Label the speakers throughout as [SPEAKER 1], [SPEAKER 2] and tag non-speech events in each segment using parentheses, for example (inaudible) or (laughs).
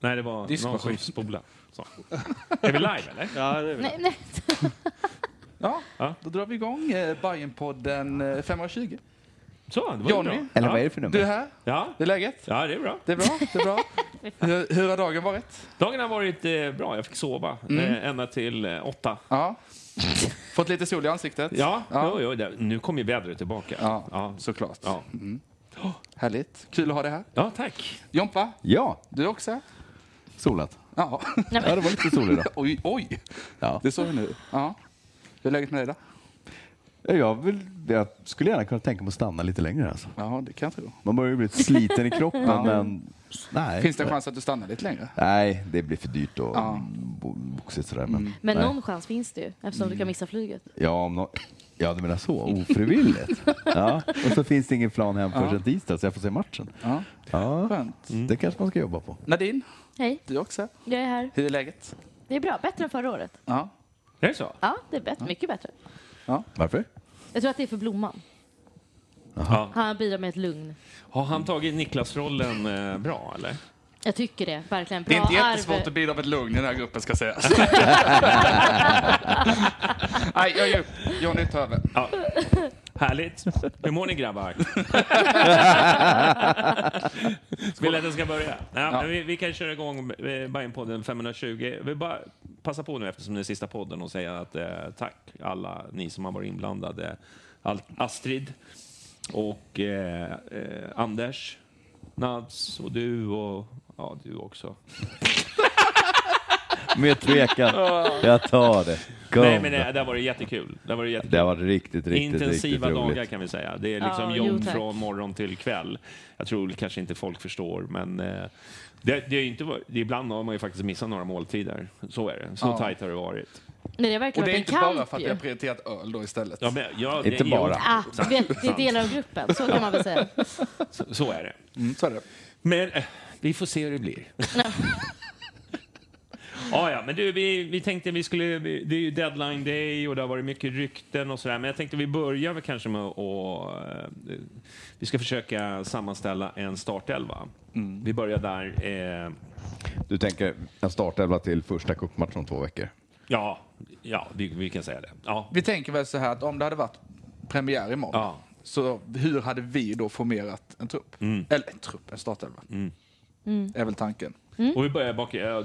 [SPEAKER 1] Nej, det var någon som spolade. Så. Är vi live eller?
[SPEAKER 2] Ja, det är
[SPEAKER 3] Nej,
[SPEAKER 1] (laughs)
[SPEAKER 3] nej.
[SPEAKER 4] Ja,
[SPEAKER 1] Ja.
[SPEAKER 4] då drar vi igång eh, Bajenpodden eh, 520.
[SPEAKER 1] Så, det var ju
[SPEAKER 4] Johnny?
[SPEAKER 1] bra.
[SPEAKER 5] Eller
[SPEAKER 1] ja.
[SPEAKER 5] vad är det för nummer?
[SPEAKER 4] Du är här,
[SPEAKER 1] Ja.
[SPEAKER 4] det är läget?
[SPEAKER 1] ja, det är bra.
[SPEAKER 4] Det är bra, det
[SPEAKER 1] (laughs)
[SPEAKER 4] är bra. Hur, hur har dagen varit? Mm.
[SPEAKER 1] Dagen har varit eh, bra. Jag fick sova eh, ända till eh, åtta.
[SPEAKER 4] Ja. Fått lite sol i ansiktet?
[SPEAKER 1] Ja,
[SPEAKER 4] Ja.
[SPEAKER 1] Jo, jo, det, nu kommer ju vädret tillbaka.
[SPEAKER 4] Ja, Mm.
[SPEAKER 1] ja.
[SPEAKER 4] såklart.
[SPEAKER 1] Ja.
[SPEAKER 4] Härligt. Kul att ha dig här.
[SPEAKER 1] ja tack.
[SPEAKER 4] Jompa,
[SPEAKER 5] Ja,
[SPEAKER 4] du är också här?
[SPEAKER 5] solat.
[SPEAKER 4] Ja.
[SPEAKER 5] Ja, det var lite sol idag.
[SPEAKER 4] (laughs) Oj, oj!
[SPEAKER 5] Ja.
[SPEAKER 4] Det såg vi nu. Ja. Hur är läget med dig då?
[SPEAKER 5] Ja, Jag, vill, jag skulle gärna kunna tänka mig att stanna lite längre. Alltså.
[SPEAKER 4] Ja, det kan jag tro.
[SPEAKER 5] Man börjar ju bli lite sliten i kroppen, men... Nej.
[SPEAKER 4] Finns det en chans att du stannar lite längre?
[SPEAKER 5] Nej, det blir för dyrt och
[SPEAKER 4] Ja. Mm.
[SPEAKER 5] bo- boxigt sådär. Men,
[SPEAKER 3] Men
[SPEAKER 5] nej.
[SPEAKER 3] någon chans finns det ju eftersom du kan missa flyget.
[SPEAKER 5] Ja, om nå- ja, du menar så. Ofrivilligt. ja. Och så finns det ingen plan hem förrän tisdag, så jag får se matchen.
[SPEAKER 4] Ja.
[SPEAKER 5] Ja. Mm.
[SPEAKER 4] Skönt.
[SPEAKER 5] Det kanske man ska jobba på.
[SPEAKER 4] Nadine,
[SPEAKER 3] Hej,
[SPEAKER 4] du är också här.
[SPEAKER 3] jag är här.
[SPEAKER 4] Hur är läget?
[SPEAKER 3] Det är bra, bättre än förra året.
[SPEAKER 4] Ja.
[SPEAKER 1] Är det så?
[SPEAKER 3] Ja, det är bättre, mycket bättre.
[SPEAKER 5] Varför?
[SPEAKER 3] Jag tror att det är för Blomman. Han bidrar med ett lugn.
[SPEAKER 1] Har han tagit Niklas-rollen eh, bra eller?
[SPEAKER 3] Jag tycker det, verkligen. Bra
[SPEAKER 4] Det är inte
[SPEAKER 3] arv.
[SPEAKER 4] jättesvårt att bidra med ett lugn i den här gruppen ska
[SPEAKER 1] (laughs)
[SPEAKER 4] sägas. (laughs) Nej, jag ger upp. Johnny tar över.
[SPEAKER 1] Härligt. Hur mår ni grabbar? Vill att jag ska börja? Nej, men vi, vi kan köra igång eh, Bajenpodden 520. Jag vill bara passa på nu eftersom det är sista podden och säga att eh, tack alla ni som har varit inblandade. Al- Astrid och eh, eh, Anders, Nads och du och ja, du också.
[SPEAKER 5] Med tvekan. Jag tar det. Kom.
[SPEAKER 1] Nej,
[SPEAKER 4] eh,
[SPEAKER 1] men eh, det, det har varit jättekul. Det har varit jättekul.
[SPEAKER 5] Det har varit riktigt, riktigt,
[SPEAKER 1] Intensiva
[SPEAKER 5] riktigt
[SPEAKER 1] dagar
[SPEAKER 5] roligt.
[SPEAKER 1] kan vi säga. Det är liksom
[SPEAKER 3] Ja, jo,
[SPEAKER 1] jobb
[SPEAKER 3] tack.
[SPEAKER 1] från morgon till kväll. Jag tror kanske inte folk förstår, men eh, det, det är ju inte, var- det, ibland har man ju faktiskt missat några måltider. Så är det. Så
[SPEAKER 4] Ja.
[SPEAKER 1] tajt har det varit.
[SPEAKER 3] Nej, det har
[SPEAKER 4] Och
[SPEAKER 3] verkligen
[SPEAKER 4] det är
[SPEAKER 3] varit
[SPEAKER 4] inte
[SPEAKER 3] en
[SPEAKER 4] bara
[SPEAKER 3] kamp
[SPEAKER 4] för att vi
[SPEAKER 3] ju.
[SPEAKER 4] har prioriterat öl då istället.
[SPEAKER 1] Ja, men, ja,
[SPEAKER 5] Inte
[SPEAKER 1] det,
[SPEAKER 5] bara.
[SPEAKER 3] Ah, det är- det är delar av gruppen, så kan man väl
[SPEAKER 4] (laughs)
[SPEAKER 3] säga.
[SPEAKER 1] Jo, så är det.
[SPEAKER 4] Mm, så är det.
[SPEAKER 1] Men eh, vi får se hur det
[SPEAKER 4] (laughs)
[SPEAKER 1] blir. Ja, ja, men du, vi, vi tänkte vi skulle... vi- Det är ju deadline day och det har varit mycket rykten och sådär. Men jag tänkte vi börjar väl kanske med att... eh, Vi ska försöka sammanställa en startelva.
[SPEAKER 4] Mm.
[SPEAKER 1] Vi börjar där. Eh,
[SPEAKER 5] Du tänker en startelva till första cupmatchen om två veckor?
[SPEAKER 1] ja, ja vi, vi kan säga det. Ja,
[SPEAKER 4] Vi tänker väl så här att om det hade varit premiär imorgon,
[SPEAKER 1] Ja.
[SPEAKER 4] så hur hade vi då formerat en trupp?
[SPEAKER 1] Mm.
[SPEAKER 4] Eller en trupp, en startelva.
[SPEAKER 3] Mm.
[SPEAKER 4] Är väl tanken.
[SPEAKER 1] och vi börjar bak... eh,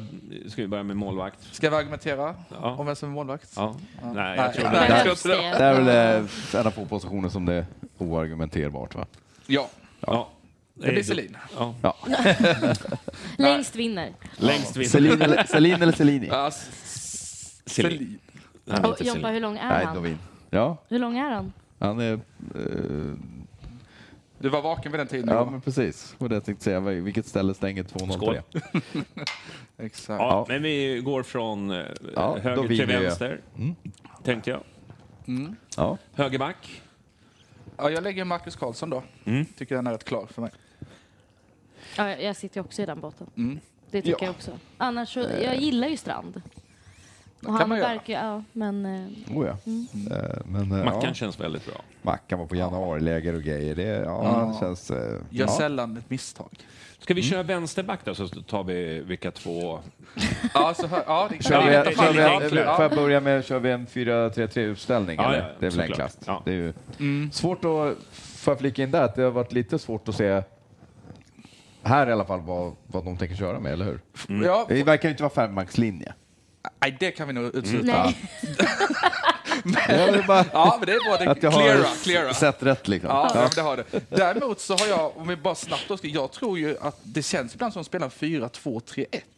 [SPEAKER 1] Ska vi börja med målvakt?
[SPEAKER 4] Ska vi argumentera
[SPEAKER 1] Ja.
[SPEAKER 4] om vem som är målvakt?
[SPEAKER 1] Ja. Nej,
[SPEAKER 4] Nej.
[SPEAKER 1] jag tror det.
[SPEAKER 4] Nej.
[SPEAKER 3] Behövs
[SPEAKER 4] ska inte
[SPEAKER 5] Det
[SPEAKER 3] det?
[SPEAKER 5] är väl eh, en av få positioner som det är oargumenterbart va?
[SPEAKER 4] Ja.
[SPEAKER 1] Ja.
[SPEAKER 4] Det blir Selin.
[SPEAKER 1] Ja.
[SPEAKER 3] (laughs) Längst vinner.
[SPEAKER 1] Längst vid...
[SPEAKER 5] Selin eller, Selin eller Selini?
[SPEAKER 4] Ja, s-
[SPEAKER 1] Selin.
[SPEAKER 4] Selin.
[SPEAKER 1] Nej, inte
[SPEAKER 3] Och Jompa,
[SPEAKER 1] Selin.
[SPEAKER 3] hur lång är
[SPEAKER 5] Nej,
[SPEAKER 3] han?
[SPEAKER 5] Dovin. Ja,
[SPEAKER 3] Hur lång är han?
[SPEAKER 5] han är... eh,
[SPEAKER 4] Du var vaken vid den tiden?
[SPEAKER 5] ja,
[SPEAKER 4] Ja,
[SPEAKER 5] men precis. Och det jag tänkte säga. Vilket ställe stänger 203?
[SPEAKER 4] Exakt.
[SPEAKER 1] Ja,
[SPEAKER 5] Ja.
[SPEAKER 1] men vi går från eh,
[SPEAKER 5] Ja, då
[SPEAKER 1] höger
[SPEAKER 5] vinner
[SPEAKER 1] till
[SPEAKER 5] jag.
[SPEAKER 4] Mm.
[SPEAKER 1] vänster, tänkte jag.
[SPEAKER 6] Ja.
[SPEAKER 1] Högerback.
[SPEAKER 4] Ja, jag lägger Marcus Karlsson då.
[SPEAKER 1] Mm.
[SPEAKER 4] Tycker han är rätt klar för mig.
[SPEAKER 3] Ja, jag- jag sitter ju också i den båten. Det tycker
[SPEAKER 4] Mm. Ja. Eh.
[SPEAKER 3] jag också. Annars så, jag gillar ju Strand. Och han
[SPEAKER 4] kan man göra.
[SPEAKER 3] verkar ju, ja, men eh,
[SPEAKER 5] Oh, ja. Eh, Men, eh,
[SPEAKER 1] Mackan
[SPEAKER 5] ja,
[SPEAKER 1] känns väldigt bra.
[SPEAKER 5] Mackan var på januariläger och grejer. Det, ja, det känns... eh, Mm.
[SPEAKER 4] Gör
[SPEAKER 5] ja.
[SPEAKER 4] sällan ett misstag.
[SPEAKER 1] Ska vi köra vänsterback då, så tar vi vilka två...
[SPEAKER 4] Ja, så hör, ja, det
[SPEAKER 5] Kör
[SPEAKER 1] Ja,
[SPEAKER 5] vi,
[SPEAKER 1] det är
[SPEAKER 5] kör
[SPEAKER 1] lite
[SPEAKER 5] vi,
[SPEAKER 1] enklare.
[SPEAKER 5] får jag börja med kör vi en 4-3-3-uppställning?
[SPEAKER 1] Ja,
[SPEAKER 5] eller?
[SPEAKER 1] ja,
[SPEAKER 5] det är väl
[SPEAKER 1] såklart.
[SPEAKER 5] enklast.
[SPEAKER 1] Ja.
[SPEAKER 5] Det är ju
[SPEAKER 4] Mm.
[SPEAKER 5] svårt att... Får jag flika in där att det har varit lite svårt att se här i alla fall vad, vad de tänker köra med, eller hur?
[SPEAKER 4] Mm. Ja,
[SPEAKER 5] Det verkar ju inte vara femmaxlinje.
[SPEAKER 4] nej, det kan vi nog utsluta. (laughs)
[SPEAKER 3] nej.
[SPEAKER 5] Jag vill bara
[SPEAKER 4] Ja, men det är bra. Det,
[SPEAKER 5] att jag
[SPEAKER 4] cleara,
[SPEAKER 5] har
[SPEAKER 4] cleara.
[SPEAKER 5] sett rätt liksom.
[SPEAKER 4] Ja, ja. men det har det. Däremot så har jag, om vi bara snabbt då ska, jag tror ju att det känns ibland som spelar 4-2-3-1.
[SPEAKER 3] Just
[SPEAKER 4] Det är
[SPEAKER 3] det.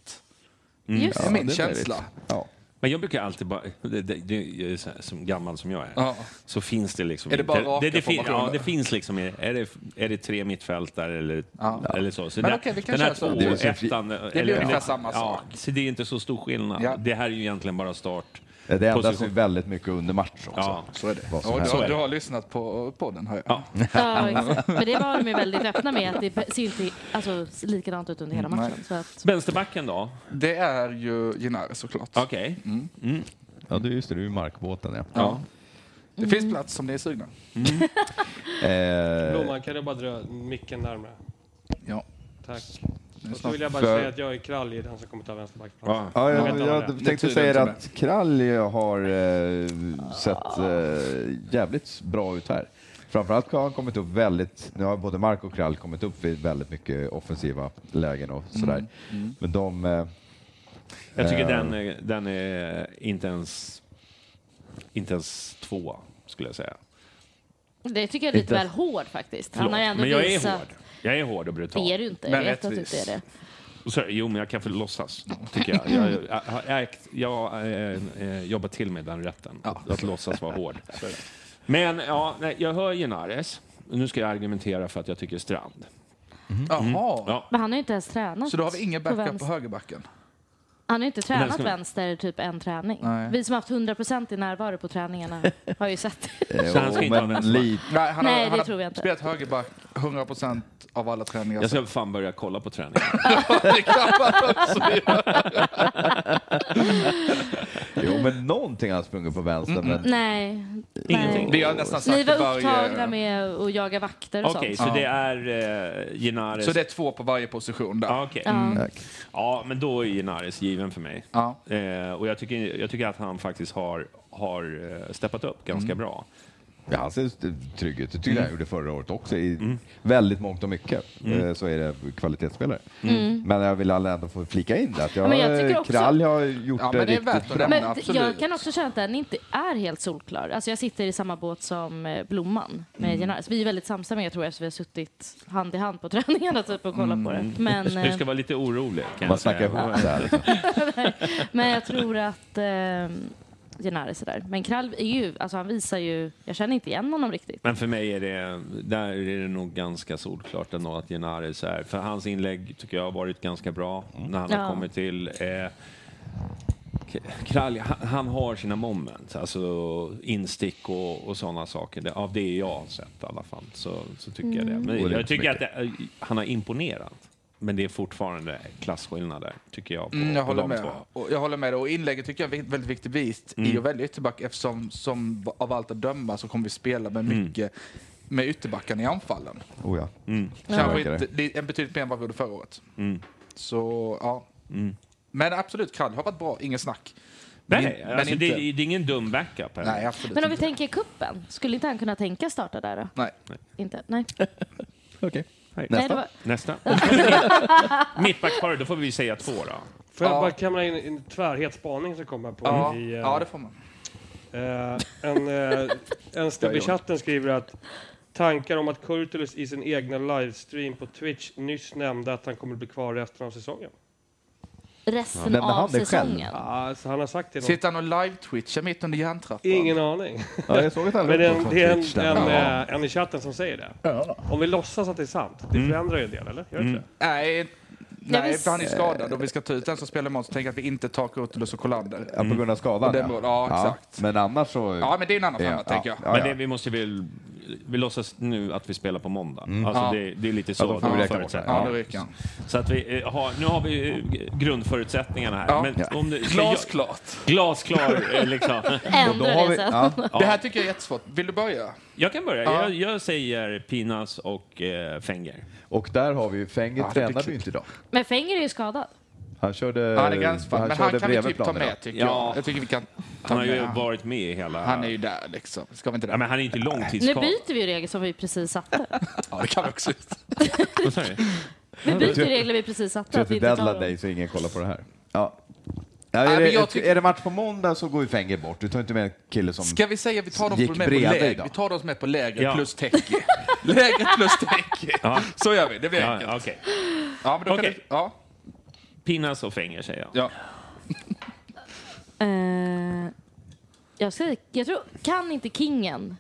[SPEAKER 4] min
[SPEAKER 5] Mm. det är
[SPEAKER 4] känsla.
[SPEAKER 5] Ja.
[SPEAKER 1] Men jag brukar alltid bara... Det, det, det, är så här, som gammal som jag är,
[SPEAKER 4] Ja.
[SPEAKER 1] så finns det liksom...
[SPEAKER 4] Är det bara
[SPEAKER 1] inte-
[SPEAKER 4] raka
[SPEAKER 1] det, det, fin,
[SPEAKER 4] formationer?
[SPEAKER 1] ja, det finns liksom... Är det, är det tre mittfältare eller, eller så? så
[SPEAKER 4] Men
[SPEAKER 1] det-
[SPEAKER 4] okej, vi kan
[SPEAKER 1] den här
[SPEAKER 4] köra så.
[SPEAKER 1] två-
[SPEAKER 4] Det är
[SPEAKER 5] väl så fri-
[SPEAKER 1] ettan,
[SPEAKER 4] blir
[SPEAKER 1] eller-
[SPEAKER 4] ungefär samma sak.
[SPEAKER 1] Så det är inte så stor skillnad.
[SPEAKER 4] Ja.
[SPEAKER 1] Det här är ju egentligen bara start...
[SPEAKER 5] Det ändras ju
[SPEAKER 1] position.
[SPEAKER 5] väldigt mycket under match också.
[SPEAKER 1] Ja.
[SPEAKER 4] Så är det.
[SPEAKER 5] Vad som
[SPEAKER 4] Ja, du,
[SPEAKER 5] helst.
[SPEAKER 4] har, du har lyssnat på podden, har jag.
[SPEAKER 3] Ja, exakt. Men det var de ju väldigt öppna med, att det ser ju inte alltså, likadant ut under hela
[SPEAKER 4] Mm,
[SPEAKER 3] matchen. Så att,
[SPEAKER 1] Vänsterbacken då?
[SPEAKER 4] Det är ju Genare såklart.
[SPEAKER 1] Okej.
[SPEAKER 5] Mm.
[SPEAKER 1] Mm.
[SPEAKER 5] Ja, du, just det, du är ju markbåten ja.
[SPEAKER 4] Ja. Det finns plats om ni är sugna.
[SPEAKER 5] Eh,
[SPEAKER 7] Blomman, kan du bara dra micken närmare?
[SPEAKER 4] Ja.
[SPEAKER 7] Tack. Och så
[SPEAKER 4] snart
[SPEAKER 7] vill jag bara
[SPEAKER 5] för-
[SPEAKER 7] säga att jag är Kralj i den som kommer ta vänsterbacksplatsen.
[SPEAKER 1] Ja.
[SPEAKER 5] Ja,
[SPEAKER 7] vet
[SPEAKER 5] jag,
[SPEAKER 7] alla
[SPEAKER 5] jag,
[SPEAKER 7] det.
[SPEAKER 4] Det
[SPEAKER 5] tänkte
[SPEAKER 4] tyder
[SPEAKER 5] säga
[SPEAKER 4] inte
[SPEAKER 5] att Krall har eh, sett
[SPEAKER 3] Ah.
[SPEAKER 5] eh, jävligt bra ut här. Framförallt har han kommit upp väldigt, nu har både Mark och Krall kommit upp vid väldigt mycket offensiva lägen och
[SPEAKER 3] Mm.
[SPEAKER 5] sådär. Men de, eh,
[SPEAKER 1] Jag tycker
[SPEAKER 5] Eh.
[SPEAKER 1] den,
[SPEAKER 5] (laughs)
[SPEAKER 4] Ehm.
[SPEAKER 1] är- den är inte ens, inte ens två skulle jag säga.
[SPEAKER 3] det tycker jag är lite
[SPEAKER 5] Inte-
[SPEAKER 3] väl hård faktiskt. Han
[SPEAKER 1] Förlåt.
[SPEAKER 3] har ju ändå
[SPEAKER 1] men jag
[SPEAKER 3] visat...
[SPEAKER 1] är hård. Jag är hård och brutal.
[SPEAKER 3] Det är du inte.
[SPEAKER 4] Men
[SPEAKER 3] jag vet att du inte
[SPEAKER 4] rättvis.
[SPEAKER 3] är det.
[SPEAKER 1] Och så, jo, men jag kan förlåtsas, tycker jag. Jag, jag, jag, jag, jag eh, eh, jobbar till med den rätten, att låtsas vara
[SPEAKER 4] (laughs)
[SPEAKER 1] hård. Men ja, nej, jag hör Genares. Nu ska jag argumentera för att jag tycker Strand.
[SPEAKER 4] Mm.
[SPEAKER 1] Mm.
[SPEAKER 4] Jaha.
[SPEAKER 1] Ja.
[SPEAKER 3] Men han har ju inte ens tränat.
[SPEAKER 4] Så då har vi ingen backup på,
[SPEAKER 3] vänster.
[SPEAKER 4] högerbacken?
[SPEAKER 3] Han har ju inte
[SPEAKER 1] Men
[SPEAKER 3] tränat
[SPEAKER 1] ska vi-
[SPEAKER 3] vänster typ en träning.
[SPEAKER 4] Nej.
[SPEAKER 3] Vi som har haft 100% i närvaro
[SPEAKER 1] (laughs)
[SPEAKER 3] på träningarna har ju sett det.
[SPEAKER 5] eh,
[SPEAKER 1] Så han ska inte ha
[SPEAKER 5] men
[SPEAKER 1] vänsterback.
[SPEAKER 5] lite-
[SPEAKER 4] Nej, han
[SPEAKER 3] Nej,
[SPEAKER 4] har,
[SPEAKER 3] det
[SPEAKER 4] han
[SPEAKER 3] tror
[SPEAKER 4] har
[SPEAKER 3] jag inte.
[SPEAKER 4] spelat högerback 100% av alla träningar.
[SPEAKER 1] Jag ska fan börja kolla på träningen.
[SPEAKER 4] Det kan man också göra.
[SPEAKER 5] Jo, men någonting har han sprungit på vänster. Men,
[SPEAKER 3] Nej.
[SPEAKER 1] Ingenting.
[SPEAKER 3] Mm, Nej.
[SPEAKER 4] Vi har nästan sagt
[SPEAKER 3] Ni
[SPEAKER 4] det
[SPEAKER 3] var upptagna
[SPEAKER 4] varje...
[SPEAKER 3] med att jaga vakter och
[SPEAKER 1] Okej,
[SPEAKER 3] sånt.
[SPEAKER 1] så det är eh, Genares.
[SPEAKER 4] Så det är två på varje position där. Mm.
[SPEAKER 1] Ja, okej.
[SPEAKER 3] Mm.
[SPEAKER 1] Ja, men då är Genares given för mig.
[SPEAKER 4] Ja.
[SPEAKER 1] Eh, och jag tycker, jag tycker att han faktiskt har, har eh, steppat upp ganska
[SPEAKER 4] Mm.
[SPEAKER 1] bra.
[SPEAKER 5] ja, han ser st- trygg ut. Det tycker jag han gjorde förra året också. I
[SPEAKER 4] Mm.
[SPEAKER 5] väldigt mångt och mycket eh, så är det kvalitetsspelare.
[SPEAKER 4] Mm.
[SPEAKER 5] Men jag vill ändå få flika in det. att Jag,
[SPEAKER 3] Mm. Men jag tycker också-
[SPEAKER 5] Krall har gjort
[SPEAKER 4] Ja,
[SPEAKER 5] det
[SPEAKER 4] men det är
[SPEAKER 5] riktigt
[SPEAKER 4] värt
[SPEAKER 5] bra.
[SPEAKER 4] att nämna.
[SPEAKER 3] Men d-
[SPEAKER 4] absolut.
[SPEAKER 3] jag kan också känna att den inte är helt solklar. Alltså jag sitter i samma båt som eh, Blomman med Genares. Vi är väldigt samstämmiga tror jag, så vi har suttit hand i hand på (laughs) träningarna typ, och
[SPEAKER 4] Mm.
[SPEAKER 3] kollat på
[SPEAKER 1] (laughs)
[SPEAKER 3] det. Men,
[SPEAKER 1] Du
[SPEAKER 3] eh,
[SPEAKER 1] Mm. ska vara lite orolig. Kan
[SPEAKER 5] Man
[SPEAKER 1] jag
[SPEAKER 5] snackar
[SPEAKER 1] säga. (laughs)
[SPEAKER 5] ihop det här. Liksom.
[SPEAKER 3] Men jag tror att eh, Genares är där. Men Kralv är ju, alltså han visar ju, jag känner inte igen honom riktigt.
[SPEAKER 1] Men för mig är det, där är det nog ganska solklart ändå att Genares är... För hans inlägg tycker jag har varit ganska bra när han
[SPEAKER 3] Ja.
[SPEAKER 1] har kommit till. Eh, K- Kralj, han, han har sina moment, alltså instick och, och sådana saker. Det, av det jag har sett i alla fall så, så tycker jag det. Men
[SPEAKER 5] Och det är
[SPEAKER 1] jag
[SPEAKER 5] inte så
[SPEAKER 1] tycker att det, han har imponerat. Men det är fortfarande klasskillnader, tycker jag, på,
[SPEAKER 4] Mm, jag,
[SPEAKER 1] på
[SPEAKER 4] håller
[SPEAKER 1] de
[SPEAKER 4] med.
[SPEAKER 1] två. Mm.
[SPEAKER 4] Och jag håller med. dig. Och inlägget tycker jag är en väldigt viktig bit i att välja ytterback eftersom som av allt att döma så kommer vi spela med
[SPEAKER 1] Mm.
[SPEAKER 4] mycket med ytterbackarna i anfallen.
[SPEAKER 5] Oh, ja.
[SPEAKER 4] Kanske
[SPEAKER 5] verkar
[SPEAKER 4] Mm. inte, Mm. det är betydligt mer än vad vi gjorde förra året. Så, ja. Men absolut, Krall har varit bra, inget snack. Men,
[SPEAKER 1] Mm. Nej,
[SPEAKER 4] men
[SPEAKER 1] alltså
[SPEAKER 4] inte,
[SPEAKER 1] det, det är ingen dum backup. Här.
[SPEAKER 4] nej, absolut
[SPEAKER 3] Men om vi
[SPEAKER 4] inte.
[SPEAKER 3] tänker kuppen, skulle inte han kunna tänka starta där då?
[SPEAKER 4] Nej.
[SPEAKER 3] Inte? Nej.
[SPEAKER 5] Okej.
[SPEAKER 3] Nej, det var,
[SPEAKER 1] Nästa. Mittbackspar, då får vi säga två då.
[SPEAKER 7] Får jag
[SPEAKER 4] Ja.
[SPEAKER 7] bara kamma in en tvärhetsspaning som kommer på?
[SPEAKER 4] Ja,
[SPEAKER 7] I, eh,
[SPEAKER 4] ja, det får man.
[SPEAKER 7] eh, en eh, en snubbe i chatten skriver att tankar om att Kurtulus i sin egna livestream på Twitch nyss nämnde att han kommer bli kvar resten av säsongen.
[SPEAKER 3] resten
[SPEAKER 5] Nämnde han
[SPEAKER 3] av
[SPEAKER 5] det själv?
[SPEAKER 3] säsongen.
[SPEAKER 7] Ja, så han har sagt det. någon-
[SPEAKER 4] Sitter han och live-twitchar mitt under järntrappan?
[SPEAKER 7] Ingen aning.
[SPEAKER 5] Ja, jag såg att han
[SPEAKER 7] (laughs) Men det
[SPEAKER 5] låg
[SPEAKER 7] är en,
[SPEAKER 5] på
[SPEAKER 7] det är en,
[SPEAKER 5] Twitch där.
[SPEAKER 7] en,
[SPEAKER 5] Ja.
[SPEAKER 7] eh, en
[SPEAKER 1] Mm.
[SPEAKER 7] i chatten som säger det. Om vi låtsas att det är sant, det förändrar ju en del, eller? Gör det inte det?
[SPEAKER 4] Nej, Nej,
[SPEAKER 3] visst.
[SPEAKER 4] för han är skadad. Om vi ska ta ut den som spelar imorgon så tänker jag att vi inte tar Kurtulus och Kolander.
[SPEAKER 2] Ja, på grund av skadan
[SPEAKER 4] Och den mål- ja, exakt.
[SPEAKER 2] Men annars så...
[SPEAKER 4] Ja, men det är en annan femma, tänker jag.
[SPEAKER 2] Ja,
[SPEAKER 1] Men
[SPEAKER 2] ja.
[SPEAKER 1] det, vi måste väl... Vi låtsas nu att vi spelar på måndag. Alltså
[SPEAKER 4] Ja.
[SPEAKER 1] det, det är lite så.
[SPEAKER 2] Mm. Ja, då får vi
[SPEAKER 1] det
[SPEAKER 2] räkna bort
[SPEAKER 1] förutsätter-
[SPEAKER 2] det.
[SPEAKER 4] Ja, det rycker han.
[SPEAKER 1] Så att vi eh, har, nu har vi eh, grundförutsättningarna här.
[SPEAKER 4] Ja.
[SPEAKER 1] Men om du, ska jag-
[SPEAKER 4] Glasklart. (laughs)
[SPEAKER 1] glasklar
[SPEAKER 2] (laughs)
[SPEAKER 1] eh, liksom.
[SPEAKER 3] Ändra
[SPEAKER 2] Då har
[SPEAKER 3] det
[SPEAKER 2] vi-
[SPEAKER 3] sen.
[SPEAKER 2] ja.
[SPEAKER 3] (laughs)
[SPEAKER 4] Det här tycker jag är jättesvårt. Vill du börja?
[SPEAKER 1] Jag kan börja.
[SPEAKER 4] Ja.
[SPEAKER 1] Jag, jag säger Pinas och eh, Fenger.
[SPEAKER 2] Och där har vi ju Fenger
[SPEAKER 4] det blir
[SPEAKER 2] tränar
[SPEAKER 4] kul.
[SPEAKER 2] ju inte idag.
[SPEAKER 3] Men Fenger är ju skadad.
[SPEAKER 2] Han körde...
[SPEAKER 4] Ja, han är
[SPEAKER 5] Eh,
[SPEAKER 4] gränsfall. Men han
[SPEAKER 2] körde
[SPEAKER 4] kan vi typ ta
[SPEAKER 2] Bremenplan idag.
[SPEAKER 4] med, tycker
[SPEAKER 1] Ja.
[SPEAKER 4] (laughs) jag. Jag tycker vi kan ta
[SPEAKER 1] Han har ju
[SPEAKER 4] med han.
[SPEAKER 1] varit med i hela...
[SPEAKER 4] Han är ju där liksom. Ska vi inte
[SPEAKER 1] ja,
[SPEAKER 4] det?
[SPEAKER 1] men han är inte
[SPEAKER 3] Nu
[SPEAKER 1] långtidsskadad.
[SPEAKER 3] byter vi ju regler som vi precis satte.
[SPEAKER 4] Ja, det kan vi också.
[SPEAKER 1] Vad sa du?
[SPEAKER 3] Vi byter ju regler vi precis satte.
[SPEAKER 2] Så
[SPEAKER 3] att
[SPEAKER 2] att det
[SPEAKER 3] vi inte tar
[SPEAKER 2] deadline
[SPEAKER 3] dem.
[SPEAKER 2] dig så ingen kollar på det här. Ja. Ja,
[SPEAKER 4] Nej,
[SPEAKER 2] är,
[SPEAKER 4] men
[SPEAKER 2] det,
[SPEAKER 4] jag
[SPEAKER 2] ett-
[SPEAKER 4] tycker-
[SPEAKER 2] är det match på måndag så går ju Fenger bort. Du tar inte med en kille som...
[SPEAKER 4] Ska vi säga att vi tar dem
[SPEAKER 2] Gick
[SPEAKER 4] som är med på
[SPEAKER 2] bredvid
[SPEAKER 4] läger?
[SPEAKER 2] då.
[SPEAKER 4] Vi tar dem som är på läger
[SPEAKER 1] Ja.
[SPEAKER 4] plus täcke. (laughs) läger plus täcke.
[SPEAKER 1] Ja.
[SPEAKER 4] Så gör vi. Det blir enkelt.
[SPEAKER 1] Ja, okej.
[SPEAKER 4] Ja, men då kan
[SPEAKER 1] Okej.
[SPEAKER 4] du, ja.
[SPEAKER 1] Pinas och Fenger säger jag.
[SPEAKER 4] Ja.
[SPEAKER 3] Eh, jag, ska, jag tror, kan inte kingen?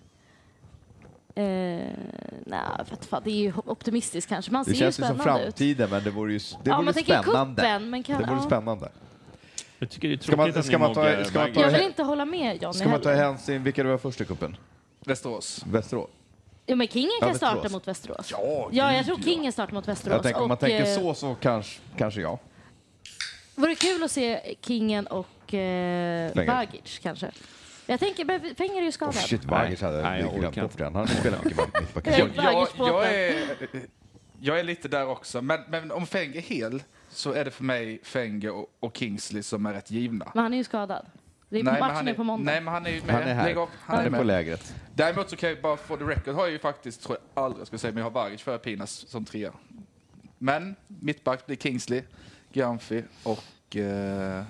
[SPEAKER 3] Eh, nej, för att fan, det är ju optimistiskt kanske. Man ser
[SPEAKER 2] Det
[SPEAKER 3] ju
[SPEAKER 2] känns ju som
[SPEAKER 3] spännande ut.
[SPEAKER 2] framtiden, men det vore ju det
[SPEAKER 3] Ja,
[SPEAKER 2] vore
[SPEAKER 3] man tänker
[SPEAKER 2] spännande.
[SPEAKER 3] kuppen, men kan-
[SPEAKER 2] det vore
[SPEAKER 3] ja.
[SPEAKER 2] spännande.
[SPEAKER 1] Jag tycker det är tråkigt
[SPEAKER 2] Ska man-
[SPEAKER 1] att
[SPEAKER 2] ska
[SPEAKER 1] ni
[SPEAKER 2] man ta-
[SPEAKER 1] moggar
[SPEAKER 2] ska man ta-
[SPEAKER 3] Jag
[SPEAKER 1] Bagge.
[SPEAKER 3] vill inte hålla med Johnny
[SPEAKER 2] Ska man ta
[SPEAKER 3] heller.
[SPEAKER 2] hänsyn... Vilka det var först i cupen?
[SPEAKER 4] Västerås.
[SPEAKER 2] Västerås?
[SPEAKER 3] Jo, men kingen
[SPEAKER 2] Ja,
[SPEAKER 3] kan
[SPEAKER 2] Västerås.
[SPEAKER 3] starta mot Västerås.
[SPEAKER 4] Ja,
[SPEAKER 3] jag tror kingen startar mot Västerås.
[SPEAKER 2] Jag tänker, om man
[SPEAKER 3] och,
[SPEAKER 2] tänker
[SPEAKER 3] eh,
[SPEAKER 2] så, så kanske, kanske jag.
[SPEAKER 3] Vore kul att se kingen och eh,
[SPEAKER 2] Längre.
[SPEAKER 3] Bagic kanske. Jag tänker, men Fenger är ju skadad.
[SPEAKER 2] Oh, shit, Vagic hade
[SPEAKER 1] Nej, jag
[SPEAKER 2] jag glömt
[SPEAKER 1] orkar
[SPEAKER 2] bort
[SPEAKER 1] inte. Mm.
[SPEAKER 2] den. Han spelar mycket med mittback.
[SPEAKER 3] Ja.
[SPEAKER 4] Jag, jag,
[SPEAKER 3] Vägerspodden.
[SPEAKER 4] jag, är, jag är lite där också. Men, men om Fenge är hel så är det för mig Fenge och, och Kingsley som är rätt givna.
[SPEAKER 3] Men han är ju skadad. Det är matchen
[SPEAKER 4] han
[SPEAKER 3] är på måndag.
[SPEAKER 4] Nej, men han är ju med.
[SPEAKER 2] Han är
[SPEAKER 4] Lägg
[SPEAKER 2] här.
[SPEAKER 4] av. Han
[SPEAKER 2] Han är
[SPEAKER 4] med.
[SPEAKER 2] på lägret.
[SPEAKER 4] Däremot så kan jag ju bara få the record. Har jag ju faktiskt, tror jag aldrig jag skulle säga, men jag har Vargic före Pinas som trea. Men mittback blir Kingsley, Giamfi och eh,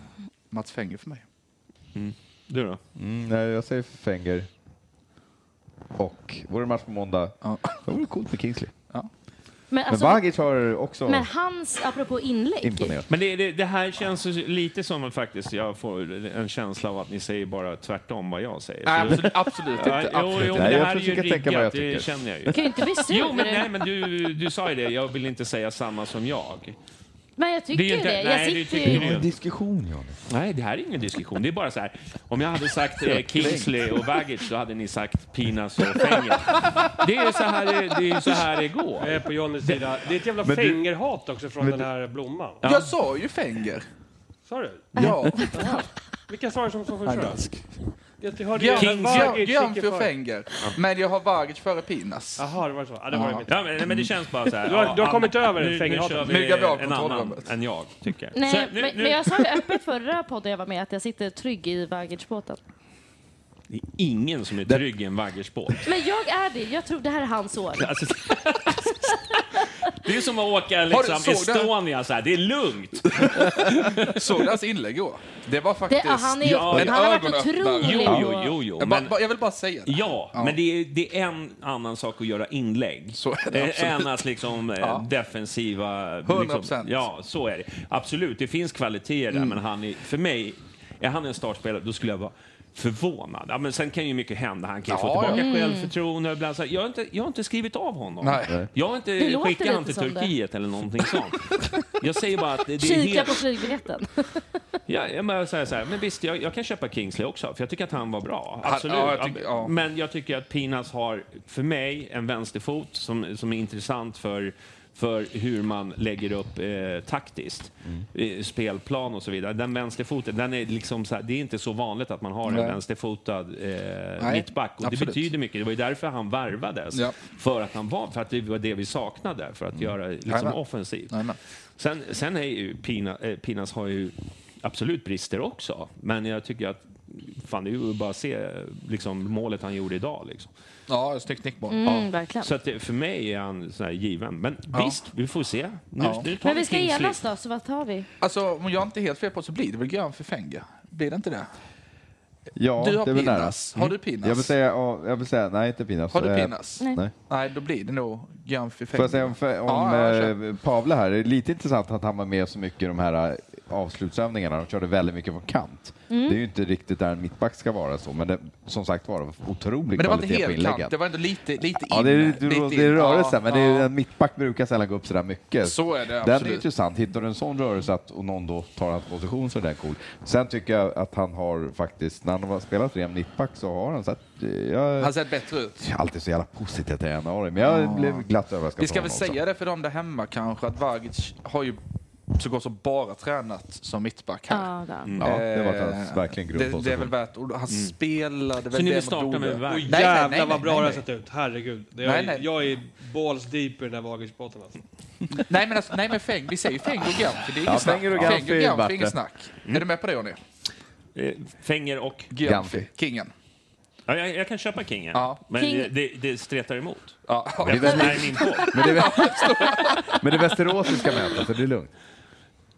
[SPEAKER 4] Mats Fenger för mig.
[SPEAKER 1] Du då?
[SPEAKER 2] Mm, nej, jag säger Fenger. Och vore det match på måndag,
[SPEAKER 4] Ja.
[SPEAKER 2] det vore coolt med Kingsley.
[SPEAKER 3] Men,
[SPEAKER 2] Men
[SPEAKER 3] alltså,
[SPEAKER 2] Vagic har också
[SPEAKER 3] men hans, apropå inlägg.
[SPEAKER 2] imponerat.
[SPEAKER 1] Men det, det, det här känns ju lite som att faktiskt jag får en känsla av att ni säger bara tvärtom vad jag säger.
[SPEAKER 4] Nej,
[SPEAKER 1] Så-
[SPEAKER 4] absolut, absolut
[SPEAKER 1] Ja,
[SPEAKER 4] inte.
[SPEAKER 1] jo,
[SPEAKER 4] Absolut.
[SPEAKER 1] jo,
[SPEAKER 2] inte.
[SPEAKER 1] men det
[SPEAKER 2] Nej, jag
[SPEAKER 1] här är ju
[SPEAKER 2] försöker tänka vad jag
[SPEAKER 1] riggat, det
[SPEAKER 2] tycker.
[SPEAKER 1] känner jag ju.
[SPEAKER 3] Du kan ju inte bli sur.
[SPEAKER 1] Jo, men,
[SPEAKER 3] du.
[SPEAKER 1] nej, men du, du sa ju det, jag vill inte säga samma som jag.
[SPEAKER 3] Men jag tycker
[SPEAKER 1] Det är ju
[SPEAKER 3] ju
[SPEAKER 1] inte-
[SPEAKER 3] det.
[SPEAKER 1] nej, du
[SPEAKER 3] Jag sitter
[SPEAKER 1] tycker
[SPEAKER 3] ju...
[SPEAKER 1] det. En
[SPEAKER 2] diskussion, Johnny.
[SPEAKER 1] Nej, det här är ingen diskussion. Det är bara så här, om jag hade sagt eh, Kingsley och Baggage så hade ni sagt Pinas och Fenger. Det är ju så här det, det, är ju så här det går.
[SPEAKER 7] Jag är på Johnnys sida. Det är ett jävla
[SPEAKER 2] Men du-
[SPEAKER 7] fingerhat också från den här blomman.
[SPEAKER 4] Jag sa ju Fenger.
[SPEAKER 7] Sa du?
[SPEAKER 4] Ja.
[SPEAKER 7] Vilka sa du som som första? Jag hörde
[SPEAKER 4] Giam-
[SPEAKER 7] Kings,
[SPEAKER 4] Giam- Giamfi och Fenger. Men jag har Vargic före Pinas.
[SPEAKER 7] Jaha, det var så. Ja, det var det mitt.
[SPEAKER 1] Ja, men, men det känns bara så här.
[SPEAKER 7] Du har-
[SPEAKER 1] ja,
[SPEAKER 7] du har
[SPEAKER 1] ja,
[SPEAKER 7] kommit över
[SPEAKER 1] nu, nu
[SPEAKER 7] fängelsehatet.
[SPEAKER 1] kör vi
[SPEAKER 4] Myggar vi av
[SPEAKER 1] en annan
[SPEAKER 4] kontrollrummet.
[SPEAKER 1] än jag, tycker jag.
[SPEAKER 3] Nej,
[SPEAKER 1] Så, nu,
[SPEAKER 3] men,
[SPEAKER 1] nu,
[SPEAKER 3] men jag sa ju öppet förra podden jag var med att jag sitter trygg i Vagic-båten.
[SPEAKER 1] Det är ingen som är trygg i en vaggersport.
[SPEAKER 3] Men jag är det. Jag tror det här är hans år.
[SPEAKER 1] Alltså, det är som att åka liksom,
[SPEAKER 4] såg det här?
[SPEAKER 1] Estonia, så här. det är lugnt.
[SPEAKER 4] Såg du hans inlägg igår? Det var
[SPEAKER 3] Det,
[SPEAKER 4] faktiskt...
[SPEAKER 3] han, är,
[SPEAKER 1] Ja,
[SPEAKER 3] han
[SPEAKER 1] en
[SPEAKER 3] har varit
[SPEAKER 4] ögonöppnare.
[SPEAKER 3] otrolig.
[SPEAKER 1] Jo,
[SPEAKER 3] på-
[SPEAKER 1] jo, jo, jo.
[SPEAKER 4] jag,
[SPEAKER 1] Men,
[SPEAKER 4] bara, jag vill bara säga det.
[SPEAKER 1] ja, men det är, det är en annan sak att göra inlägg
[SPEAKER 4] Så är det
[SPEAKER 1] eh,
[SPEAKER 4] absolut.
[SPEAKER 1] än att liksom, eh, defensiva... liksom-
[SPEAKER 4] 100%.
[SPEAKER 1] ja, så är det. Absolut, det finns kvaliteter
[SPEAKER 4] Mm.
[SPEAKER 1] där, men han är, för mig, är han en startspelare, då skulle jag vara förvånad. Ja, men sen kan ju mycket hända. Han kan ju
[SPEAKER 4] Ja,
[SPEAKER 1] få tillbaka
[SPEAKER 3] Mm.
[SPEAKER 1] självförtroende. och Bland, så här. jag, har inte, jag har inte skrivit av honom.
[SPEAKER 4] Nej.
[SPEAKER 1] Jag har inte
[SPEAKER 3] Det låter
[SPEAKER 1] skickat honom
[SPEAKER 3] lite
[SPEAKER 1] till
[SPEAKER 3] som det.
[SPEAKER 1] Turkiet eller någonting
[SPEAKER 3] (laughs)
[SPEAKER 1] sånt. Jag säger bara att det, det är
[SPEAKER 3] Kika
[SPEAKER 1] helt...
[SPEAKER 3] på flygbiljetten.
[SPEAKER 1] Ja, jag bara säger så här, men visst, jag, jag kan köpa Kingsley också, för jag tycker att han var bra.
[SPEAKER 4] Han-
[SPEAKER 1] Absolut.
[SPEAKER 4] ja, jag tycker- ja.
[SPEAKER 1] Men jag tycker att Pinas har, för mig, en vänsterfot som, som är intressant för, för hur man lägger upp eh, taktiskt.
[SPEAKER 4] Mm.
[SPEAKER 1] Eh, spelplan och så vidare. Den vänsterfoten, den är liksom så här, det är inte så vanligt att man har en
[SPEAKER 4] Nej.
[SPEAKER 1] vänsterfotad eh, mittback. Och det
[SPEAKER 4] absolut.
[SPEAKER 1] betyder mycket. Det var ju därför han värvades.
[SPEAKER 4] Ja.
[SPEAKER 1] För att han var, för att det var det vi saknade, för att göra liksom,
[SPEAKER 4] Jajamän.
[SPEAKER 1] offensivt.
[SPEAKER 4] Jajamän.
[SPEAKER 1] Sen, sen är ju Pina, eh, Pinas har ju absolut brister också, men jag tycker att fan, det är ju bara att se eh, liksom, målet han gjorde idag. Liksom.
[SPEAKER 4] Ja, snyggt nickmål.
[SPEAKER 3] Mm, verkligen.
[SPEAKER 1] Så att, det- för mig är han sån här given. Men
[SPEAKER 4] Ja.
[SPEAKER 1] visst, vi får se. Nu,
[SPEAKER 4] Ja.
[SPEAKER 1] nu tar
[SPEAKER 3] Men vi ska
[SPEAKER 1] Kingsley.
[SPEAKER 3] enas då, så vad tar vi?
[SPEAKER 4] Alltså, om jag inte är helt fel på så blir det väl Giamfi Fenger? Blir det inte det?
[SPEAKER 2] Ja,
[SPEAKER 4] Du har
[SPEAKER 2] det är väl nära.
[SPEAKER 4] Pinas. Har du Pinas?
[SPEAKER 2] Jag vill, säga, ja, jag vill säga, nej inte Pinas.
[SPEAKER 4] Har du
[SPEAKER 2] Eh,
[SPEAKER 4] Pinas?
[SPEAKER 3] Nej.
[SPEAKER 2] Nej.
[SPEAKER 4] Nej, då blir det nog Giamfi Fenger.
[SPEAKER 2] Får jag säga om, om
[SPEAKER 4] Ja, ja,
[SPEAKER 2] eh, Pavle här, det är lite intressant att han var med så mycket i de här eh,
[SPEAKER 5] avslutsövningarna. De körde väldigt mycket från kant. Det är ju inte riktigt där en mittback ska vara så, men det, som sagt var, det var otrolig
[SPEAKER 4] Men det var inte
[SPEAKER 5] kvalitet på
[SPEAKER 4] helt
[SPEAKER 5] inläggen.
[SPEAKER 4] kant, det var ändå lite, lite
[SPEAKER 5] Ja, det är,
[SPEAKER 4] inne,
[SPEAKER 5] lite,
[SPEAKER 4] lite
[SPEAKER 5] det är
[SPEAKER 4] in.
[SPEAKER 5] rörelse, men det är,
[SPEAKER 4] ja.
[SPEAKER 5] en mittback brukar sällan gå upp så där mycket.
[SPEAKER 4] Så är det,
[SPEAKER 5] Den är
[SPEAKER 4] absolut.
[SPEAKER 5] intressant. Hittar du en sån rörelse att, och någon då tar hans position så är den cool. Sen tycker jag att han har faktiskt, när han har spelat ren mittback så har han sett... Jag,
[SPEAKER 4] Han har sett bättre ut.
[SPEAKER 5] jag är alltid så jävla positiv till januari, men jag blev glatt överraskad.
[SPEAKER 4] Vi ska
[SPEAKER 5] på
[SPEAKER 4] väl
[SPEAKER 5] honom också.
[SPEAKER 4] säga det för dem där hemma kanske, att Vagic har ju så gott som bara tränat som mittback här.
[SPEAKER 3] Ja, där.
[SPEAKER 5] Ja, det var
[SPEAKER 4] Eh,
[SPEAKER 5] hans verkligen
[SPEAKER 4] det, det är
[SPEAKER 5] grundposition.
[SPEAKER 4] väl värt ord. Han spelade väl
[SPEAKER 1] Så ni
[SPEAKER 4] det
[SPEAKER 1] vill
[SPEAKER 4] mot
[SPEAKER 1] starta med
[SPEAKER 4] Rode.
[SPEAKER 1] Vagic?
[SPEAKER 7] Och
[SPEAKER 1] Nej,
[SPEAKER 4] nej,
[SPEAKER 7] Mm. jävlar
[SPEAKER 4] nej,
[SPEAKER 7] vad
[SPEAKER 4] nej,
[SPEAKER 7] bra
[SPEAKER 4] nej,
[SPEAKER 7] det har
[SPEAKER 4] nej.
[SPEAKER 7] sett ut. Herregud. Det- Jag,
[SPEAKER 4] Nej, nej.
[SPEAKER 7] jag är balls deep i den där Vagic-båten alltså.
[SPEAKER 4] Nej men, alltså, nej, men Feng, vi säger ju Feng och Gamfi, det är inget
[SPEAKER 5] Ja,
[SPEAKER 4] snack.
[SPEAKER 5] Feng och
[SPEAKER 4] Feng
[SPEAKER 5] Gamfi,
[SPEAKER 4] och Gamfi,
[SPEAKER 5] vart det.
[SPEAKER 4] inget snack. Mm. Är du med på det Jonny?
[SPEAKER 1] Eh, Fänger och...
[SPEAKER 4] Gamfi,
[SPEAKER 5] Gamfi.
[SPEAKER 4] kingen.
[SPEAKER 1] Ja, jag, jag kan köpa Kingen,
[SPEAKER 4] Ja.
[SPEAKER 1] men
[SPEAKER 3] King-
[SPEAKER 1] Det, det, det stretar emot.
[SPEAKER 4] Ja,
[SPEAKER 1] Jag är min på.
[SPEAKER 5] Men det, är vä- men det är Västerås vi ska möta, så det är lugnt.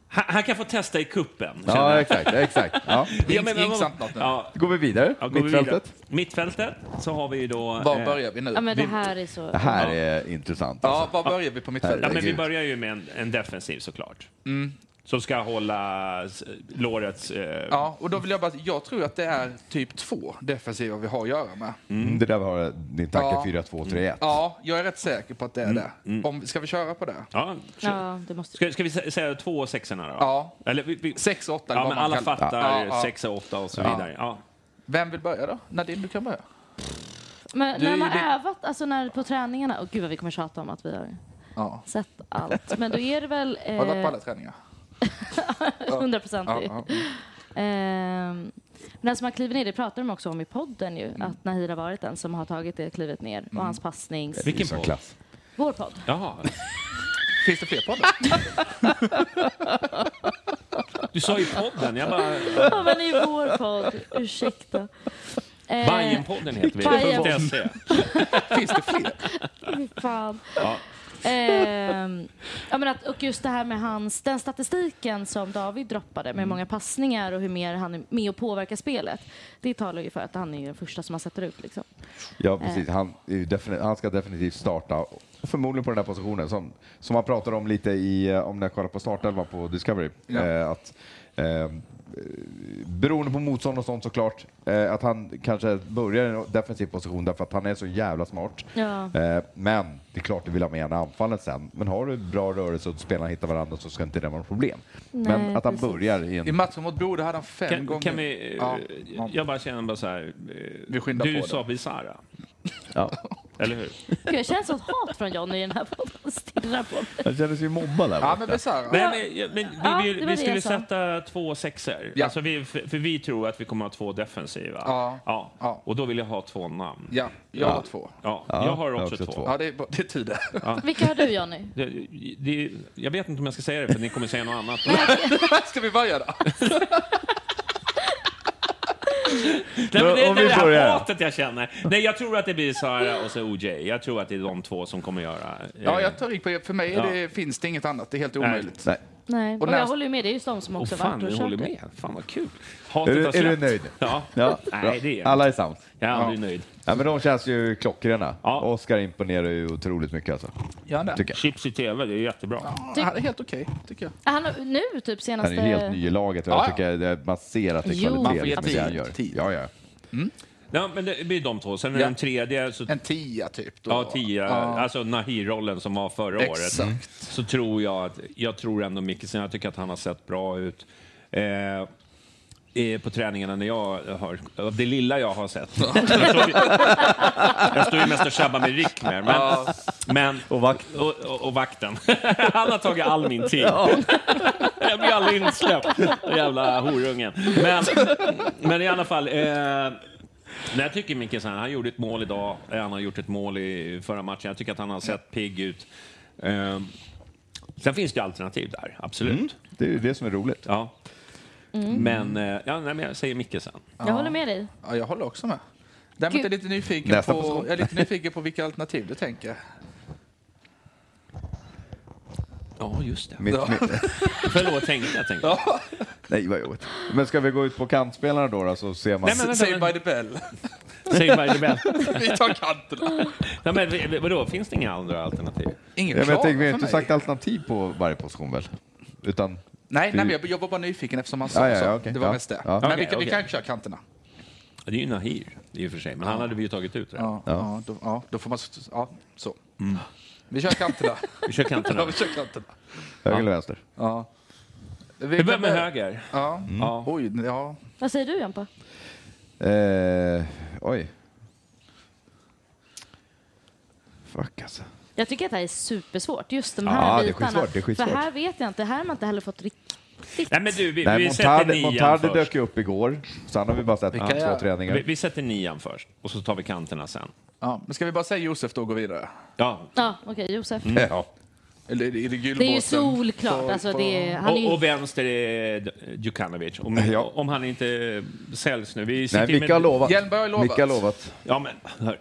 [SPEAKER 1] Han, han kan få testa i kuppen. känner
[SPEAKER 5] Ja,
[SPEAKER 1] jag.
[SPEAKER 5] exakt. exakt.
[SPEAKER 1] (laughs)
[SPEAKER 5] Ja.
[SPEAKER 1] Ja, men-
[SPEAKER 4] Insamt något nu.
[SPEAKER 1] Ja,
[SPEAKER 5] Då går vi vidare,
[SPEAKER 1] ja, går vi vidare.
[SPEAKER 5] mittfältet.
[SPEAKER 1] Mittfältet, så har vi ju då...
[SPEAKER 4] Var
[SPEAKER 1] eh,
[SPEAKER 4] börjar vi nu?
[SPEAKER 3] Ja, men det här är så...
[SPEAKER 5] Det här är intressant.
[SPEAKER 4] Ja,
[SPEAKER 5] alltså.
[SPEAKER 4] var börjar vi på
[SPEAKER 1] Ja, men
[SPEAKER 4] mittfältet?
[SPEAKER 1] vi börjar ju med en, en defensiv såklart.
[SPEAKER 4] Mm.
[SPEAKER 1] Som ska hålla s- lårets... Eh,
[SPEAKER 4] Ja, och då vill jag bara... Jag tror att det är typ två defensiva vi har att göra med.
[SPEAKER 5] Mm, Det där var din tanke,
[SPEAKER 4] Ja.
[SPEAKER 5] 4, 2, 3, 1.
[SPEAKER 4] Ja, jag är rätt säker på att det är
[SPEAKER 5] Mm,
[SPEAKER 4] det. Om, ska vi köra på det?
[SPEAKER 1] ja.
[SPEAKER 3] Ja, det måste...
[SPEAKER 1] Ska, ska vi sä- säga två och sexorna då?
[SPEAKER 4] Ja.
[SPEAKER 1] Eller, vi, vi,
[SPEAKER 4] Sex och åtta, eller
[SPEAKER 1] Ja,
[SPEAKER 4] vad
[SPEAKER 1] men
[SPEAKER 4] man
[SPEAKER 1] alla
[SPEAKER 4] kallar-
[SPEAKER 1] fattar
[SPEAKER 4] Ja, ja.
[SPEAKER 1] sexa, åtta och så
[SPEAKER 4] Ja.
[SPEAKER 1] vidare. Ja.
[SPEAKER 4] Vem vill börja då? Nadine, du kan börja.
[SPEAKER 3] Men
[SPEAKER 4] Du är
[SPEAKER 3] när
[SPEAKER 4] ju
[SPEAKER 3] man
[SPEAKER 4] det-
[SPEAKER 3] har övat, alltså när på träningarna, och gud vad vi kommer tjata om att vi har
[SPEAKER 4] Ja.
[SPEAKER 3] sett allt. Men då är det väl
[SPEAKER 4] (laughs) Har du varit på
[SPEAKER 3] eh,
[SPEAKER 4] alla träningar?
[SPEAKER 3] (laughs) 100 procent
[SPEAKER 4] Ja,
[SPEAKER 3] ju.
[SPEAKER 4] ja. mm.
[SPEAKER 3] Ehm, men alltså man kliver ner, det pratar de också om i podden ju,
[SPEAKER 4] Mm.
[SPEAKER 3] att Nahir har varit den som har tagit det klivet ner och hans passning.
[SPEAKER 1] Vilken
[SPEAKER 5] Som
[SPEAKER 1] podd?
[SPEAKER 5] klass.
[SPEAKER 3] Vår podd.
[SPEAKER 1] Jaha.
[SPEAKER 4] (laughs) Finns det fler poddar?
[SPEAKER 1] Du sa ju podden. Jag bara...
[SPEAKER 3] Ja, men i vår podd. Ursäkta. Eh,
[SPEAKER 1] Bajenpodden heter vi.
[SPEAKER 3] Bajen.
[SPEAKER 1] Punkt E.
[SPEAKER 3] (laughs)
[SPEAKER 1] .se.
[SPEAKER 4] Finns det fler?
[SPEAKER 3] Fan.
[SPEAKER 1] Ja.
[SPEAKER 3] Ehm, ja, men att, och just det här med hans, den statistiken som David droppade med
[SPEAKER 1] Mm.
[SPEAKER 3] hur många passningar och hur mer han är med och påverkar spelet. Det talar ju för att han är ju den första som man sätter ut. Liksom.
[SPEAKER 5] Ja, precis. Han, är ju defini- han ska definitivt starta, och förmodligen på den här positionen som, som man pratade om lite i, eh, om när jag kollade på startelvan på Discovery.
[SPEAKER 4] Ja.
[SPEAKER 5] Eh, att, eh, beroende på motstånd och sånt såklart, eh, att han kanske börjar i en defensiv position därför att han är så jävla smart.
[SPEAKER 3] Ja.
[SPEAKER 5] Eh, men det är klart du vill ha med en i anfallet sen. Men har du bra rörelse och spelarna hittar varandra så ska inte det vara något problem. men att han
[SPEAKER 3] precis.
[SPEAKER 5] börjar i en...
[SPEAKER 4] I matchen mot Bode hade han fem
[SPEAKER 1] Kan,
[SPEAKER 4] gånger...
[SPEAKER 1] kan vi, eh,
[SPEAKER 4] Ja, ja.
[SPEAKER 1] Jag bara känner bara så här.
[SPEAKER 4] Vi
[SPEAKER 1] eh,
[SPEAKER 4] skyndar
[SPEAKER 1] Du
[SPEAKER 4] på
[SPEAKER 1] sa
[SPEAKER 4] det.
[SPEAKER 1] Bizarra,
[SPEAKER 5] Ja.
[SPEAKER 1] (laughs) eller hur?
[SPEAKER 3] Gud, jag känner sånt hat från Johnny i den här podden. Stirrar på mig.
[SPEAKER 5] Han känner sig mobbad där
[SPEAKER 4] Ja, men Besara.
[SPEAKER 1] Nej, men, ja, men vi,
[SPEAKER 3] Ja,
[SPEAKER 1] vi,
[SPEAKER 3] det var
[SPEAKER 1] vi
[SPEAKER 3] det
[SPEAKER 1] skulle
[SPEAKER 3] jag sa.
[SPEAKER 1] sätta två sexor.
[SPEAKER 4] Ja.
[SPEAKER 1] Alltså vi, för, för vi tror att vi kommer att ha två defensiva.
[SPEAKER 4] Ja.
[SPEAKER 1] Ja.
[SPEAKER 4] Ja.
[SPEAKER 1] Och då vill jag ha två namn.
[SPEAKER 4] Ja, jag har två.
[SPEAKER 1] Ja. Jag har också, två.
[SPEAKER 4] Ja, det är, det är tur det.
[SPEAKER 3] (laughs) Vilka har du Johnny?
[SPEAKER 1] Det, det, jag vet inte om jag ska säga det, för ni kommer säga något annat.
[SPEAKER 4] (laughs) Ska vi börja då?
[SPEAKER 1] Nej, men det,
[SPEAKER 5] Om
[SPEAKER 1] det,
[SPEAKER 5] vi
[SPEAKER 1] det här
[SPEAKER 5] börjar.
[SPEAKER 1] hatet jag känner. Nej, jag tror att det blir Sara och så OJ. Jag tror att det är de två som kommer göra... eh,
[SPEAKER 4] Ja, jag tar rygg på er. För mig är det, finns det inget annat. Det är helt omöjligt.
[SPEAKER 5] Nej.
[SPEAKER 3] Nej, och
[SPEAKER 4] när-
[SPEAKER 3] jag håller ju med. Det är just de som
[SPEAKER 1] Åh
[SPEAKER 3] också
[SPEAKER 1] fan,
[SPEAKER 3] varit och
[SPEAKER 1] du
[SPEAKER 3] kört
[SPEAKER 1] håller
[SPEAKER 3] det.
[SPEAKER 1] med. Fan vad kul.
[SPEAKER 5] Är
[SPEAKER 1] Hatet
[SPEAKER 5] du,
[SPEAKER 1] har
[SPEAKER 5] är du
[SPEAKER 1] släppt.
[SPEAKER 5] nöjd?
[SPEAKER 1] Ja.
[SPEAKER 5] Ja, bra.
[SPEAKER 1] Nej, det är jag.
[SPEAKER 5] Alla är sams.
[SPEAKER 1] Jag är aldrig nöjd.
[SPEAKER 5] Ja, men de känns ju klockrena.
[SPEAKER 1] Ja.
[SPEAKER 5] Oskar imponerar ju otroligt mycket alltså.
[SPEAKER 4] Gör han det?
[SPEAKER 5] Tycker jag.
[SPEAKER 1] Chips i tv, det är jättebra.
[SPEAKER 4] Ja, han är helt okej, tycker jag.
[SPEAKER 3] Ah, Han har, nu typ
[SPEAKER 5] Han
[SPEAKER 3] senaste...
[SPEAKER 5] är ju helt ny i laget och
[SPEAKER 4] Ja,
[SPEAKER 5] jag
[SPEAKER 4] ja.
[SPEAKER 5] tycker det- man ser att det är
[SPEAKER 3] Jo.
[SPEAKER 5] kvalitet
[SPEAKER 3] Man får
[SPEAKER 4] ge
[SPEAKER 5] liksom i det
[SPEAKER 4] tid.
[SPEAKER 5] han gör.
[SPEAKER 4] Tid.
[SPEAKER 5] Ja, ja.
[SPEAKER 1] Ja, men det blir de två. Sen är
[SPEAKER 4] Ja.
[SPEAKER 1] den tredje, så,
[SPEAKER 4] En tia typ. Då.
[SPEAKER 1] ja, tio, alltså Nahir-rollen som var förra
[SPEAKER 4] Exakt.
[SPEAKER 1] året. Så tror jag att, jag tror ändå Mikkelsen, jag tycker att han har sett bra ut. Eh, eh, på träningarna när jag har, av det lilla jag har sett. Jag står ju- jag står ju mest och tjabbar med Rick mer, men, men och, vakt. och, och, och vakten. (laughs) Han har tagit all min
[SPEAKER 7] (laughs)
[SPEAKER 1] tid. Jag blir aldrig insläppt, jävla horungen. Men, men i alla fall. Eh, Nej, jag tycker Mikkelsen, han gjorde ett mål idag, eh, han har gjort ett mål i förra matchen. Jag tycker att han har sett pigg ut. Eh, sen finns det ju alternativ där, absolut.
[SPEAKER 5] Mm. Det är ju det som är roligt.
[SPEAKER 1] Ja. Men, eh, ja, nej, men jag säger Mikkelsen.
[SPEAKER 3] Mm. Jag håller med dig.
[SPEAKER 4] Ja, jag håller också med. Däremot är jag lite nyfiken,
[SPEAKER 5] Nästa
[SPEAKER 4] på,
[SPEAKER 5] position.
[SPEAKER 4] jag är lite nyfiken
[SPEAKER 5] (laughs)
[SPEAKER 4] på vilka alternativ du tänker.
[SPEAKER 1] Ja, just det.
[SPEAKER 5] Mitt, mitt,
[SPEAKER 1] Förlåt, tänkte jag. Tänkte.
[SPEAKER 5] nej, vad jobbigt. Men ska vi gå ut på kantspelarna då, då så ser man...
[SPEAKER 1] Nej, men-
[SPEAKER 4] Save by the bell.
[SPEAKER 1] Säg bara det bästa.
[SPEAKER 4] (laughs) Vi tar kanterna.
[SPEAKER 1] Nej, men v- vadå, finns det inga andra alternativ?
[SPEAKER 4] Inget
[SPEAKER 5] ja, men jag
[SPEAKER 4] krav
[SPEAKER 5] tänker, vi har
[SPEAKER 4] för
[SPEAKER 5] inte
[SPEAKER 4] mig.
[SPEAKER 5] sagt alternativ på varje position väl? Utan
[SPEAKER 4] Nej,
[SPEAKER 2] Du-
[SPEAKER 4] nej men jag, jag var bara nyfiken eftersom han
[SPEAKER 2] Ja,
[SPEAKER 4] sa
[SPEAKER 2] ja,
[SPEAKER 4] så.
[SPEAKER 2] ja, okej.
[SPEAKER 4] Det var
[SPEAKER 2] Ja.
[SPEAKER 4] mest det.
[SPEAKER 2] Ja.
[SPEAKER 4] Men vi,
[SPEAKER 1] Okej,
[SPEAKER 4] kan- vi
[SPEAKER 1] okej.
[SPEAKER 4] kan köra kanterna.
[SPEAKER 1] Det är ju Nahir i och för sig, men han hade vi ju tagit ut redan.
[SPEAKER 4] Ja, ja. då, ja, då får man... s- Ja, så. Vi kör kanterna.
[SPEAKER 1] Vi kör kanterna.
[SPEAKER 4] (laughs) ja, vi kör kanterna.
[SPEAKER 2] Höger eller vänster?
[SPEAKER 4] Ja.
[SPEAKER 1] Vi börjar med höger. Mm.
[SPEAKER 4] Ja.
[SPEAKER 1] Ja.
[SPEAKER 4] Oj, ja.
[SPEAKER 3] Vad säger du, Jampa?
[SPEAKER 2] Eh, oj. Fuck alltså.
[SPEAKER 3] Jag tycker att det här är supersvårt. Just de
[SPEAKER 2] Ja,
[SPEAKER 3] här
[SPEAKER 2] det är
[SPEAKER 3] bitarna.
[SPEAKER 2] skitsvårt, det är skitsvårt.
[SPEAKER 3] För här vet jag inte. Här har man inte heller fått riktigt...
[SPEAKER 1] Nej, men du, vi,
[SPEAKER 2] Nej,
[SPEAKER 1] vi sätter
[SPEAKER 2] Montard,
[SPEAKER 1] nian
[SPEAKER 2] Montard
[SPEAKER 1] först.
[SPEAKER 2] dök ju upp igår. Sen har vi bara sett
[SPEAKER 4] Vilka
[SPEAKER 2] han, två
[SPEAKER 4] är-
[SPEAKER 2] träningar.
[SPEAKER 1] Vi, vi sätter nian först, och så tar vi kanterna sen.
[SPEAKER 4] ja. Men ska vi bara säga Josef då och gå vidare?
[SPEAKER 1] Ja,
[SPEAKER 3] Ja, okej, Josef.
[SPEAKER 1] Mm.
[SPEAKER 2] Ja.
[SPEAKER 4] Eller är det, är det
[SPEAKER 3] Det är ju
[SPEAKER 4] gylbåten?
[SPEAKER 3] solklart.
[SPEAKER 4] På-
[SPEAKER 3] Alltså,
[SPEAKER 4] på-
[SPEAKER 3] det är, han är
[SPEAKER 1] Och,
[SPEAKER 3] ju...
[SPEAKER 1] och vänster är Djukanovic, om,
[SPEAKER 2] Ja.
[SPEAKER 1] om han inte säljs nu. Vi sitter
[SPEAKER 2] Nej,
[SPEAKER 1] ju
[SPEAKER 2] Micke har lovat.
[SPEAKER 4] Hjelmberg har lovat.
[SPEAKER 2] Micke har lovat.
[SPEAKER 1] Ja, men hör.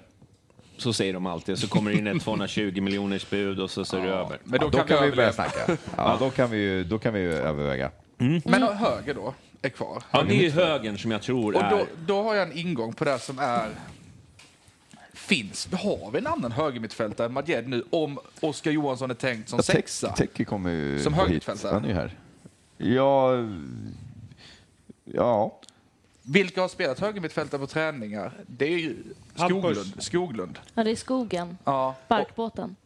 [SPEAKER 1] Så säger de alltid. Så kommer det
[SPEAKER 2] (laughs)
[SPEAKER 1] in ett 220 miljoners bud och så, så är det över.
[SPEAKER 4] Men då,
[SPEAKER 2] Då
[SPEAKER 4] kan, vi
[SPEAKER 2] börja
[SPEAKER 4] överleva.
[SPEAKER 2] snacka. (laughs) Ja, då kan vi ju, då kan vi ju överväga.
[SPEAKER 1] Mm.
[SPEAKER 2] Mm.
[SPEAKER 4] Men höger då är kvar.
[SPEAKER 1] Ja, det är ju högern som jag tror
[SPEAKER 4] Och då,
[SPEAKER 1] är...
[SPEAKER 4] då har jag en ingång på det här som är... Finns, har vi en annan högermittfältare än Madjed nu om Oskar Johansson är tänkt som sexa?
[SPEAKER 2] Teki kommer ju
[SPEAKER 4] Som
[SPEAKER 2] hit.
[SPEAKER 4] högermittfältare.
[SPEAKER 2] Han är ju här. Ja... Ja.
[SPEAKER 4] Vilka har spelat högermittfältare på träningar? Det är ju Skoglund. Skoglund.
[SPEAKER 3] Ja, det är skogen.
[SPEAKER 4] Ja.
[SPEAKER 3] Barkbåten.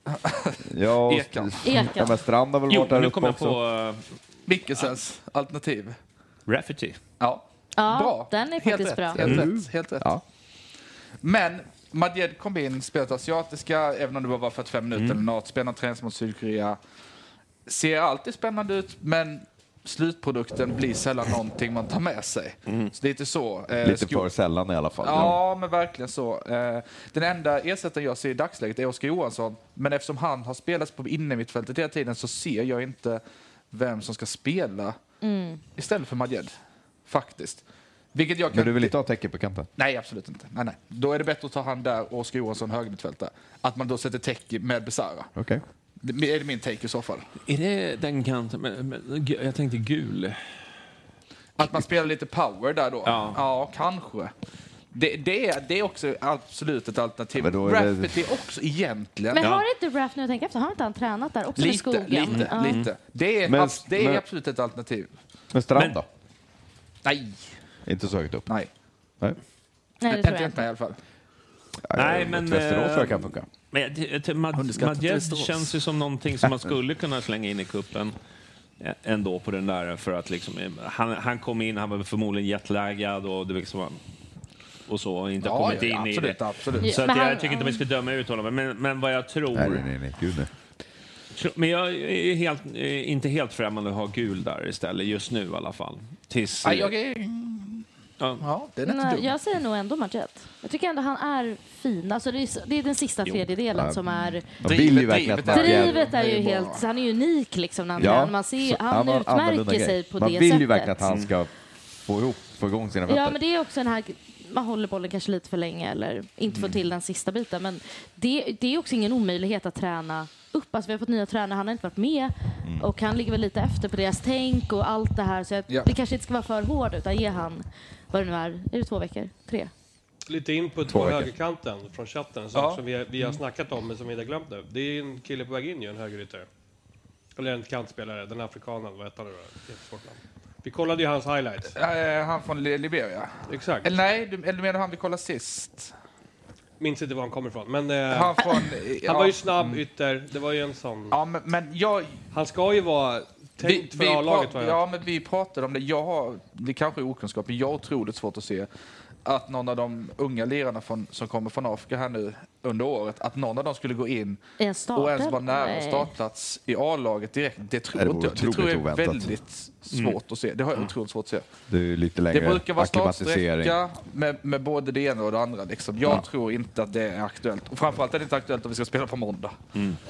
[SPEAKER 2] ja och-
[SPEAKER 4] Ekan.
[SPEAKER 2] Ja,
[SPEAKER 3] Ekan.
[SPEAKER 2] men Strand har väl
[SPEAKER 1] Jo,
[SPEAKER 2] varit här
[SPEAKER 1] nu
[SPEAKER 2] uppe
[SPEAKER 1] kommer jag
[SPEAKER 2] också.
[SPEAKER 1] på
[SPEAKER 4] Mikkelsens alternativ.
[SPEAKER 1] eh, Rafferty.
[SPEAKER 4] Ja.
[SPEAKER 3] Ja,
[SPEAKER 4] bra.
[SPEAKER 3] den är
[SPEAKER 4] Helt
[SPEAKER 3] faktiskt
[SPEAKER 4] rätt,
[SPEAKER 3] bra. Mm.
[SPEAKER 4] Helt rätt. Helt rätt.
[SPEAKER 2] Mm. Ja.
[SPEAKER 4] Men Madjed kom in, spelat asiatiska, även om det bara var 45 minuter
[SPEAKER 2] Mm.
[SPEAKER 4] eller något. Spännande träning mot Sydkorea. Ser alltid spännande ut, men slutprodukten blir sällan någonting man tar med sig. Så lite så. eh,
[SPEAKER 2] Mm. Lite
[SPEAKER 4] sko-
[SPEAKER 2] för sällan i alla fall.
[SPEAKER 4] Ja, men verkligen så. Eh, Den enda ersättaren jag ser i dagsläget är Oskar Johansson. Men eftersom han har spelats på innermittfältet hela tiden så ser jag inte vem som ska spela istället för Madjed. Faktiskt. Vilket jag kan...
[SPEAKER 2] Men du vill inte ha Teki på kanten?
[SPEAKER 4] Nej, absolut inte. Nej, nej. Då är det bättre att ta han där och Oskar Johansson högermittfältare. Att man då sätter Teki med Besara.
[SPEAKER 2] Okej.
[SPEAKER 4] Det är det min take i så fall.
[SPEAKER 1] eh, Är det den kanten? Men, men, gu- jag tänkte gul.
[SPEAKER 4] Att man spelar lite power där då?
[SPEAKER 1] Ja.
[SPEAKER 4] kanske. Det, det, är, det är också absolut ett alternativ.
[SPEAKER 2] Men då är det-
[SPEAKER 4] Rafferty också egentligen.
[SPEAKER 3] Men
[SPEAKER 1] Ja.
[SPEAKER 3] har inte Raff, nu jag tänker efter, har inte han tränat där också med
[SPEAKER 4] Lite,
[SPEAKER 3] skogen?
[SPEAKER 4] lite,
[SPEAKER 3] Ja.
[SPEAKER 4] lite. Det är,
[SPEAKER 2] Men-
[SPEAKER 4] abs- det är
[SPEAKER 2] men-
[SPEAKER 4] absolut ett alternativ.
[SPEAKER 2] Men Strand
[SPEAKER 1] Men-
[SPEAKER 2] då?
[SPEAKER 4] Nej,
[SPEAKER 2] Inte så högt upp?
[SPEAKER 4] nej.
[SPEAKER 2] Nej.
[SPEAKER 3] Nej, det
[SPEAKER 4] inte
[SPEAKER 3] tror jag
[SPEAKER 4] inte
[SPEAKER 3] inte.
[SPEAKER 4] mig i alla fall.
[SPEAKER 1] Nej,
[SPEAKER 2] Mot
[SPEAKER 1] men,
[SPEAKER 2] Västerås tror jag
[SPEAKER 1] eh,
[SPEAKER 2] kan funka.
[SPEAKER 1] Men jag- jag- jag- Mad-
[SPEAKER 4] Underskattat
[SPEAKER 1] Madjed
[SPEAKER 4] Västerås.
[SPEAKER 1] känns ju som någonting
[SPEAKER 4] (laughs)
[SPEAKER 1] som man skulle kunna slänga in i kuppen eh, ändå på den där för att liksom, eh, han, han kom in, han var förmodligen jetlaggad och det liksom, och så och inte har kommit in i
[SPEAKER 4] absolut,
[SPEAKER 1] det.
[SPEAKER 4] absolut.
[SPEAKER 3] Ja.
[SPEAKER 1] Så att
[SPEAKER 3] Men han-
[SPEAKER 1] jag tycker inte vi ska döma ut honom, men, men vad jag tror...
[SPEAKER 2] Nej, nej, nej, nej. Gud, nej.
[SPEAKER 1] Tro- Men jag är helt, eh, inte helt främmande att ha gul där istället, just nu i alla fall. Tills...
[SPEAKER 4] Nej, jag är...
[SPEAKER 1] Ja.
[SPEAKER 4] Ja, den är inte
[SPEAKER 3] Nej,
[SPEAKER 4] dum.
[SPEAKER 3] jag säger nog ändå Margette. Jag tycker ändå han är fin. Alltså det, är, s- det är den sista tredjedelen som är...
[SPEAKER 2] De vill ju
[SPEAKER 4] Drivet,
[SPEAKER 2] verkligen att
[SPEAKER 4] drivet är-
[SPEAKER 2] Madjed-
[SPEAKER 3] Drivet är
[SPEAKER 4] det är
[SPEAKER 3] ju
[SPEAKER 4] bra.
[SPEAKER 3] helt... Han är ju unik liksom. När han,
[SPEAKER 2] Ja,
[SPEAKER 3] man ser,
[SPEAKER 2] så-
[SPEAKER 3] han,
[SPEAKER 2] har en annorlunda
[SPEAKER 3] utmärker sig
[SPEAKER 2] grej.
[SPEAKER 3] på
[SPEAKER 2] Man
[SPEAKER 3] det
[SPEAKER 2] vill
[SPEAKER 3] sättet.
[SPEAKER 2] ju verkligen att han
[SPEAKER 4] Mm.
[SPEAKER 2] ska få ihop, få igång sina fötter.
[SPEAKER 3] Ja, men det är också den här... Man håller bollen kanske lite för länge eller inte får
[SPEAKER 2] Mm.
[SPEAKER 3] till den sista biten. Men det, det är också ingen omöjlighet att träna upp. Alltså, vi har fått nya tränare, han har inte varit med.
[SPEAKER 2] Mm.
[SPEAKER 3] Och han ligger väl lite efter på deras tänk och allt det här. Så jag,
[SPEAKER 4] Ja.
[SPEAKER 3] det kanske inte ska vara för hårt utan ge han, vad det nu är, är det två veckor? Tre?
[SPEAKER 7] Lite input på högerkanten från chatten, en sak
[SPEAKER 4] Ja.
[SPEAKER 7] som vi, vi har snackat om men som vi inte har glömt nu. Det är en kille på väg in ju, en högerytter. Eller en kantspelare, den afrikanen, vad heter han nu då? Jättesvårt namn. Vi kollade ju hans highlights.
[SPEAKER 4] Eh, Han från Li- Liberia.
[SPEAKER 7] Exakt.
[SPEAKER 4] Eller nej, du, eller menar han vi kollade sist?
[SPEAKER 7] Minns inte var han kommer ifrån. Men eh,
[SPEAKER 4] Han
[SPEAKER 7] (laughs) han,
[SPEAKER 4] från... ja. Mm.
[SPEAKER 7] var ju snabb ytter, det var ju en sån...
[SPEAKER 4] Ja, men, men jag...
[SPEAKER 7] Han ska ju vara tänkt för A-laget
[SPEAKER 4] pra-
[SPEAKER 7] var
[SPEAKER 4] Ja, men vi pratade om det. Jag har, det kanske är okunskap, men jag har otroligt svårt att se att någon av de unga lirarna från, som kommer från Afrika här nu under året, att någon av dem skulle gå in
[SPEAKER 3] I en start?
[SPEAKER 4] och ens vara nära en
[SPEAKER 3] Nej.
[SPEAKER 4] startplats i A-laget direkt. Det tror
[SPEAKER 2] Nej, det
[SPEAKER 4] inte jag.
[SPEAKER 2] vore
[SPEAKER 4] Det tror jag är
[SPEAKER 2] otroligt oväntat. Mm.
[SPEAKER 4] väldigt svårt att se. Det har jag otroligt svårt att se.
[SPEAKER 2] Det är ju lite
[SPEAKER 4] Det
[SPEAKER 2] längre
[SPEAKER 4] brukar vara
[SPEAKER 2] akklimatisering.
[SPEAKER 4] startsträcka med, med både det ena och det andra. Liksom. Jag tror inte att det är aktuellt. Och framförallt är det inte aktuellt om vi ska spela på måndag. (laughs)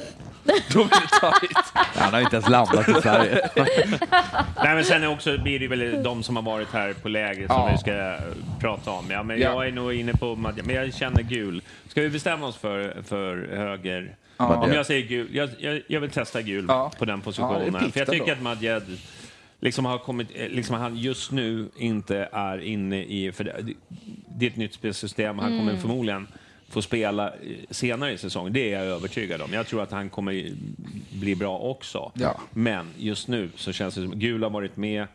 [SPEAKER 4] Då blir det tajt.
[SPEAKER 2] Mm. Han har inte ens landat i
[SPEAKER 3] (laughs)
[SPEAKER 2] Sverige.
[SPEAKER 1] (laughs) Nej, men sen är också, blir det väl de som har varit här på lägret
[SPEAKER 4] Ja.
[SPEAKER 1] som vi ska eh, prata om. Ja, men
[SPEAKER 4] Ja.
[SPEAKER 1] Jag är nog inne på Madja, men jag känner gul. Ska vi bestämma oss för, för höger? Om jag säger gul, jag, jag, jag vill testa gul
[SPEAKER 4] Ja.
[SPEAKER 1] på den
[SPEAKER 4] Ja, det
[SPEAKER 1] positionen.
[SPEAKER 4] är pikt
[SPEAKER 1] för jag
[SPEAKER 4] ändå.
[SPEAKER 1] tycker att Madjed liksom har kommit, eh, liksom han just nu inte är inne i, för det, det är ett nytt spelsystem, han kommer förmodligen får spela eh, senare i säsongen, det är jag övertygad om. Jag tror att han kommer bli bra också.
[SPEAKER 4] Ja.
[SPEAKER 1] Men just nu så känns det som Gul har varit med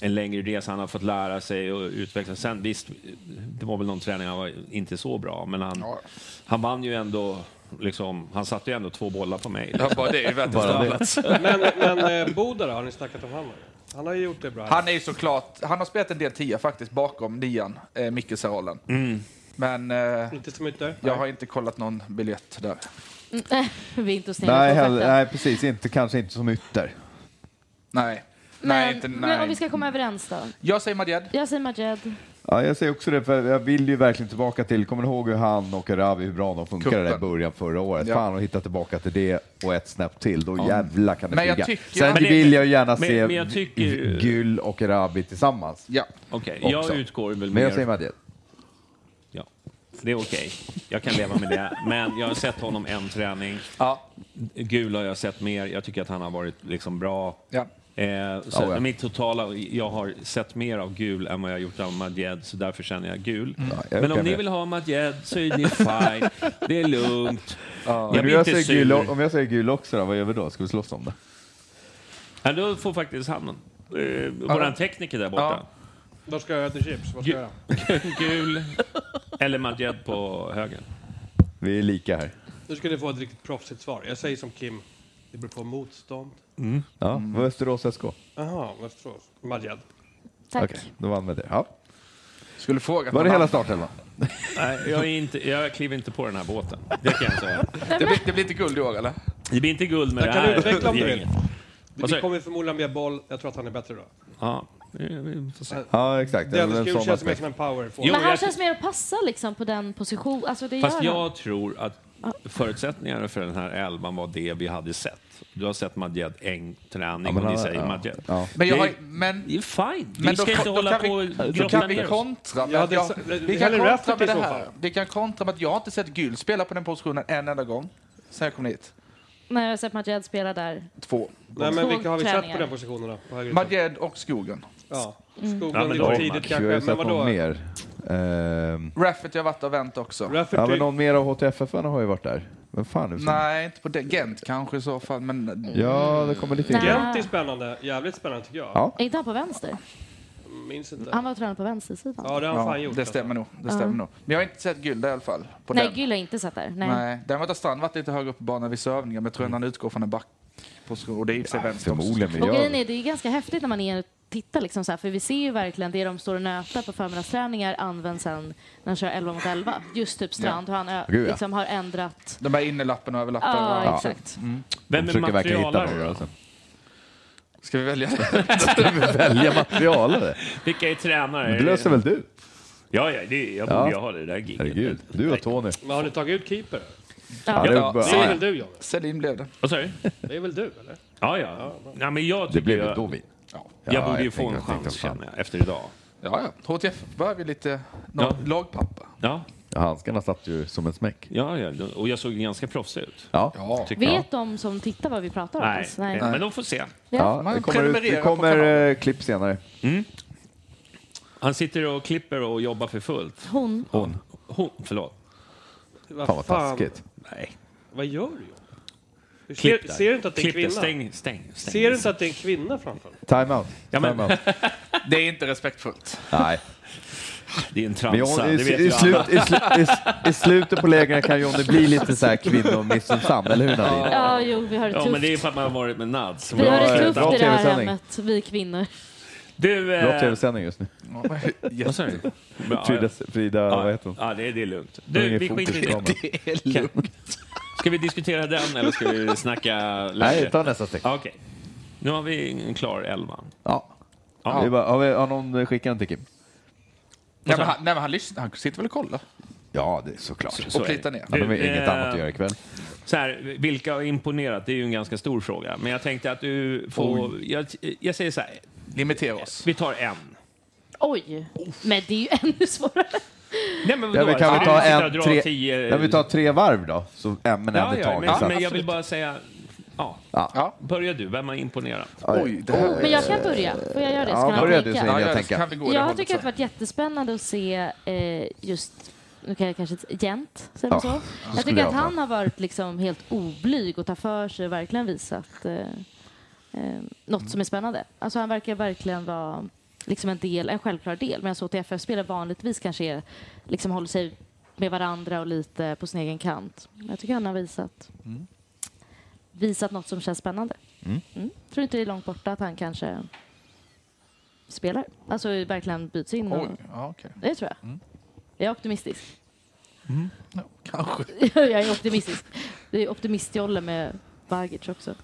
[SPEAKER 1] en längre resa, han har fått lära sig och utvecklas. Sen visst, det var väl någon träning han var inte så bra, men han,
[SPEAKER 4] Ja.
[SPEAKER 1] han vann ju ändå, liksom, han satte ju ändå två bollar på mig.
[SPEAKER 4] Ja, bara det är värt att stanna.
[SPEAKER 7] (laughs) Men, men eh, Boda då, har ni snackat om honom? Han har ju gjort det bra.
[SPEAKER 4] Han är ju såklart, han har spelat en del tia faktiskt bakom nian, eh, Mikkelsen-rollen.
[SPEAKER 1] Mm.
[SPEAKER 4] Men eh,
[SPEAKER 7] Inte så mycket.
[SPEAKER 4] jag har inte kollat någon biljett där.
[SPEAKER 3] Mm. (laughs) Vi är inte hos
[SPEAKER 5] Nej,
[SPEAKER 3] Nederländerna.
[SPEAKER 5] hell- nej, precis. Inte, kanske inte som ytter.
[SPEAKER 4] Nej. nej,
[SPEAKER 3] Men,
[SPEAKER 4] inte,
[SPEAKER 3] men om vi
[SPEAKER 4] nej.
[SPEAKER 3] ska komma överens då.
[SPEAKER 4] Jag säger Madjed.
[SPEAKER 3] Jag säger Majed.
[SPEAKER 5] Ja, jag säger också det, för jag vill ju verkligen tillbaka till, kommer ni ihåg hur han och Ravi, hur bra de funkade där i
[SPEAKER 4] Kuppen.
[SPEAKER 5] början förra året?
[SPEAKER 4] Ja.
[SPEAKER 5] Fan, att hitta tillbaka till det och ett snäpp till, då jävlar kan det
[SPEAKER 4] Men jag
[SPEAKER 5] flyga.
[SPEAKER 4] tycker-
[SPEAKER 5] Sen
[SPEAKER 4] Men
[SPEAKER 1] det-
[SPEAKER 5] vill jag ju gärna
[SPEAKER 1] men-
[SPEAKER 5] se
[SPEAKER 1] men jag tycker-
[SPEAKER 5] Gül och Ravi tillsammans.
[SPEAKER 4] Ja.
[SPEAKER 1] Okej,
[SPEAKER 5] också.
[SPEAKER 1] jag utgår väl
[SPEAKER 5] Men
[SPEAKER 1] mer...
[SPEAKER 5] jag säger Madjed.
[SPEAKER 1] Ja, det är okej. Jag kan leva med det. Men jag har sett honom en träning.
[SPEAKER 4] Ja.
[SPEAKER 1] Gul har jag sett mer. Jag tycker att han har varit liksom bra.
[SPEAKER 4] Ja.
[SPEAKER 1] Eh, så
[SPEAKER 5] Ja, ja.
[SPEAKER 1] Mitt totala, jag har sett mer av Gul än vad jag har gjort av Madjed, så därför känner jag Gul.
[SPEAKER 4] Mm.
[SPEAKER 5] jag
[SPEAKER 1] Men om
[SPEAKER 5] kan
[SPEAKER 1] ni
[SPEAKER 5] med.
[SPEAKER 1] vill ha Madjed så är det fine. Det är lugnt. Jag
[SPEAKER 5] Men
[SPEAKER 1] blir
[SPEAKER 5] jag
[SPEAKER 1] inte
[SPEAKER 5] säger gul,
[SPEAKER 1] sur.
[SPEAKER 5] om jag säger gul också, då, vad gör vi då? Ska vi slåss om det?
[SPEAKER 1] Ja, då får faktiskt han, eh, våran tekniker där borta,
[SPEAKER 7] Då ska jag äta chips. Vad ska jag göra?
[SPEAKER 1] (laughs) Gul eller Madjed på höger.
[SPEAKER 5] Vi är lika här.
[SPEAKER 7] Nu ska ni få ett riktigt proffsigt svar. Jag säger som Kim. Det beror på motstånd.
[SPEAKER 4] Mm.
[SPEAKER 5] Ja, Västerås SK. Okej,
[SPEAKER 7] Jaha, Västerås. Madjad.
[SPEAKER 3] Tack.
[SPEAKER 5] då vann vi det. Ja.
[SPEAKER 4] Skulle fråga
[SPEAKER 5] Var det
[SPEAKER 4] någon
[SPEAKER 5] hela
[SPEAKER 4] annan.
[SPEAKER 5] startelvan?
[SPEAKER 1] Nej, jag, är inte, jag kliver inte på den här båten. Det kan jag säga.
[SPEAKER 4] det, blir, det blir inte guld i år, eller?
[SPEAKER 1] Det blir inte guld med
[SPEAKER 7] Jag
[SPEAKER 1] det
[SPEAKER 7] kan
[SPEAKER 1] här
[SPEAKER 7] utveckla om du vill.
[SPEAKER 1] gänget. Vad
[SPEAKER 7] Vi
[SPEAKER 1] säger
[SPEAKER 7] kommer förmodligen mer boll. Jag tror att han är bättre då.
[SPEAKER 1] Ja, vi- vi får se.
[SPEAKER 5] Ja, exakt. Det är
[SPEAKER 7] Dennis
[SPEAKER 5] en
[SPEAKER 7] Gul
[SPEAKER 5] sån
[SPEAKER 7] känns mer
[SPEAKER 5] aspekt.
[SPEAKER 7] som en power
[SPEAKER 1] Jo,
[SPEAKER 7] forward.
[SPEAKER 3] men han
[SPEAKER 1] jag-
[SPEAKER 3] känns mer att passa liksom på den position. Alltså det
[SPEAKER 1] Fast
[SPEAKER 3] gör han.
[SPEAKER 1] jag tror att förutsättningarna för den här elvan var det vi hade sett. Du har sett Madjed en träning och ni
[SPEAKER 5] han-
[SPEAKER 1] säger
[SPEAKER 5] ja.
[SPEAKER 1] Madjed.
[SPEAKER 5] Ja.
[SPEAKER 4] Men jag
[SPEAKER 1] Det-
[SPEAKER 4] har, men,
[SPEAKER 1] Det är fine.
[SPEAKER 4] men
[SPEAKER 1] Vi ska inte hålla på och
[SPEAKER 4] vi, Då
[SPEAKER 1] grotta
[SPEAKER 4] kan vi
[SPEAKER 1] ner oss.
[SPEAKER 4] kontra med,
[SPEAKER 7] Jag
[SPEAKER 4] att
[SPEAKER 7] hade
[SPEAKER 4] jag,
[SPEAKER 7] sa-
[SPEAKER 4] vi kan
[SPEAKER 7] hellre
[SPEAKER 4] kontra
[SPEAKER 7] Rafferty
[SPEAKER 4] med
[SPEAKER 7] i
[SPEAKER 4] det
[SPEAKER 7] så
[SPEAKER 4] här.
[SPEAKER 7] fall.
[SPEAKER 4] Vi kan kontra med att jag har inte sett Gul spela på den positionen en enda gång sen jag kom hit.
[SPEAKER 3] När jag har sett Majed spela där.
[SPEAKER 4] Två.
[SPEAKER 7] Nej, men
[SPEAKER 3] Två
[SPEAKER 7] vilka har vi sett
[SPEAKER 3] träningar. Mm.
[SPEAKER 7] på den positionen då? På höger ytan?
[SPEAKER 4] Madjed och Skogen.
[SPEAKER 7] Ja. Skoglund
[SPEAKER 1] Ja, men
[SPEAKER 7] lite
[SPEAKER 1] då-
[SPEAKER 7] tidigt
[SPEAKER 5] Vi har ju
[SPEAKER 7] kanske. Men
[SPEAKER 5] sett någon
[SPEAKER 7] vadå?
[SPEAKER 5] mer. Ehm,
[SPEAKER 4] Rafferty har varit och vänt också.
[SPEAKER 5] ja, men
[SPEAKER 7] Rafferty.
[SPEAKER 5] någon mer av HTFF -arna har ju varit där. Men fan, nu
[SPEAKER 4] Nej, inte på den. Gent kanske i så fall, men...
[SPEAKER 5] Ja, det kommer lite in.
[SPEAKER 3] Nej.
[SPEAKER 7] Gent är spännande. Jävligt spännande tycker jag.
[SPEAKER 5] Ja.
[SPEAKER 3] Är inte han på vänster?
[SPEAKER 7] Minns inte.
[SPEAKER 3] Han var tränare på vänstersidan.
[SPEAKER 7] Ja, det har han
[SPEAKER 4] Ja,
[SPEAKER 7] fan gjort. alltså.
[SPEAKER 4] det stämmer nog. Det stämmer nog. Men jag har inte sett guld i alla fall. På
[SPEAKER 3] Nej,
[SPEAKER 4] den.
[SPEAKER 3] Gül har inte sett där. Nej.
[SPEAKER 4] Nej, däremot har Strand varit lite högre upp på banan vid sövningar, men jag tror ändå han utgår från en backposition. Och det är i och för sig vänster också.
[SPEAKER 5] Förmodligen, men
[SPEAKER 3] Och grejen
[SPEAKER 5] jag...
[SPEAKER 3] är, det är ganska häftigt när man är och tittar liksom så här, för vi ser ju verkligen det de står och nötar på förmiddagsträningar används sen när de kör 11 mot 11. Just typ Strand, hur han ö-
[SPEAKER 5] Gud, ja.
[SPEAKER 3] liksom har ändrat.
[SPEAKER 4] De här innerlappen och överlappen. Mm.
[SPEAKER 3] Ja,
[SPEAKER 4] och-
[SPEAKER 3] exakt.
[SPEAKER 1] Mm. Vem är
[SPEAKER 5] Försöker verkligen hitta några.
[SPEAKER 1] materialare?
[SPEAKER 5] Alltså. (laughs)
[SPEAKER 4] Ska vi välja?
[SPEAKER 5] Välja materialare.
[SPEAKER 1] Vilka är tränare?
[SPEAKER 5] Det löser väl du?
[SPEAKER 1] Ja, ja, det, jag
[SPEAKER 5] Ja.
[SPEAKER 1] borde ju ha det där giget.
[SPEAKER 5] Herregud. Du och Tony.
[SPEAKER 7] Men har ni tagit ut keeper?
[SPEAKER 5] Ja, det, är
[SPEAKER 4] Ja.
[SPEAKER 5] bara,
[SPEAKER 7] Det är
[SPEAKER 5] ja,
[SPEAKER 7] väl du, Jonny?
[SPEAKER 4] Sedin blev det.
[SPEAKER 1] Vad sa du?
[SPEAKER 7] Det är väl du, eller?
[SPEAKER 1] Ja, ja. Nej, men jag
[SPEAKER 5] det
[SPEAKER 1] tycker
[SPEAKER 5] blev ju
[SPEAKER 1] jag-
[SPEAKER 5] då vi.
[SPEAKER 1] Jag borde ju
[SPEAKER 5] jag
[SPEAKER 1] få en
[SPEAKER 5] tänker- jag tänker
[SPEAKER 1] chans,
[SPEAKER 5] fan.
[SPEAKER 1] känner jag, efter idag.
[SPEAKER 4] Ja, ja. HTF börjar vi lite no,
[SPEAKER 1] Ja.
[SPEAKER 4] lagpappa.
[SPEAKER 1] Ja,
[SPEAKER 5] Handskarna satt ju som en smäck.
[SPEAKER 1] ja, ja, och jag såg ganska proffsig ut.
[SPEAKER 5] Ja.
[SPEAKER 1] tycker jag.
[SPEAKER 3] Vet de som tittar vad vi pratar om?
[SPEAKER 1] Nej.
[SPEAKER 3] Alltså, nej.
[SPEAKER 1] men de får se.
[SPEAKER 5] Ja, det
[SPEAKER 4] Man
[SPEAKER 5] kommer, ut,
[SPEAKER 4] prenumererar
[SPEAKER 5] det
[SPEAKER 4] på
[SPEAKER 5] kommer
[SPEAKER 4] kanalen.
[SPEAKER 5] eh, klipp senare.
[SPEAKER 1] Mm. Han sitter och klipper och jobbar för fullt.
[SPEAKER 3] Hon.
[SPEAKER 5] Hon.
[SPEAKER 1] Hon, förlåt.
[SPEAKER 7] Vad
[SPEAKER 5] Fan vad taskigt.
[SPEAKER 1] Nej.
[SPEAKER 7] Vad gör du, Jonny?
[SPEAKER 1] Klipp
[SPEAKER 7] Ser,
[SPEAKER 1] där.
[SPEAKER 7] ser du inte att det är en
[SPEAKER 1] Klipp
[SPEAKER 7] kvinna?
[SPEAKER 1] det. Stäng, stäng, stäng.
[SPEAKER 7] Ser du inte att det är en kvinna
[SPEAKER 5] (laughs)
[SPEAKER 7] framför dig?
[SPEAKER 5] Time out.
[SPEAKER 1] Ja, men-
[SPEAKER 5] Time out.
[SPEAKER 4] Det är inte respektfullt.
[SPEAKER 5] Nej.
[SPEAKER 1] Det är en
[SPEAKER 5] Men
[SPEAKER 1] transa,
[SPEAKER 5] John, i,
[SPEAKER 1] det vet
[SPEAKER 5] i, i,
[SPEAKER 1] ju
[SPEAKER 5] slut,
[SPEAKER 1] alla.
[SPEAKER 5] i, slu- i, s- I slutet på lägren kan Johnny bli lite så här kvinnomissensam, eller hur Nadine?
[SPEAKER 3] Ja, jo, vi har det
[SPEAKER 1] Ja,
[SPEAKER 3] tufft.
[SPEAKER 1] men det är för att man har varit med Nads.
[SPEAKER 3] Vi har
[SPEAKER 5] Ja,
[SPEAKER 3] det
[SPEAKER 5] ja,
[SPEAKER 3] tufft
[SPEAKER 5] bra
[SPEAKER 3] i det här
[SPEAKER 5] TV-sändning.
[SPEAKER 3] hemmet, vi kvinnor.
[SPEAKER 1] Du...
[SPEAKER 5] Bra
[SPEAKER 1] Eh,
[SPEAKER 5] tv-sändning just nu.
[SPEAKER 1] (laughs) vad sa du? Bra,
[SPEAKER 5] Frida, Frida vad heter
[SPEAKER 1] ja,
[SPEAKER 5] hon?
[SPEAKER 1] ja, det, är- det är lugnt.
[SPEAKER 5] Hon
[SPEAKER 1] Du,
[SPEAKER 5] är
[SPEAKER 1] vi skiter i det.
[SPEAKER 5] fokusramen.
[SPEAKER 1] Kan- Ska vi diskutera den eller ska vi snacka
[SPEAKER 5] Nej,
[SPEAKER 1] längre?
[SPEAKER 5] ta nästa steg.
[SPEAKER 1] Ja, Okej. Nu har vi en klar elva.
[SPEAKER 5] Ja.
[SPEAKER 1] Ja.
[SPEAKER 5] Det är bara, har, vi, har någon skickat den till Kim?
[SPEAKER 4] Nej, men han, nej, men han, lyssnar, han sitter väl och kollar.
[SPEAKER 5] Ja, det är såklart.
[SPEAKER 1] Så är det.
[SPEAKER 4] plita ner.
[SPEAKER 5] Han har väl
[SPEAKER 1] Du,
[SPEAKER 5] inget
[SPEAKER 1] eh,
[SPEAKER 5] annat att göra ikväll.
[SPEAKER 1] Så här, vilka har imponerat? Det är ju en ganska stor fråga. Men jag tänkte att du får... Jag, jag säger så här,
[SPEAKER 4] Limitera oss.
[SPEAKER 1] vi tar en.
[SPEAKER 3] Oj, men det är ju (laughs) ännu svårare.
[SPEAKER 1] Nej, men
[SPEAKER 5] Ja,
[SPEAKER 1] vadå?
[SPEAKER 5] men kan vi
[SPEAKER 1] Ska
[SPEAKER 5] ta
[SPEAKER 1] sitta och
[SPEAKER 5] en,
[SPEAKER 1] dra
[SPEAKER 5] tre,
[SPEAKER 1] tio-
[SPEAKER 5] kan vi ta tre varv då? Så ämnena
[SPEAKER 1] Ja,
[SPEAKER 5] hade
[SPEAKER 1] ja,
[SPEAKER 5] tagits.
[SPEAKER 1] men,
[SPEAKER 5] sen.
[SPEAKER 1] men jag vill bara säga... Ja.
[SPEAKER 4] Ja.
[SPEAKER 1] Börja du, vem har imponerat?
[SPEAKER 4] Oj, det här...
[SPEAKER 3] Men jag kan börja. Får jag göra det? Ska
[SPEAKER 5] Ja,
[SPEAKER 3] han
[SPEAKER 5] börja du
[SPEAKER 3] tänka?
[SPEAKER 5] säger jag
[SPEAKER 4] ja,
[SPEAKER 5] tänker.
[SPEAKER 4] kan vi gå i det
[SPEAKER 3] Jag
[SPEAKER 4] hållet
[SPEAKER 3] tycker att det
[SPEAKER 4] så.
[SPEAKER 3] varit jättespännande att se eh, just nu kan jag kanske inte säga- gent, säger man
[SPEAKER 5] Ja,
[SPEAKER 3] så? Jag
[SPEAKER 5] skulle
[SPEAKER 3] tycker
[SPEAKER 5] jag
[SPEAKER 3] att
[SPEAKER 5] ha.
[SPEAKER 3] han har varit liksom helt oblyg och tar för sig och verkligen visat eh, eh, något som är spännande. Alltså han verkar verkligen vara liksom en del, en självklar del. Medan HTFF-spelare vanligtvis kanske är, liksom håller sig med varandra och lite på sin egen kant. Jag tycker han har visat,
[SPEAKER 4] Mm.
[SPEAKER 3] visat något som känns spännande. Mm. Tror inte det är långt borta att han kanske spelar. Alltså verkligen byts in. Och,
[SPEAKER 4] Oj, ja, okej. Mm.
[SPEAKER 3] det tror jag. Jag är optimistisk.
[SPEAKER 1] Mm.
[SPEAKER 4] Ja, kanske.
[SPEAKER 3] (laughs) jag är optimistisk. Det är optimistjolle med Vagic också.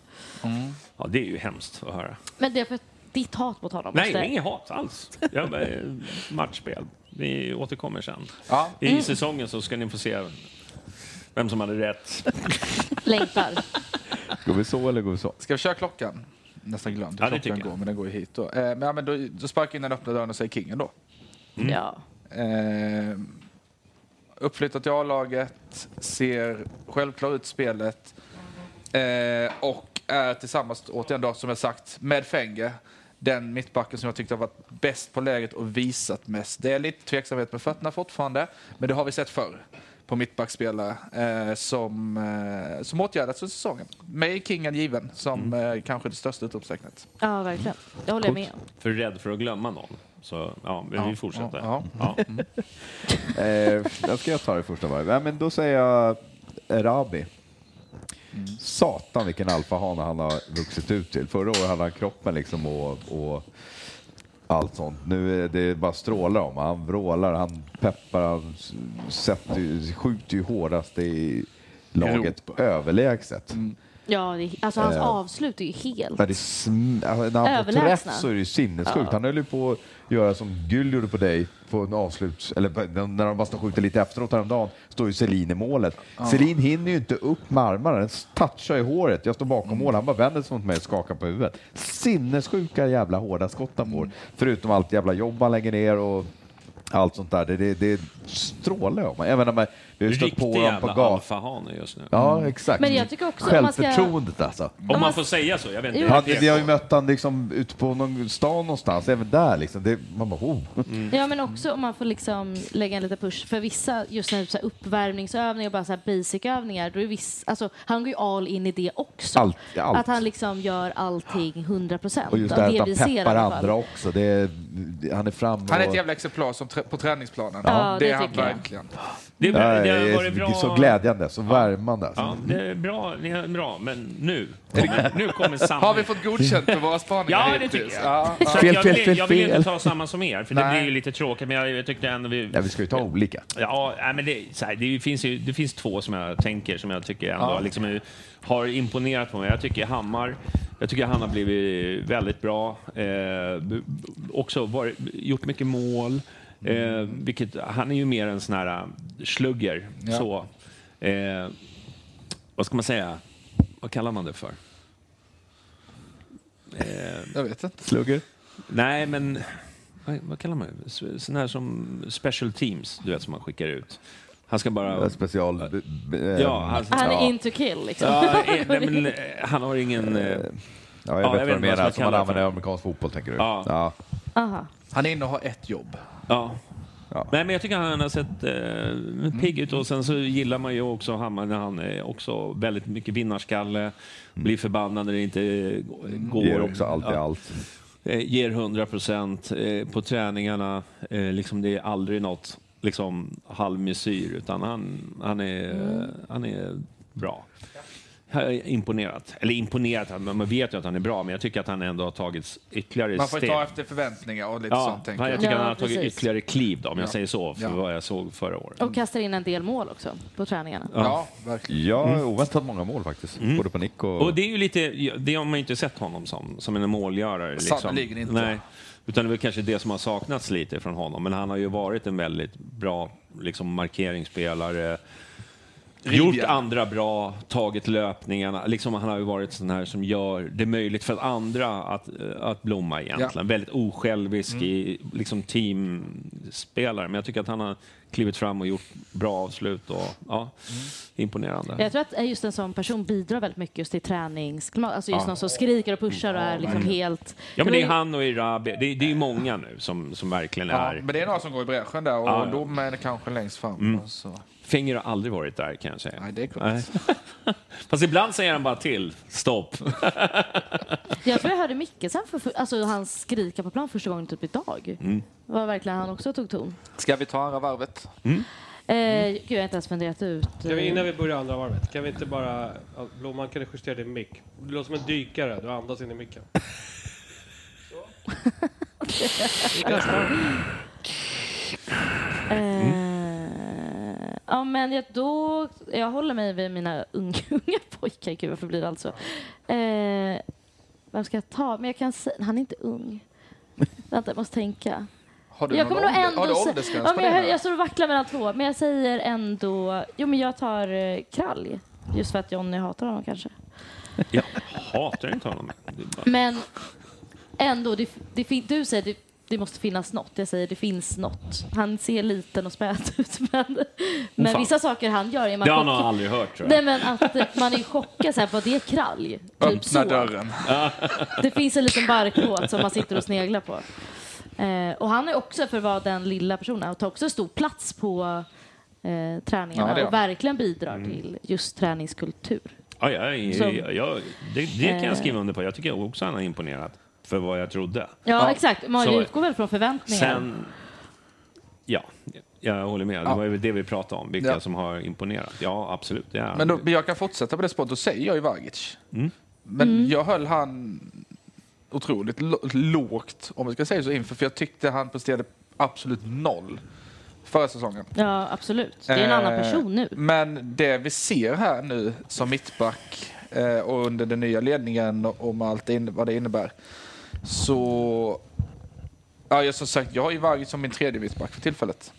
[SPEAKER 5] Mm.
[SPEAKER 1] Ja, det är ju hemskt att höra.
[SPEAKER 3] Men det är för ditt hat mot honom.
[SPEAKER 1] Nej, det är
[SPEAKER 3] måste...
[SPEAKER 1] inget hat alls. Jag, eh, matchspel. Vi återkommer sen.
[SPEAKER 4] Ja,
[SPEAKER 1] I
[SPEAKER 3] Mm.
[SPEAKER 1] säsongen så ska ni få se vem som hade rätt.
[SPEAKER 3] (laughs) Längtar.
[SPEAKER 5] Går vi så eller går vi så?
[SPEAKER 4] Ska vi köra klockan? Nästan glömt hur
[SPEAKER 1] Ja, det
[SPEAKER 4] klockan
[SPEAKER 1] tycker jag.
[SPEAKER 4] går, men den går ju hit då. Eh, men, ja, men då, då sparkar jag in den öppna dörren och säger kingen då.
[SPEAKER 1] Mm.
[SPEAKER 3] Ja.
[SPEAKER 4] Eh, uppflyttat till A-laget, ser självklar ut spelet eh, och är tillsammans, återigen då, som jag sagt, med Fenge den mittbacken som jag tyckte har varit bäst på läget och visat mest. Det är lite tveksamhet med fötterna fortfarande, men det har vi sett förr på mittbackspelare eh, som, eh, som åtgärdats under säsongen. Med kingen given som
[SPEAKER 1] Mm.
[SPEAKER 4] eh, kanske det största utropstecknet.
[SPEAKER 3] ja, verkligen. Det håller jag med om.
[SPEAKER 1] För rädd för att glömma någon. Så ja, men vi fortsätter.
[SPEAKER 4] Ja,
[SPEAKER 1] Ja.
[SPEAKER 5] (laughs) Eh, jag ska jag ta det första varvet? Nej, men då säger jag Erabi. Satan vilken alfahane han har vuxit ut till. Förra året hade han kroppen liksom och, och allt sånt. Nu är det bara strålar om Han vrålar, han peppar, han s- sätter, ju- skjuter ju hårdast i laget överlägset.
[SPEAKER 1] Mm.
[SPEAKER 3] Ja, det är, alltså hans avslut är ju helt...
[SPEAKER 5] När, det sm- alltså, när han får
[SPEAKER 3] Överlägsna.
[SPEAKER 5] träff så är det ju sinnessjukt. Han höll ju på att göra som Gül gjorde på dig på en avsluts... Eller på- när de bara står och skjuter lite efteråt häromdagen, står ju Selin i målet. Selin hinner ju inte upp med armarna, den touchar i håret. Jag står bakom mål, han bara vänder sig mot mig och skakar på huvudet. Sinnessjuka jävla hårda skott han får. Förutom allt jävla jobb han lägger ner och allt sånt där. Det, det, det strålar ju om honom. Även när man... Vi har ju stött
[SPEAKER 1] Riktig
[SPEAKER 5] på honom på
[SPEAKER 1] jävla
[SPEAKER 5] gatan.
[SPEAKER 1] alfahane just nu.
[SPEAKER 3] Mm.
[SPEAKER 5] Ja, exakt.
[SPEAKER 3] Men jag tycker också om man ska-
[SPEAKER 5] Självförtroendet alltså.
[SPEAKER 1] Om man får säga så. Jag vet inte.
[SPEAKER 3] Jo.
[SPEAKER 1] Jag
[SPEAKER 5] Ja,
[SPEAKER 1] vet
[SPEAKER 5] det,
[SPEAKER 1] inte.
[SPEAKER 5] vi har ju mött han liksom ute på någon stan någonstans, även där liksom. Det, man bara,
[SPEAKER 1] Mm.
[SPEAKER 5] oh.
[SPEAKER 3] Ja, men också om man får liksom lägga en liten push. För vissa, just när det är så här uppvärmningsövningar och bara så här basic-övningar, då är viss, alltså, han går ju all in i det också.
[SPEAKER 5] Allt- allt.
[SPEAKER 3] Att han liksom gör allting 100 procent.
[SPEAKER 5] Och just det här att han peppar andra också. Det, är- det- han är fram
[SPEAKER 4] Han är ett
[SPEAKER 5] och...
[SPEAKER 4] jävla exemplar som trä- på träningsplanen.
[SPEAKER 3] Ja,
[SPEAKER 4] det
[SPEAKER 3] det
[SPEAKER 4] är han
[SPEAKER 3] tycker jag.
[SPEAKER 4] verkligen.
[SPEAKER 1] Det,
[SPEAKER 5] Ja,
[SPEAKER 1] det,
[SPEAKER 5] det, är,
[SPEAKER 1] har varit
[SPEAKER 5] det
[SPEAKER 1] bra.
[SPEAKER 5] är så glädjande, så värmande. Alltså.
[SPEAKER 4] Mm.
[SPEAKER 1] Ja, det är bra, ni är bra, men nu. Nu kommer samma.
[SPEAKER 4] Har vi fått godkänt för våra spaningar
[SPEAKER 1] Ja, det tycker
[SPEAKER 4] hittills?
[SPEAKER 1] jag.
[SPEAKER 4] Ja,
[SPEAKER 1] Så att
[SPEAKER 5] Fel,
[SPEAKER 1] jag,
[SPEAKER 5] fel,
[SPEAKER 1] vill,
[SPEAKER 5] fel,
[SPEAKER 1] jag vill inte
[SPEAKER 5] fel.
[SPEAKER 1] ta samma som er, för det
[SPEAKER 4] Nej.
[SPEAKER 1] blir ju lite tråkigt. Men jag, jag tyckte ändå vi...
[SPEAKER 5] Ja, vi ska ju ta olika.
[SPEAKER 1] Ja, nej, men det, så här, det, finns ju, det finns två som jag tänker som jag tycker ändå liksom, är- har imponerat på mig. Jag tycker Hammar, jag tycker han har blivit väldigt bra. Eh, b- b- också varit, gjort mycket mål. Eh, vilket, han är ju mer en sån här äh, slugger. Så, eh, vad ska man säga? Vad kallar man det för?
[SPEAKER 4] Jag vet inte.
[SPEAKER 5] Slugger?
[SPEAKER 1] Eh, Nej, men vad, vad kallar man det? S- Sån här som special teams, du vet, som man skickar ut. Han ska bara...
[SPEAKER 5] Special... b- b- eh,
[SPEAKER 1] Ja, han,
[SPEAKER 3] Han är
[SPEAKER 5] Ja.
[SPEAKER 3] in to kill liksom. (laughs)
[SPEAKER 1] Ja, eh, nej, men, eh, han har ingen... eh,
[SPEAKER 5] ja, jag
[SPEAKER 1] Ja, jag
[SPEAKER 5] vet vad
[SPEAKER 1] vet
[SPEAKER 5] du
[SPEAKER 1] inte vad
[SPEAKER 5] menar,
[SPEAKER 1] man
[SPEAKER 5] som man
[SPEAKER 1] kallar
[SPEAKER 5] använder i
[SPEAKER 1] det.
[SPEAKER 5] amerikansk fotboll tänker du?
[SPEAKER 1] Ja.
[SPEAKER 3] Aha.
[SPEAKER 4] Han är inne och har ett jobb.
[SPEAKER 1] Ja.
[SPEAKER 5] Ja.
[SPEAKER 1] Nej, men jag tycker han har sett
[SPEAKER 4] Mm.
[SPEAKER 1] eh, pigg ut och sen så gillar man ju också Hammar när han är också väldigt mycket vinnarskalle, blir förbannad när det inte eh, går.
[SPEAKER 5] Mm. Ger också allt i
[SPEAKER 1] Ja.
[SPEAKER 5] allt.
[SPEAKER 1] Eh, ger 100 procent eh, på träningarna. Eh, liksom det är aldrig något liksom, halvmesyr, utan han, han, är,
[SPEAKER 4] Mm.
[SPEAKER 1] han är bra. Jag är imponerat. Eller imponerat, han- man vet ju att han är bra, men jag tycker att han ändå har tagit ytterligare
[SPEAKER 4] Man får
[SPEAKER 1] steg.
[SPEAKER 4] ta efter förväntningar och lite
[SPEAKER 1] ja,
[SPEAKER 4] sånt.
[SPEAKER 1] jag
[SPEAKER 4] Tänker jag.
[SPEAKER 1] tycker
[SPEAKER 3] Ja,
[SPEAKER 1] han har tagit
[SPEAKER 3] precis.
[SPEAKER 1] ytterligare kliv, då, om jag säger så, för
[SPEAKER 4] Ja.
[SPEAKER 1] vad jag såg förra året.
[SPEAKER 3] Och kastar in en del mål också på träningarna.
[SPEAKER 4] Ja, verkligen.
[SPEAKER 5] Ja, oväntat många mål faktiskt. Både på nick och...
[SPEAKER 1] Mm. Och det är ju lite, det har man ju inte sett honom som, som en målgörare. Liksom.
[SPEAKER 4] Sannerligen inte.
[SPEAKER 1] Nej. Utan det är väl kanske det som har saknats lite från honom. Men han har ju varit en väldigt bra liksom, markeringsspelare. Gjort
[SPEAKER 4] Riviera.
[SPEAKER 1] andra bra, tagit löpningarna. Liksom han har ju varit sån här som gör det möjligt för andra att, eh, att blomma egentligen. Väldigt osjälvisk
[SPEAKER 4] Mm.
[SPEAKER 1] i, liksom teamspelare. Men jag tycker att han har klivit fram och gjort bra avslut. Och, ja,
[SPEAKER 4] Mm.
[SPEAKER 1] Imponerande.
[SPEAKER 3] Jag tror att eh, just en sån person bidrar väldigt mycket just till träningsklimat. Alltså just någon som skriker och pushar och är liksom helt...
[SPEAKER 1] Ja, men
[SPEAKER 3] var
[SPEAKER 1] det är
[SPEAKER 3] ju-
[SPEAKER 1] han och Irabi. Det, är- det är ju många nu som, som verkligen
[SPEAKER 4] Ja,
[SPEAKER 1] är...
[SPEAKER 4] men det är några som går i bräschen där och
[SPEAKER 1] Ja, ja.
[SPEAKER 4] de är kanske längst fram. Och så.
[SPEAKER 1] Finger har aldrig varit där kan jag säga.
[SPEAKER 4] Nej, det är klart.
[SPEAKER 1] Nej. (laughs) Fast ibland säger han bara till.
[SPEAKER 4] (laughs)
[SPEAKER 1] Stopp.
[SPEAKER 3] Jag tror jag hörde Mickelsen, för, för, alltså han skrika på plan första gången typ idag.
[SPEAKER 5] Mm.
[SPEAKER 1] Mm.
[SPEAKER 3] Det var verkligen han också tog ton.
[SPEAKER 4] Ska vi ta andra varvet?
[SPEAKER 1] Mm.
[SPEAKER 5] Mm.
[SPEAKER 3] Eh, Gud, jag har inte ens funderat ut.
[SPEAKER 7] Kan vi,
[SPEAKER 3] eh,
[SPEAKER 7] innan vi börjar andra varvet, kan vi inte bara... ja, Blomman, kan du justera din mick? Du låter som en dykare, du andas in
[SPEAKER 1] (laughs)
[SPEAKER 7] i micken.
[SPEAKER 3] Eh, Ja, men jag, då, jag håller mig vid mina unga, unga (laughs) pojkar. Gud, varför blir det alltså? Eh, vem ska jag ta? Men jag kan säga, han är inte ung. Vänta, jag måste tänka.
[SPEAKER 4] Har du
[SPEAKER 3] Jag
[SPEAKER 4] någon
[SPEAKER 3] kommer nog
[SPEAKER 4] ålder- har du
[SPEAKER 3] ändå... sä-
[SPEAKER 4] åldersgräns
[SPEAKER 3] Ja,
[SPEAKER 4] på
[SPEAKER 3] men jag,
[SPEAKER 4] det?
[SPEAKER 3] jag står och vacklar mellan två, men jag säger ändå... Jo, men jag tar eh, Kralj. Just för att Jonny hatar honom kanske.
[SPEAKER 1] Jag hatar inte honom. Det är bara-
[SPEAKER 3] Men ändå, det, det, fin- du säger det, det måste finnas något. Jag säger det finns något. Han ser liten och späd (laughs) ut, men, men
[SPEAKER 1] fan.
[SPEAKER 3] vissa saker han gör är man
[SPEAKER 1] Det har han nog
[SPEAKER 3] chockad-
[SPEAKER 1] aldrig hört tror jag.
[SPEAKER 3] Nej, men att eh, man är chockad. Så här, vad det är kralj?
[SPEAKER 4] Öppna
[SPEAKER 3] Typ så.
[SPEAKER 4] dörren.
[SPEAKER 3] Det finns en liten barkbåt som man sitter och sneglar på. Eh, och han är också, för att vara den lilla personen, och tar också stor plats på eh,
[SPEAKER 4] Ja,
[SPEAKER 3] träningarna
[SPEAKER 4] det gör
[SPEAKER 3] och
[SPEAKER 4] han.
[SPEAKER 3] verkligen bidrar
[SPEAKER 1] Mm.
[SPEAKER 3] till just träningskultur.
[SPEAKER 1] Ja, jag, jag,
[SPEAKER 3] Som-
[SPEAKER 1] jag, det, det kan jag skriva under på. Jag tycker också han har imponerat för vad jag trodde.
[SPEAKER 3] Eh. Ja, exakt. Man
[SPEAKER 1] så-
[SPEAKER 3] utgår väl från förväntningar.
[SPEAKER 1] Sen... Ja, jag håller med. Det var ju det vi pratade om, vilka
[SPEAKER 4] Ja.
[SPEAKER 1] som har imponerat. Ja, absolut. Det är Mm.
[SPEAKER 4] Men, då, men jag kan fortsätta på det spåret. Då säger jag ju Vagic. Men
[SPEAKER 3] Mm.
[SPEAKER 4] jag höll han otroligt lo- lågt, om vi ska säga så, inför. För jag tyckte han presterade absolut noll förra säsongen.
[SPEAKER 3] Ja, absolut. Det är en annan
[SPEAKER 4] Eh,
[SPEAKER 3] person nu.
[SPEAKER 4] Men det vi ser här nu som mittback eh, och under den nya ledningen och och med allt det inne, vad det innebär. Så... Ja, jag, som sagt, jag har ju Varg som min tredje mittback för tillfället.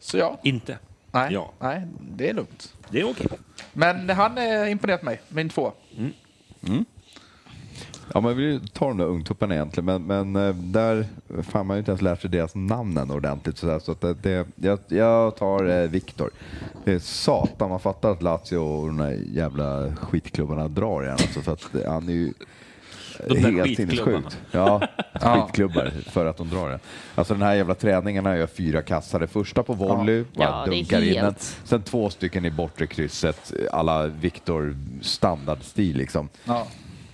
[SPEAKER 4] Så ja,
[SPEAKER 1] Inte.
[SPEAKER 4] nej,
[SPEAKER 1] Ja.
[SPEAKER 4] nej, det är lugnt.
[SPEAKER 1] Det är okej.
[SPEAKER 4] Men han eh, imponerat mig, min två.
[SPEAKER 5] Mm. Ja, man vill ju ta de där ungtupparna egentligen, men, men eh, där fan man har ju inte ens lärt sig deras namn än ordentligt. Så, där, så att det, det, jag, jag tar eh, Viktor. Det är satan, man fattar att Lazio och de där jävla skitklubbarna drar igen. Alltså, för att eh, han är ju
[SPEAKER 1] De där
[SPEAKER 5] helt
[SPEAKER 1] skitklubbarna.
[SPEAKER 5] sinnessjukt. Ja, skitklubbar för att de drar den. Alltså den här jävla träningen han gör fyra kassar. Det första på volley, bara
[SPEAKER 3] Ja, det är
[SPEAKER 5] dunkar in den.
[SPEAKER 3] helt-
[SPEAKER 5] Sen två stycken i bortre krysset, alla Viktor standardstil liksom.
[SPEAKER 4] Ja.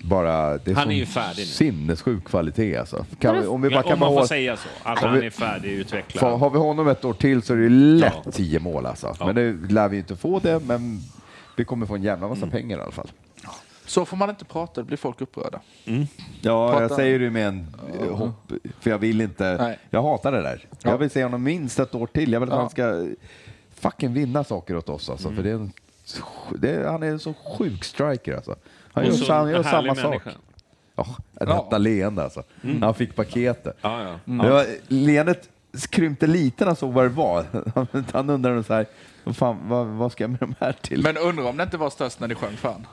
[SPEAKER 5] Bara, det är
[SPEAKER 1] Han
[SPEAKER 5] sån
[SPEAKER 1] är ju färdig nu.
[SPEAKER 5] Sinnessjuk kvalitet alltså. Kan vi, om vi backar
[SPEAKER 1] Om man får
[SPEAKER 5] bara
[SPEAKER 1] säga så, att
[SPEAKER 5] Om
[SPEAKER 1] han
[SPEAKER 5] vi-
[SPEAKER 1] är färdigutvecklad.
[SPEAKER 5] får, har vi honom ett år till så är det lätt
[SPEAKER 1] Ja.
[SPEAKER 5] tio mål alltså. Men det lär vi ju inte få det, men vi kommer få en jävla massa
[SPEAKER 1] Mm.
[SPEAKER 5] pengar i alla fall.
[SPEAKER 4] Så får man inte prata, då blir folk upprörda.
[SPEAKER 5] Ja,
[SPEAKER 4] Prata-
[SPEAKER 5] jag säger det med en eh, hopp, för jag vill inte.
[SPEAKER 4] Nej.
[SPEAKER 5] Jag hatar det där. Jag vill se honom minst ett år till. Jag vill att
[SPEAKER 4] Ja.
[SPEAKER 5] han ska fucking vinna saker åt oss alltså. För det är en, det är, han är en så sjuk striker alltså. Han
[SPEAKER 1] Och
[SPEAKER 5] gör,
[SPEAKER 1] så
[SPEAKER 5] sam, han gör
[SPEAKER 1] en
[SPEAKER 5] samma
[SPEAKER 1] härlig
[SPEAKER 5] sak.
[SPEAKER 1] människa. Mm.
[SPEAKER 5] Ja, detta leende alltså. Han fick paketet.
[SPEAKER 1] Ja, ja.
[SPEAKER 5] Det var, leendet krympte lite när han såg vad det var. (laughs) Han undrade så här, vad, fan, vad, vad ska jag med de här till?
[SPEAKER 4] Men undrar om det inte var störst när ni sjöng fan.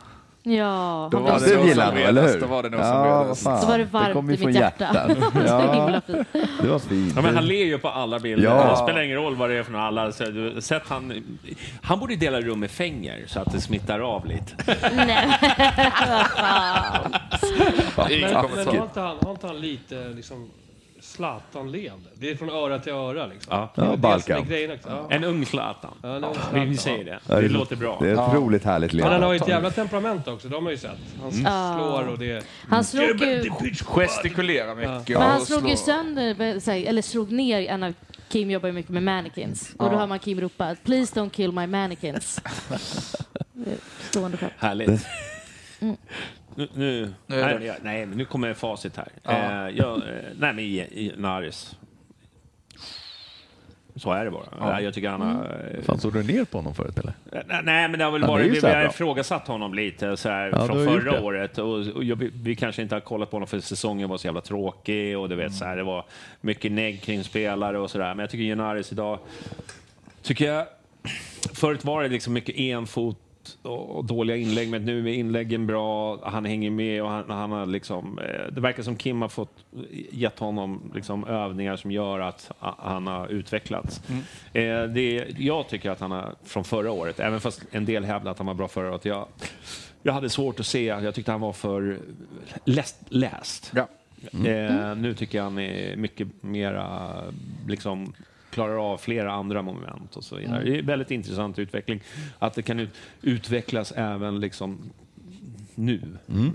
[SPEAKER 3] Ja,
[SPEAKER 4] Då
[SPEAKER 3] han
[SPEAKER 4] var
[SPEAKER 3] var
[SPEAKER 5] Ja,
[SPEAKER 4] det nog
[SPEAKER 5] det
[SPEAKER 4] som
[SPEAKER 5] gillar han, eller
[SPEAKER 4] bredast,
[SPEAKER 5] hur?
[SPEAKER 4] då var det nog som
[SPEAKER 5] ja, vad
[SPEAKER 4] bredast.
[SPEAKER 5] fan.
[SPEAKER 3] Så var det varmt
[SPEAKER 5] kom ju
[SPEAKER 3] i
[SPEAKER 5] från
[SPEAKER 3] mitt hjärta.
[SPEAKER 5] (laughs) hjärtat.
[SPEAKER 3] så
[SPEAKER 5] ja,
[SPEAKER 3] himla fin.
[SPEAKER 5] det var fint.
[SPEAKER 1] Ja, men han ler ju på alla bilder.
[SPEAKER 5] Ja.
[SPEAKER 1] Det spelar ingen roll vad det är för några. Alla, så, du, sett han, han borde dela rum med Fenger så att det smittar av lite.
[SPEAKER 7] Men,
[SPEAKER 4] Ja,
[SPEAKER 7] men
[SPEAKER 4] så.
[SPEAKER 7] har, inte han, har inte han lite liksom Zlatan-leende? Det är från öra till öra liksom.
[SPEAKER 1] Ja.
[SPEAKER 7] Det är
[SPEAKER 5] Ja,
[SPEAKER 7] det som är
[SPEAKER 5] Balkan.
[SPEAKER 7] grejen också. Ja.
[SPEAKER 1] (laughs) En ung Zlatan.
[SPEAKER 7] Ja, en ung
[SPEAKER 1] Vi-
[SPEAKER 7] Zlatan.
[SPEAKER 1] Vi säger det.
[SPEAKER 5] Ja,
[SPEAKER 1] Det låter bra.
[SPEAKER 5] Det är ett roligt härligt
[SPEAKER 7] Men han har
[SPEAKER 5] leende.
[SPEAKER 7] ju ett jävla temperament också, det har man ju sett. Han
[SPEAKER 1] Mm.
[SPEAKER 7] slår och det...
[SPEAKER 3] Han slog ju,
[SPEAKER 4] Gestikulera mycket.
[SPEAKER 3] men han
[SPEAKER 4] och
[SPEAKER 3] slog ju
[SPEAKER 4] slå.
[SPEAKER 3] sönder, eh, så här, eller slog ner en av Kim jobbar ju mycket med mannequins. Och då hör man Kim ropa “Please don't kill my mannequins”. Det är Stående skämt.
[SPEAKER 1] Härligt.
[SPEAKER 5] Mm.
[SPEAKER 1] Nu, nu,
[SPEAKER 4] är det
[SPEAKER 1] nej, jag- nej, men nu kommer facit här. Eh, jag, eh, nej, men i- i- Naris. Så är det bara. Nej, Jag tycker han har... eh,
[SPEAKER 5] Fan, såg du ner på honom förut eller?
[SPEAKER 1] Nej, nej, men det har väl
[SPEAKER 5] Han är
[SPEAKER 1] varit,
[SPEAKER 5] ju
[SPEAKER 1] vi,
[SPEAKER 5] så
[SPEAKER 1] vi
[SPEAKER 5] här
[SPEAKER 1] har
[SPEAKER 5] bra.
[SPEAKER 1] ifrågasatt honom lite så här,
[SPEAKER 5] Ja, du
[SPEAKER 1] från
[SPEAKER 5] har gjort
[SPEAKER 1] förra
[SPEAKER 5] det.
[SPEAKER 1] året. Och, och jag, vi, vi kanske inte har kollat på honom för säsongen var så jävla tråkig och du vet, så här, det var mycket negg kring spelare och sådär. Men jag tycker Genaris idag, tycker jag, förut var det liksom mycket enfot och dåliga inlägg, men nu är inläggen bra, han hänger med och han, han har liksom, eh, det verkar som Kim har fått eh, gett honom liksom övningar som gör att a- han har utvecklats. Eh, det, jag tycker att han har, från förra året, även fast en del hävdar att han var bra förra året, jag, jag hade svårt att se, jag tyckte han var för läst. läst.
[SPEAKER 4] Ja.
[SPEAKER 1] Eh, nu tycker jag han är mycket mera, liksom, klarar av flera andra moment och så vidare. Det är en väldigt intressant utveckling. Att det kan ut, utvecklas även liksom nu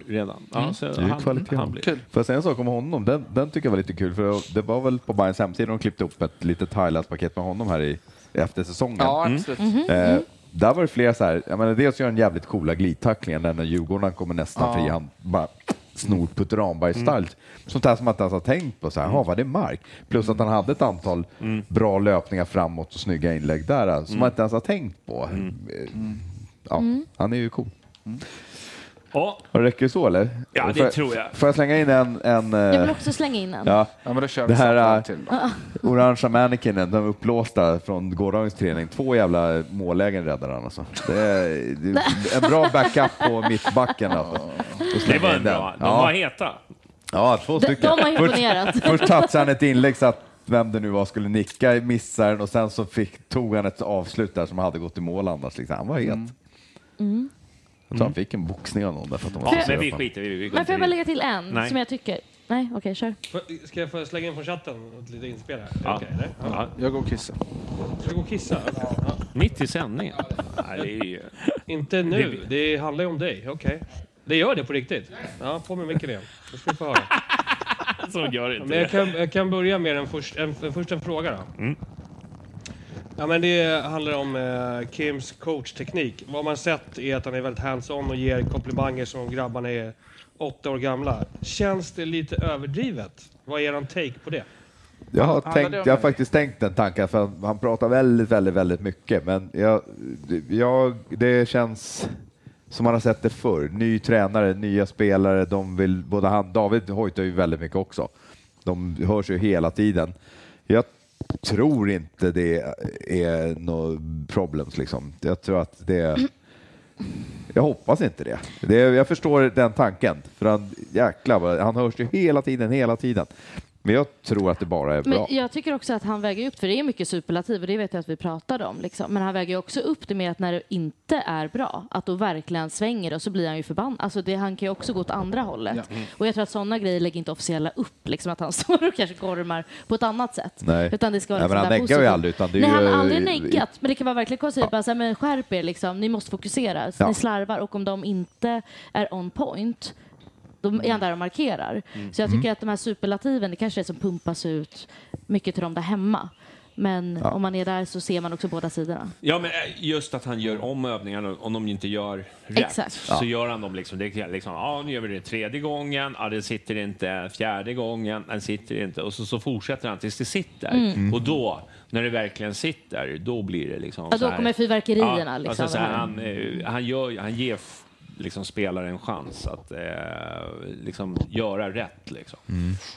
[SPEAKER 1] redan. Ja, så
[SPEAKER 5] Mm. Det är ju kvalitet.
[SPEAKER 1] blir.
[SPEAKER 4] Kul.
[SPEAKER 5] Får jag säga en sak om honom? Den, den tycker jag var lite kul, för det var väl på Bayerns hemsida de klippte upp ett litet highlight-paket med honom här i, efter säsongen.
[SPEAKER 4] Ja, absolut.
[SPEAKER 5] Eh, där var det flera så här, jag menar, dels gör han jävligt coola glidtacklingar där när Djurgården kommer nästan fri, han bara snor Putte
[SPEAKER 1] Mm.
[SPEAKER 5] Ramberg-style. Sånt här som man inte ens har tänkt på, så här, "Ha, var det Mark? Plus att han hade ett antal
[SPEAKER 1] Mm.
[SPEAKER 5] bra löpningar framåt och snygga inlägg där eh, som man inte ens har tänkt på.
[SPEAKER 4] Mm.
[SPEAKER 5] Eh, Ja,
[SPEAKER 3] Mm.
[SPEAKER 5] Han är ju cool.
[SPEAKER 1] Ja,
[SPEAKER 5] Och det räcker så eller?
[SPEAKER 1] Ja, det
[SPEAKER 5] Får
[SPEAKER 1] tror jag.
[SPEAKER 5] Får jag slänga in en... en eh,
[SPEAKER 3] Jag vill också slänga in en.
[SPEAKER 5] ja,
[SPEAKER 4] Ja, men då kör
[SPEAKER 5] Det
[SPEAKER 4] vi
[SPEAKER 5] här
[SPEAKER 4] Zlatan
[SPEAKER 5] är-
[SPEAKER 4] till
[SPEAKER 3] (laughs)
[SPEAKER 4] då.
[SPEAKER 5] orangea manikinen, de uppblåsta från gårdagens träning. Två jävla mållägen räddar han alltså. Det är, det
[SPEAKER 3] (laughs)
[SPEAKER 5] är en bra backup på mittbacken. Alltså. Och slänga
[SPEAKER 1] det var
[SPEAKER 5] in
[SPEAKER 1] en
[SPEAKER 5] den.
[SPEAKER 1] bra. De var
[SPEAKER 5] Ja,
[SPEAKER 1] heta.
[SPEAKER 5] ja, två
[SPEAKER 3] De, de
[SPEAKER 5] stycken.
[SPEAKER 3] har
[SPEAKER 5] Först-
[SPEAKER 3] imponerat.
[SPEAKER 5] Först touchade han ett inlägg så att vem det nu var skulle nicka, missade den och sen så fick, tog han ett avslut där som hade gått i mål annars. Liksom. Han var het.
[SPEAKER 1] Mm.
[SPEAKER 3] Mm.
[SPEAKER 5] Jag tror han fick en boxning av någon där för att de var
[SPEAKER 1] Ja,
[SPEAKER 5] så
[SPEAKER 1] men vi
[SPEAKER 5] sura på honom.
[SPEAKER 1] skiter i det. vi går
[SPEAKER 3] Men får jag
[SPEAKER 1] inte
[SPEAKER 3] bara
[SPEAKER 1] vidare.
[SPEAKER 3] lägga till en
[SPEAKER 1] Nej.
[SPEAKER 3] som jag tycker... Nej, okej, kör.
[SPEAKER 7] Får- Ska jag få slänga in från chatten? Ett litet inspel här?
[SPEAKER 1] Ja.
[SPEAKER 7] Okej, eller? Ja.
[SPEAKER 1] Ja,
[SPEAKER 4] Jag går och kissar.
[SPEAKER 7] Ska du gå och kissa? Ja.
[SPEAKER 1] mitt i sändningen. Nej, det är ju...
[SPEAKER 7] Inte nu. Det handlar ju om dig. Okej. Det gör det på riktigt? Ja, på med micken igen. Då ska du få höra.
[SPEAKER 1] (laughs) Så gör det Mm.
[SPEAKER 7] Men jag
[SPEAKER 1] inte.
[SPEAKER 7] kan, jag kan börja med en först, en, en, först en fråga då. Ja, men det handlar om eh, Kims coachteknik. Vad man sett är att han är väldigt hands-on och ger komplimanger som om grabbarna är åtta år gamla. Känns det lite överdrivet? Vad är eran take på det?
[SPEAKER 5] Jag har,
[SPEAKER 4] Handlar det
[SPEAKER 5] tänkt,
[SPEAKER 4] om
[SPEAKER 5] jag har
[SPEAKER 4] det?
[SPEAKER 5] faktiskt tänkt den tanken, för han, han pratar väldigt, väldigt, väldigt mycket. Men jag, jag, det känns som man har sett det förr. Ny tränare, nya spelare. De vill, både han, David hojtar ju väldigt mycket också. De hörs ju hela tiden. Jag tror inte det är något problems. Liksom. Jag tror att det... Jag hoppas inte det. det jag förstår den tanken. För han, jäklar, vad- han hörs ju hela tiden, hela tiden. Men jag tror att det bara är
[SPEAKER 3] Men
[SPEAKER 5] bra.
[SPEAKER 3] jag tycker också att han väger upp, för det är mycket superlativ och det vet jag att vi pratade om. Liksom. Men han väger ju också upp det med att när det inte är bra, att då verkligen svänger det och så blir han ju förbannad. Alltså det, han kan ju också gå åt andra hållet. Och jag tror att sådana grejer lägger inte officiella upp, liksom att han (laughs) står och kanske gormar på ett annat sätt.
[SPEAKER 5] Nej.
[SPEAKER 3] Utan det ska vara
[SPEAKER 5] Nej, men
[SPEAKER 3] liksom
[SPEAKER 5] han
[SPEAKER 3] där
[SPEAKER 5] neggar ju
[SPEAKER 3] positivt.
[SPEAKER 5] aldrig, utan det är
[SPEAKER 3] Nej,
[SPEAKER 5] ju-
[SPEAKER 3] han har aldrig neggat. Men det kan vara verkligen konstigt. Bara så här, men skärp er liksom, ni måste fokusera.
[SPEAKER 5] Ja.
[SPEAKER 3] Ni slarvar och om de inte är on point, de är han där och markerar.
[SPEAKER 1] Mm.
[SPEAKER 3] Så jag tycker att de här superlativen, det kanske är det som pumpas ut mycket till de där hemma. Men om man är där så ser man också båda sidorna.
[SPEAKER 1] Ja, men eh, just att han gör om övningarna om de inte gör rätt.
[SPEAKER 3] Exakt.
[SPEAKER 1] Så gör han dem liksom. Det är liksom, ja, nu gör vi det tredje gången. Ja, det sitter inte fjärde gången. Den sitter inte. Och så, så fortsätter han tills det sitter.
[SPEAKER 3] Mm.
[SPEAKER 1] Mm. Och då, när det verkligen sitter, då blir det liksom
[SPEAKER 3] Ja,
[SPEAKER 1] så
[SPEAKER 3] då
[SPEAKER 1] här-
[SPEAKER 3] kommer fyrverkerierna. liksom,
[SPEAKER 1] alltså, så
[SPEAKER 3] det
[SPEAKER 1] här,
[SPEAKER 3] här.
[SPEAKER 1] han, eh, han, gör, han ger f- liksom spelare en chans att eh, liksom göra rätt liksom,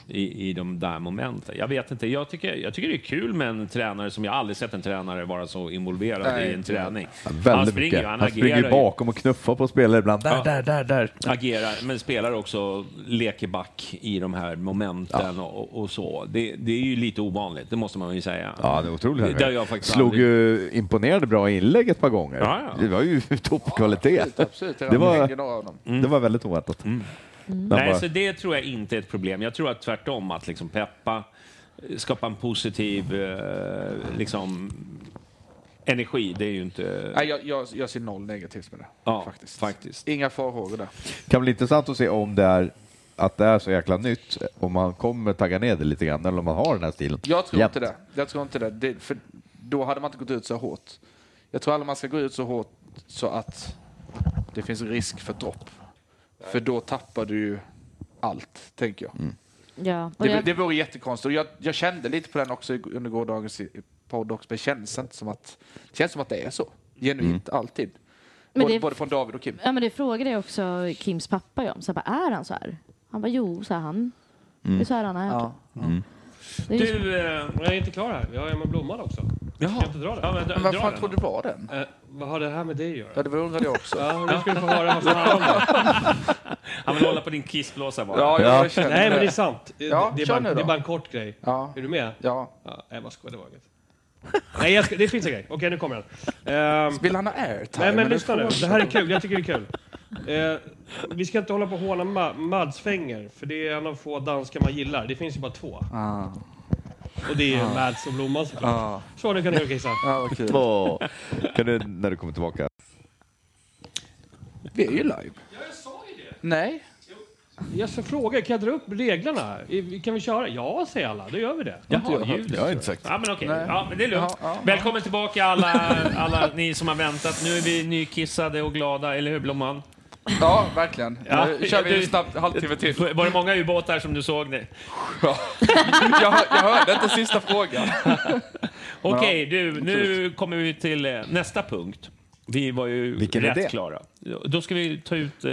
[SPEAKER 1] i, i de där momenten. Jag vet inte, jag tycker, jag tycker det är kul med en tränare som jag aldrig sett en tränare vara så involverad
[SPEAKER 4] Nej.
[SPEAKER 1] i en träning.
[SPEAKER 5] Väldigt mycket.
[SPEAKER 1] ju,
[SPEAKER 5] Han,
[SPEAKER 1] agerar
[SPEAKER 5] springer ju bakom och knuffar på spelare ibland. Där,
[SPEAKER 1] Ja.
[SPEAKER 5] där, där, där.
[SPEAKER 1] agerar, men spelar också lekeback i de här momenten och, och så. Det, det är ju lite ovanligt, det måste man ju säga.
[SPEAKER 5] Ja, det är otroligt.
[SPEAKER 1] Det har jag faktiskt
[SPEAKER 5] Slog
[SPEAKER 1] aldrig-
[SPEAKER 5] ju imponerande bra inlägg ett par gånger.
[SPEAKER 1] Ja, ja.
[SPEAKER 5] Det var ju (laughs) toppkvalitet.
[SPEAKER 4] Absolut, absolut.
[SPEAKER 5] Det var-
[SPEAKER 4] Det var... Några av dem.
[SPEAKER 5] Det var väldigt oväntat. Den
[SPEAKER 1] Mm. Nej,
[SPEAKER 5] bara-
[SPEAKER 1] så det tror jag inte är ett problem. Jag tror att tvärtom, att liksom peppa, eh, skapa en positiv eh, liksom, energi, det är ju inte...
[SPEAKER 4] Nej, jag, jag, jag ser noll negativt med det.
[SPEAKER 1] ja,
[SPEAKER 4] faktiskt.
[SPEAKER 1] faktiskt. faktiskt.
[SPEAKER 4] Inga farhågor där.
[SPEAKER 5] kan bli intressant att se om det är att det är så jäkla nytt, om man kommer tagga ner det lite grann eller om man har den här stilen.
[SPEAKER 4] Jag tror
[SPEAKER 5] Jämt.
[SPEAKER 4] inte det. Jag tror inte det. det. För då hade man inte gått ut så hårt. Jag tror aldrig man ska gå ut så hårt så att det finns risk för dropp. För då tappar du ju allt, tänker jag.
[SPEAKER 3] Ja. Och
[SPEAKER 4] Det,
[SPEAKER 3] jag,
[SPEAKER 4] det vore jättekonstigt. Och jag, jag kände lite på den också i- under gårdagens i- podd också, men det känns inte som att det, känns som att det är så. Genuint, alltid.
[SPEAKER 3] Men
[SPEAKER 4] Både,
[SPEAKER 3] det-
[SPEAKER 4] både från David och Kim.
[SPEAKER 3] ja, men det frågade jag också Kims pappa ju om. Så jag bara, är han så här? Han bara, jo, så här han.
[SPEAKER 1] Mm.
[SPEAKER 3] Det är så här han är.
[SPEAKER 4] Ja.
[SPEAKER 3] Det är ju så-
[SPEAKER 1] Du, eh,
[SPEAKER 7] Men jag är inte klar här. Vi har Emma Blomman också.
[SPEAKER 1] Jaha.
[SPEAKER 7] Kan jag inte dra den?
[SPEAKER 1] Ja, men, dra-
[SPEAKER 4] Men vad
[SPEAKER 1] dra
[SPEAKER 4] fan
[SPEAKER 1] den
[SPEAKER 4] trodde
[SPEAKER 1] då.
[SPEAKER 4] du var den?
[SPEAKER 7] Eh, vad har det här med dig att göra?
[SPEAKER 4] Ja, det undrade jag också.
[SPEAKER 7] Ja, nu ska du få höra vad som
[SPEAKER 4] (laughs)
[SPEAKER 7] handlar om det.
[SPEAKER 1] Han vill hålla på din kissblåsa bara.
[SPEAKER 4] Ja, jag känner
[SPEAKER 7] Nej, men det är
[SPEAKER 4] det.
[SPEAKER 7] sant. Det-
[SPEAKER 4] Ja,
[SPEAKER 7] det, är
[SPEAKER 4] kör
[SPEAKER 7] bara,
[SPEAKER 4] nu då.
[SPEAKER 7] det är bara en kort grej.
[SPEAKER 4] Ja.
[SPEAKER 7] Är du med?
[SPEAKER 4] Ja.
[SPEAKER 7] Ja, jag bara skojar, det var inget. Nej, jag ska, det finns en grej. Okej, nu kommer den. Ehm,
[SPEAKER 4] Vill han ha airtime?
[SPEAKER 7] nej, men
[SPEAKER 4] Eller
[SPEAKER 7] lyssna
[SPEAKER 4] får-
[SPEAKER 7] nu. Det här är kul. Jag tycker det är kul. Eh, vi ska inte hålla på och håna Ma- Mads Fänger, för det är en av få danskar man gillar. Det finns ju bara två.
[SPEAKER 4] Ah.
[SPEAKER 7] Och det är Mads och Blomman såklart.
[SPEAKER 4] Ah.
[SPEAKER 7] Så, nu kan du kissa.
[SPEAKER 4] Ja, vad kul.
[SPEAKER 5] Åh. Kan du, när du kommer tillbaka.
[SPEAKER 4] Vi är ju live. Nej.
[SPEAKER 7] Jag ska fråga, kan jag dra upp reglerna? I- Kan vi köra? Ja, säger alla. Då gör vi det.
[SPEAKER 1] Jaha, ljudet.
[SPEAKER 5] Jag har inte sagt.
[SPEAKER 1] Ja, men okej.
[SPEAKER 4] Nej.
[SPEAKER 1] Ja, men det är lugnt.
[SPEAKER 4] Ja, ja, ja.
[SPEAKER 1] Välkommen tillbaka alla,
[SPEAKER 4] (laughs)
[SPEAKER 1] alla ni som har väntat. Nu är vi nykissade och glada, eller hur Blomman?
[SPEAKER 4] Ja, verkligen.
[SPEAKER 1] Ja.
[SPEAKER 4] Nu kör vi
[SPEAKER 1] Du-
[SPEAKER 4] en snabb halvtimme till.
[SPEAKER 1] Var det många ubåtar som du såg? nu?
[SPEAKER 4] Jag, hör- jag hörde inte sista frågan.
[SPEAKER 1] (laughs) Okej, du, nu kommer vi till eh, nästa punkt. Vi var ju
[SPEAKER 5] Vilken är
[SPEAKER 1] rätt
[SPEAKER 5] det?
[SPEAKER 1] klara. Då ska vi ta ut eh,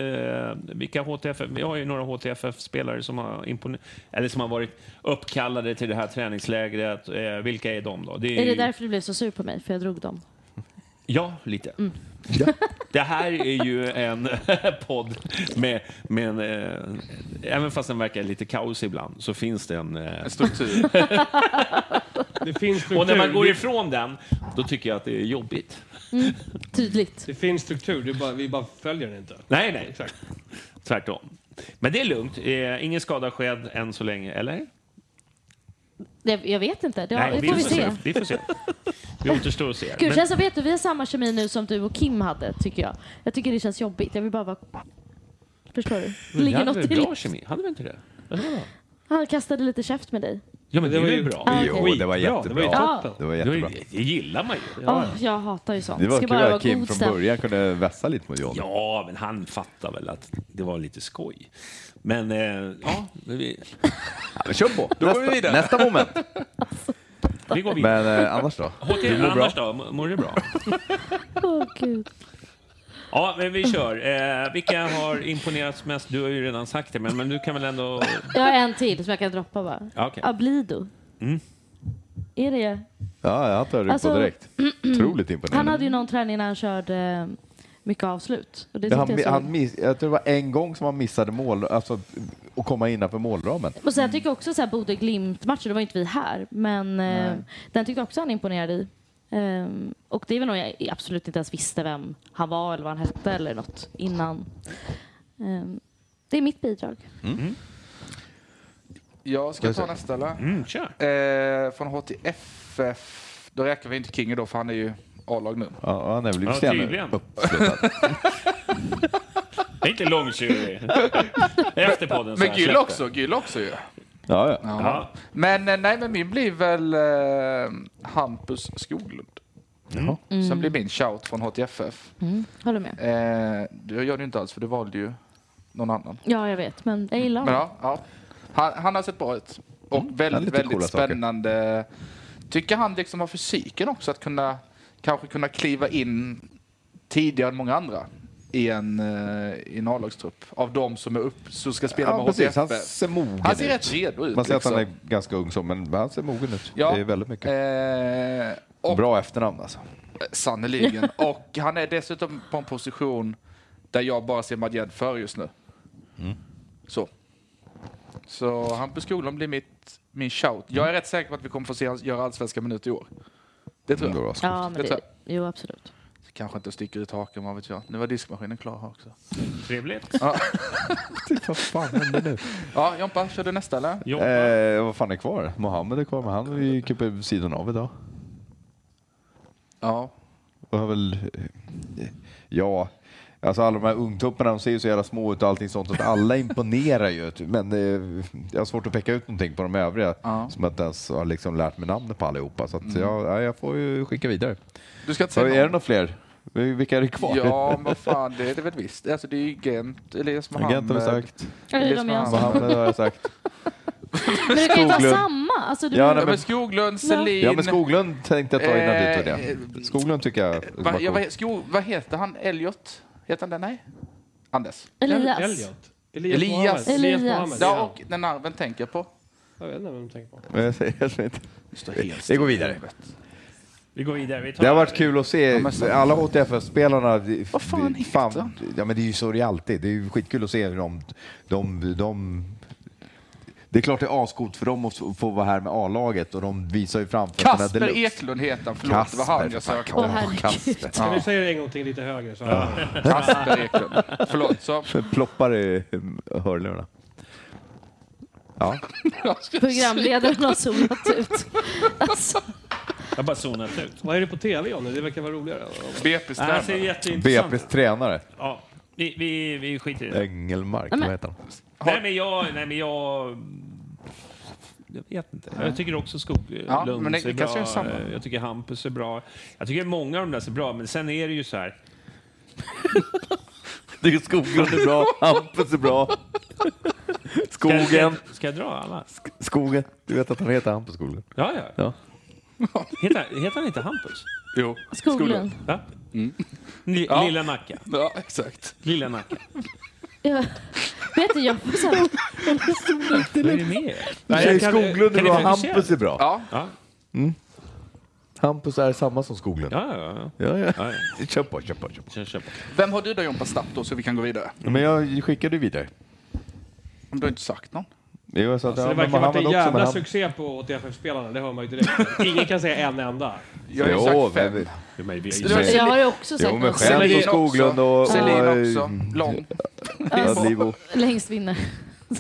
[SPEAKER 1] vilka HTF... Vi har ju några HTFF-spelare som har, impone- eller som har varit uppkallade till det här träningslägret. Eh, vilka är de då?
[SPEAKER 3] Är det
[SPEAKER 1] ju-
[SPEAKER 3] därför du blev så sur på mig? För jag drog dem.
[SPEAKER 1] Ja, lite.
[SPEAKER 3] Mm.
[SPEAKER 1] Det här är ju en (laughs) podd med, med en, eh, Även fast den verkar lite kaos ibland så finns det en... Eh, (laughs)
[SPEAKER 4] Struktur.
[SPEAKER 7] Det finns struktur.
[SPEAKER 1] och när man går ifrån den, då tycker jag att det är jobbigt.
[SPEAKER 3] Mm, Tydligt.
[SPEAKER 7] Det finns struktur, det är bara, vi bara följer den inte.
[SPEAKER 1] Nej, nej. Tvärtom. Men det är lugnt. Eh, ingen skada skedd än så länge, eller?
[SPEAKER 3] Det, jag vet inte. Det,
[SPEAKER 1] nej,
[SPEAKER 3] det får vi se.
[SPEAKER 1] Vi får se. Det återstår att se.
[SPEAKER 3] Gud,
[SPEAKER 1] Men-
[SPEAKER 3] känns som, vet du, vi har samma kemi nu som du och Kim hade, tycker jag. Jag tycker det känns jobbigt. Jag vill bara vara... Förstår du?
[SPEAKER 1] vi
[SPEAKER 3] Ligger
[SPEAKER 1] hade
[SPEAKER 3] något
[SPEAKER 1] väl
[SPEAKER 3] i
[SPEAKER 1] bra
[SPEAKER 3] det?
[SPEAKER 1] kemi? Hade vi inte det?
[SPEAKER 3] Han kastade lite käft med dig.
[SPEAKER 1] Ja, men det, var ju
[SPEAKER 3] Ah,
[SPEAKER 1] bra.
[SPEAKER 3] okej.
[SPEAKER 5] Jo, det var
[SPEAKER 7] Skitbra, det var ju
[SPEAKER 5] jättebra.
[SPEAKER 7] toppen.
[SPEAKER 5] Det var
[SPEAKER 1] Det, var,
[SPEAKER 5] jättebra.
[SPEAKER 1] ju- det gillar man ju.
[SPEAKER 3] Åh, jag hatar ju sånt.
[SPEAKER 5] Det var
[SPEAKER 3] Ska
[SPEAKER 5] kul
[SPEAKER 3] bara vara
[SPEAKER 5] att Kim
[SPEAKER 3] god
[SPEAKER 5] från
[SPEAKER 3] stäm-
[SPEAKER 5] början kunde vässa lite mot John.
[SPEAKER 1] Ja, men han fattar väl att det var lite skoj. Men eh, ja, vi,
[SPEAKER 5] Men kör på!
[SPEAKER 4] Då går vi vidare.
[SPEAKER 5] nästa moment.
[SPEAKER 1] (laughs) vi går vidare.
[SPEAKER 5] Men eh, annars då?
[SPEAKER 1] HT, annars då? Mår du bra?
[SPEAKER 3] (laughs) Åh, gud.
[SPEAKER 1] Ja, men vi kör. Eh, vilka har imponerats mest? Du har ju redan sagt det, men, men du kan väl ändå...
[SPEAKER 3] Jag har en till som jag kan droppa bara.
[SPEAKER 1] Ja, okej.
[SPEAKER 3] Ablido.
[SPEAKER 1] Mm.
[SPEAKER 3] Är det?
[SPEAKER 5] Ja, jag tar det
[SPEAKER 3] Alltså- (clears throat)
[SPEAKER 5] på direkt. Otroligt
[SPEAKER 3] Han hade
[SPEAKER 5] imponerande.
[SPEAKER 3] ju någon träning när han körde eh, mycket avslut. Och det
[SPEAKER 5] Det
[SPEAKER 3] tyckte
[SPEAKER 5] han,
[SPEAKER 3] jag
[SPEAKER 5] mi-
[SPEAKER 3] såg-
[SPEAKER 5] han miss, jag tror det var en gång som han missade mål, alltså att komma innanför målramen.
[SPEAKER 3] Och sen tycker jag också så här Bode Glimt-matchen, då var inte vi här, men eh, den tyckte jag också han imponerade i. Ehm, och det är väl nog jag absolut inte ens visste vem han var eller vad han hette eller något innan. Ehm, det är mitt bidrag.
[SPEAKER 4] Mm. Jag ska ta nästa eller?
[SPEAKER 1] Mm, kör.
[SPEAKER 4] Eh, från HTFF. Då räknar vi inte Kinge då, för han är ju A-lag nu.
[SPEAKER 5] Ja, och han är väl
[SPEAKER 1] Ja,
[SPEAKER 5] lite
[SPEAKER 1] tydligen.
[SPEAKER 5] uppslutad.
[SPEAKER 1] (laughs) Det är inte
[SPEAKER 4] (laughs)
[SPEAKER 1] långtjurig. Efter podden. så
[SPEAKER 4] Men
[SPEAKER 1] här
[SPEAKER 4] Gyll
[SPEAKER 1] släpper.
[SPEAKER 4] också, Gyll också ju.
[SPEAKER 5] Ja, ja.
[SPEAKER 1] Ja.
[SPEAKER 4] Men eh, nej, men min blir väl eh, Hampus Skoglund.
[SPEAKER 1] Mm.
[SPEAKER 5] Mm.
[SPEAKER 4] Sen blir min shout från HTFF.
[SPEAKER 3] Mm, Håller med.
[SPEAKER 4] Eh, det gör du inte alls, för du valde ju någon annan.
[SPEAKER 3] Ja, jag vet, men jag gillar
[SPEAKER 4] Men
[SPEAKER 3] honom.
[SPEAKER 4] ja, ja. Han, han har sett bra ut. Och
[SPEAKER 5] Mm. lite
[SPEAKER 4] väldigt, väldigt
[SPEAKER 5] coola saker.
[SPEAKER 4] spännande. Tycker han liksom har fysiken också att kunna kanske kunna kliva in tidigare än många andra i en, eh, i en A-lagstrupp av de som är upp, som ska spela
[SPEAKER 5] ja
[SPEAKER 4] med
[SPEAKER 5] precis. Han
[SPEAKER 4] HTFF.
[SPEAKER 5] ser mogen
[SPEAKER 4] Han ser
[SPEAKER 5] ut.
[SPEAKER 4] rätt redo ut.
[SPEAKER 5] Man ser att
[SPEAKER 4] liksom.
[SPEAKER 5] han är ganska ung så, men han ser mogen ut.
[SPEAKER 4] Ja.
[SPEAKER 5] Det är väldigt mycket.
[SPEAKER 4] Eh, och,
[SPEAKER 5] Bra efternamn alltså.
[SPEAKER 3] (laughs)
[SPEAKER 4] Sannerligen. Eh, och han är dessutom på en position där jag bara ser Madjed för just nu.
[SPEAKER 5] Mm.
[SPEAKER 4] Så. Så Hampus Skoglund blir mitt, min shout.
[SPEAKER 5] Mm.
[SPEAKER 4] Jag är rätt säker på att vi kommer få se han göra allsvenska minuter i år. Det tror jag.
[SPEAKER 5] Bra.
[SPEAKER 3] Ja, men
[SPEAKER 4] Det
[SPEAKER 3] det,
[SPEAKER 4] tror
[SPEAKER 3] jo, absolut.
[SPEAKER 4] Kanske inte sticker (laughs) ut haken, vad vet jag. Nu var diskmaskinen klar här också.
[SPEAKER 1] Trevligt.
[SPEAKER 5] (laughs) Vad fan händer nu?
[SPEAKER 4] (laughs) Ja, Jompa, kör du nästa eller?
[SPEAKER 1] Jobba.
[SPEAKER 5] Eh, vad fan är kvar? Mohammed är kvar, men han gick ju på sidan av idag.
[SPEAKER 4] Ja.
[SPEAKER 5] Och har väl, eh, ja, alltså alla de här ungtupparna, de ser ju så jävla små ut och allting sånt, så att alla (laughs) imponerar ju. Men eh, jag har svårt att peka ut någonting på de övriga,
[SPEAKER 4] Ja. Mm.
[SPEAKER 5] som jag inte ens har liksom lärt mig namnet på allihopa. Så att jag, ja, jag får ju skicka vidare.
[SPEAKER 4] Du ska inte
[SPEAKER 5] Så är
[SPEAKER 4] säga
[SPEAKER 5] det några fler? Vilka är det kvar?
[SPEAKER 4] Ja, men vad fan, det är det väl visst. Alltså det är ju Gent,
[SPEAKER 5] (laughs)
[SPEAKER 4] Elias Mohammed.
[SPEAKER 5] Gent har vi sagt,
[SPEAKER 3] Ja, det är de jag
[SPEAKER 4] Elias
[SPEAKER 3] har.
[SPEAKER 4] Mohammed.
[SPEAKER 5] Mohammed har jag
[SPEAKER 4] (laughs)
[SPEAKER 5] sagt.
[SPEAKER 3] Men du kan ju inte ha
[SPEAKER 5] Skoglund.
[SPEAKER 3] samma. Alltså, du
[SPEAKER 5] Ja,
[SPEAKER 4] Ja,
[SPEAKER 5] nej,
[SPEAKER 4] men Skoglund, Selin.
[SPEAKER 5] Ja, men Skoglund tänkte jag ta innan du tog
[SPEAKER 4] Eh,
[SPEAKER 5] det. Skoglund tycker jag
[SPEAKER 4] Va, ja,
[SPEAKER 5] var cool.
[SPEAKER 4] vad, sko, vad heter han? Elliot? Heter han det? Nej? Anders.
[SPEAKER 3] Elias.
[SPEAKER 7] Elliot. Elias.
[SPEAKER 4] Elias.
[SPEAKER 7] Mohammed. Elias.
[SPEAKER 3] Elias.
[SPEAKER 7] Mohammed,
[SPEAKER 4] Ja,
[SPEAKER 7] ja.
[SPEAKER 4] och den arven tänker jag på.
[SPEAKER 7] Jag vet inte vem du tänker på.
[SPEAKER 5] Men jag säger- jag säger inte.
[SPEAKER 4] Det står helt
[SPEAKER 5] Vi går vidare.
[SPEAKER 1] Vi går vidare. Vi tar
[SPEAKER 5] Det har varit kul att se
[SPEAKER 4] men sen-
[SPEAKER 5] alla HTFS-spelarna.
[SPEAKER 4] Vad fan heter han?
[SPEAKER 5] ja, men det är ju så det är alltid. Det är ju skitkul att se hur de... de, de det är klart det är ascoolt för dem att få vara här med A-laget och de visar ju framför
[SPEAKER 4] Kasper Eklund heter han, förlåt, det var han jag
[SPEAKER 5] för fan,
[SPEAKER 4] sökte.
[SPEAKER 3] Åh, herregud.
[SPEAKER 5] Kasper.
[SPEAKER 7] Kan du säga det en gång till lite högre? Så.
[SPEAKER 4] Kasper Eklund. Förlåt, så.
[SPEAKER 5] Ploppar i hörlurarna. Ja.
[SPEAKER 3] Programledaren har zonat ut. Alltså,
[SPEAKER 1] Jag har bara zonat ut.
[SPEAKER 7] Vad är det på TV, Jonny? Det verkar vara roligare.
[SPEAKER 1] Det här ser
[SPEAKER 4] BP-strömmen.
[SPEAKER 1] jätteintressant
[SPEAKER 5] BP's tränare,
[SPEAKER 1] Ja, vi, vi, vi skiter i det.
[SPEAKER 5] Engelmark, vad heter han?
[SPEAKER 1] Nej, men jag... Nej, men jag jag vet inte. Jag tycker också Skoglund
[SPEAKER 4] Ja, men det-
[SPEAKER 1] ser
[SPEAKER 4] vi kanske
[SPEAKER 1] bra.
[SPEAKER 4] gör samma.
[SPEAKER 1] Jag tycker Hampus är bra. Jag tycker många av de där ser bra, men sen är det ju så
[SPEAKER 5] (laughs)
[SPEAKER 1] här.
[SPEAKER 5] Tycker Skoglund är bra, Hampus är bra.
[SPEAKER 1] Ska,
[SPEAKER 5] Skogen,
[SPEAKER 1] Ska, ska jag dra alla?
[SPEAKER 5] Skogen. Du vet att han heter Hampus Skoglund?
[SPEAKER 1] Ja, ja.
[SPEAKER 5] Ja.
[SPEAKER 1] Heter, heter han inte Hampus?
[SPEAKER 4] Jo.
[SPEAKER 3] Skoglund.
[SPEAKER 1] Va?
[SPEAKER 5] Mm.
[SPEAKER 1] Li-
[SPEAKER 4] Ja.
[SPEAKER 1] Lilla Nacka.
[SPEAKER 4] Ja, exakt.
[SPEAKER 1] Lilla Nacka.
[SPEAKER 3] Jag, vet du, jag får så här,
[SPEAKER 1] Vad är det med er?
[SPEAKER 5] Nej,
[SPEAKER 1] kan-
[SPEAKER 5] Skoglund är
[SPEAKER 1] kan ni
[SPEAKER 5] bra,
[SPEAKER 1] fokusera?
[SPEAKER 5] Hampus är bra.
[SPEAKER 4] Ja,
[SPEAKER 1] Ja,
[SPEAKER 5] Hampus är samma som Skoglund.
[SPEAKER 1] ja, ja. ja.
[SPEAKER 5] Ja, ja.
[SPEAKER 1] ja, ja.
[SPEAKER 5] Kör på, kör på, kör på.
[SPEAKER 1] Kör, kör på.
[SPEAKER 4] vem har du då Jompa snabbt då så vi kan gå vidare?
[SPEAKER 5] Men jag skickade ju vidare.
[SPEAKER 4] Du har inte sagt någon.
[SPEAKER 5] Jo, jag sa att
[SPEAKER 7] Så
[SPEAKER 5] ja,
[SPEAKER 7] Alltså, det
[SPEAKER 5] men
[SPEAKER 7] verkar ha
[SPEAKER 5] han
[SPEAKER 7] varit en
[SPEAKER 5] var också med
[SPEAKER 7] jävla
[SPEAKER 5] han.
[SPEAKER 7] succé på HTFF-spelarna, det hör man ju direkt. Ingen kan säga en enda.
[SPEAKER 4] Jag har ju
[SPEAKER 5] Jo,
[SPEAKER 4] sagt fem.
[SPEAKER 5] men-
[SPEAKER 1] Det är mig vi-
[SPEAKER 4] Det var
[SPEAKER 3] jag har ju också sagt
[SPEAKER 5] Jo, men
[SPEAKER 3] något.
[SPEAKER 5] skämt
[SPEAKER 4] Selin
[SPEAKER 5] och Skoglund och... Mm. och
[SPEAKER 4] Selin också. Lång.
[SPEAKER 5] Adlibo.
[SPEAKER 3] längst vinner.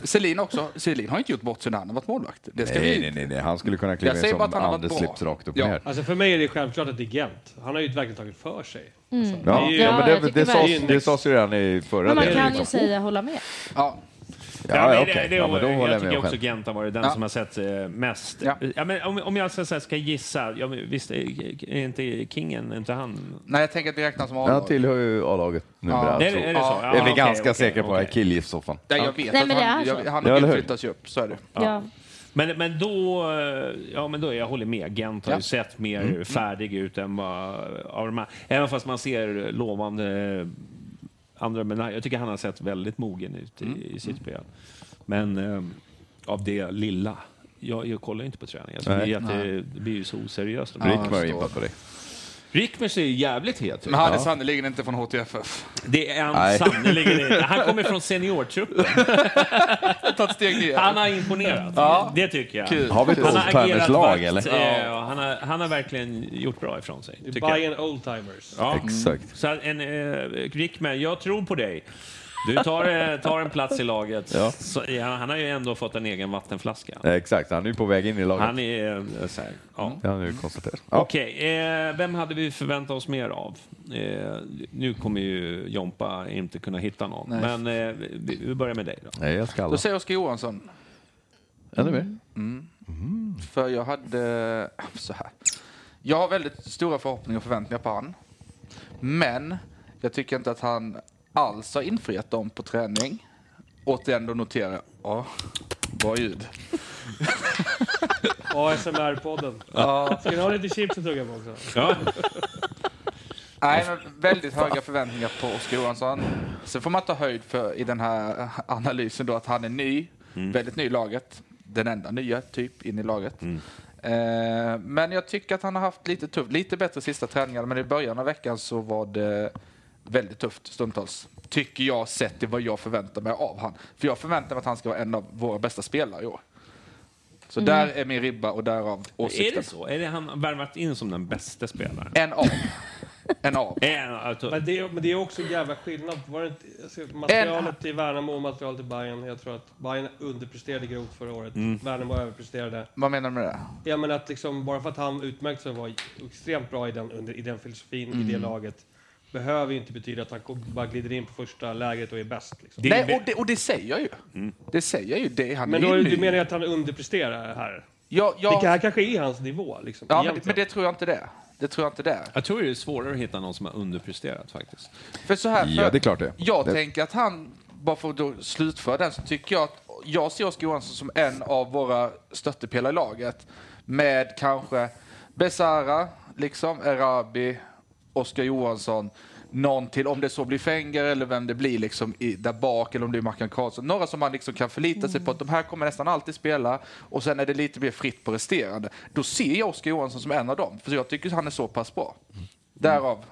[SPEAKER 4] Selin också. Selin har inte gjort bort sig när han har varit målvakt. Det ska
[SPEAKER 5] Nej,
[SPEAKER 4] vi...
[SPEAKER 5] nej, nej, nej, han skulle kunna
[SPEAKER 4] Jag
[SPEAKER 5] kliva in
[SPEAKER 4] säger
[SPEAKER 5] som
[SPEAKER 4] bara att han har varit
[SPEAKER 5] Anders
[SPEAKER 4] bra.
[SPEAKER 5] slips rakt upp och
[SPEAKER 4] Ja.
[SPEAKER 5] ner.
[SPEAKER 7] Alltså för mig är det självklart att det är Gent. Han har ju verkligen tagit för sig.
[SPEAKER 3] Mm.
[SPEAKER 7] Alltså,
[SPEAKER 5] Ja,
[SPEAKER 7] ju-
[SPEAKER 5] ja, men
[SPEAKER 3] jag
[SPEAKER 5] det,
[SPEAKER 3] tycker
[SPEAKER 5] det,
[SPEAKER 3] verkligen-
[SPEAKER 5] sades, det sades ju redan i förra
[SPEAKER 3] Men man
[SPEAKER 5] delen.
[SPEAKER 3] kan ju
[SPEAKER 5] liksom.
[SPEAKER 3] säga hålla med.
[SPEAKER 4] Ja.
[SPEAKER 1] Ja,
[SPEAKER 5] Ja,
[SPEAKER 1] men
[SPEAKER 5] ja,
[SPEAKER 1] det-
[SPEAKER 5] okej.
[SPEAKER 1] det
[SPEAKER 5] Ja,
[SPEAKER 1] var-
[SPEAKER 5] men då håller
[SPEAKER 1] jag
[SPEAKER 5] jag
[SPEAKER 1] tycker
[SPEAKER 5] med
[SPEAKER 1] också
[SPEAKER 5] själv.
[SPEAKER 1] Gent har varit den
[SPEAKER 4] Ja.
[SPEAKER 1] som har sett eh, mest. Ja.
[SPEAKER 4] Ja.
[SPEAKER 1] men om, om jag så här ska gissa, ja, men visst är är inte Kingen, är inte han...
[SPEAKER 4] Nej, jag tänker att vi räknar som
[SPEAKER 5] Han
[SPEAKER 4] A-lag.
[SPEAKER 5] tillhör ju A-laget numera.
[SPEAKER 4] Ja.
[SPEAKER 1] Är,
[SPEAKER 5] så-
[SPEAKER 1] det- är det så?
[SPEAKER 4] Ja,
[SPEAKER 1] Ja,
[SPEAKER 5] är vi
[SPEAKER 1] okej,
[SPEAKER 5] ganska
[SPEAKER 1] okej,
[SPEAKER 5] säkra på.
[SPEAKER 1] okej.
[SPEAKER 5] Jag killgissar som fan.
[SPEAKER 4] Nej, jag vet
[SPEAKER 3] Nej,
[SPEAKER 4] att
[SPEAKER 3] men det
[SPEAKER 4] han,
[SPEAKER 3] är så.
[SPEAKER 4] jag, han
[SPEAKER 5] Ja,
[SPEAKER 4] har
[SPEAKER 5] eller
[SPEAKER 4] ju
[SPEAKER 5] hur?
[SPEAKER 4] flyttats upp, så är det.
[SPEAKER 3] Ja.
[SPEAKER 1] Men, men då... eh, Ja, men då, jag håller med. Gent har
[SPEAKER 4] Ja. Mm.
[SPEAKER 1] ju sett mer färdig ut än vad av de här. Även fast man ser lovande eh, andra. Men jag tycker han har sett väldigt mogen ut
[SPEAKER 4] Mm.
[SPEAKER 1] i, i sitt spel. Men eh, av det lilla. Jag, jag kollar ju inte på träning. Alltså, det, blir jätte, det blir ju så oseriöst.
[SPEAKER 5] Rick var ju impad på dig.
[SPEAKER 1] Rickmer ser ju jävligt het ut.
[SPEAKER 4] Men han är sannerligen inte från HTFF.
[SPEAKER 1] Det är han
[SPEAKER 5] Nej.
[SPEAKER 1] sannerligen inte. Han
[SPEAKER 5] (laughs)
[SPEAKER 1] kommer från seniortruppen.
[SPEAKER 4] Jag har tagit ett steg ner.
[SPEAKER 1] Han har imponerat. Det tycker jag.
[SPEAKER 4] Kul.
[SPEAKER 5] Har vi ett
[SPEAKER 1] Han har agerat
[SPEAKER 5] oldtimers lag
[SPEAKER 1] vakt.
[SPEAKER 5] eller?
[SPEAKER 1] eh, och Han har, han har verkligen gjort bra ifrån sig. Tycker jag.
[SPEAKER 7] Bayern Oldtimers.
[SPEAKER 1] Ja.
[SPEAKER 5] Exakt.
[SPEAKER 1] Så att en, eh, Rickman, jag tror på dig. Du tar, eh, tar en plats i laget.
[SPEAKER 5] Ja.
[SPEAKER 1] Så, ja, han har ju ändå fått en egen vattenflaska.
[SPEAKER 5] Exakt, han är ju på väg in i laget.
[SPEAKER 1] Han är eh, så här, ja.
[SPEAKER 5] Det har han ju konstaterat. Ja.
[SPEAKER 1] Okej, eh, vem hade vi förväntat oss mer av? Eh, nu kommer ju Jompa inte kunna hitta någon, men eh, vi, vi börjar med dig då.
[SPEAKER 5] Nej, jag ska alla.
[SPEAKER 4] Då säger Oskar Johansson.
[SPEAKER 5] Ännu mer?
[SPEAKER 4] Mm. För jag hade... (laughs) Så här. Jag har väldigt stora förhoppningar och förväntningar på han. Men jag tycker inte att han alls har infriat dem på träning. Återigen, då noterar jag... Ja, bra ljud.
[SPEAKER 7] ASMR-podden.
[SPEAKER 4] Ja.
[SPEAKER 7] Ska ni ha lite chips att tugga på också?
[SPEAKER 1] Ja.
[SPEAKER 4] Nej, men väldigt höga förväntningar på Oskar Johansson. Sen får man ta höjd för i den här analysen då att han är ny, väldigt ny i laget. Den enda nya typ in i laget. Eh, men jag tycker att han har haft lite tufft, lite bättre sista träningarna men i början av veckan så var det väldigt tufft stundtals. Tycker jag sett till vad jag förväntar mig av han. För jag förväntar mig att han ska vara en av våra bästa spelare i år. Så där är min ribba och därav åsikten.
[SPEAKER 1] Är det så? Är det han värvat in som den bästa spelaren?
[SPEAKER 4] En av. En av.
[SPEAKER 1] (laughs) En, alltså,
[SPEAKER 7] Men det, men det är också en jävla skillnad. Var det inte, alltså, materialet i Värnamo och materialet i Bayern. Jag tror att Bayern underpresterade grovt förra året.
[SPEAKER 4] Mm.
[SPEAKER 7] Värnamo överpresterade.
[SPEAKER 4] Vad menar du med det?
[SPEAKER 7] Jag menar att liksom, bara för att han utmärkte sig och var extremt bra i den, under, i den filosofin i
[SPEAKER 4] Mm.
[SPEAKER 7] det laget behöver ju inte betyda att han kom- bara glider in på första lägret och är bäst. Liksom.
[SPEAKER 1] det
[SPEAKER 4] Nej,
[SPEAKER 1] är,
[SPEAKER 4] och det, och det säger jag ju. Det säger jag ju. Det, han
[SPEAKER 7] Men
[SPEAKER 4] är
[SPEAKER 7] då,
[SPEAKER 4] ju
[SPEAKER 7] du
[SPEAKER 4] ny.
[SPEAKER 7] menar ju att han underpresterar här?
[SPEAKER 4] ja, ja,
[SPEAKER 7] Det här kanske är hans nivå? Liksom,
[SPEAKER 4] ja, men,
[SPEAKER 7] egentligen.
[SPEAKER 4] men det tror jag inte det. Det tror jag inte det.
[SPEAKER 1] jag tror det är svårare att hitta någon som har underpresterat faktiskt.
[SPEAKER 4] För så här, för
[SPEAKER 5] Ja, det är klart det.
[SPEAKER 4] Jag
[SPEAKER 5] Det-
[SPEAKER 4] tänker att han, bara för att då slutföra den, så tycker jag att jag ser Oskar Johansson som en av våra stöttepelare i laget. Med kanske Besara, liksom, Erabi, Oskar Johansson. någon till, om det så blir Fenger eller vem det blir liksom i, där bak eller om det är Mackan Karlsson. Några som man liksom kan förlita sig på att de här kommer nästan alltid spela och sen är det lite mer fritt på resterande. Då ser jag Oskar Johansson som en av dem, för jag tycker han är så pass bra. Därav.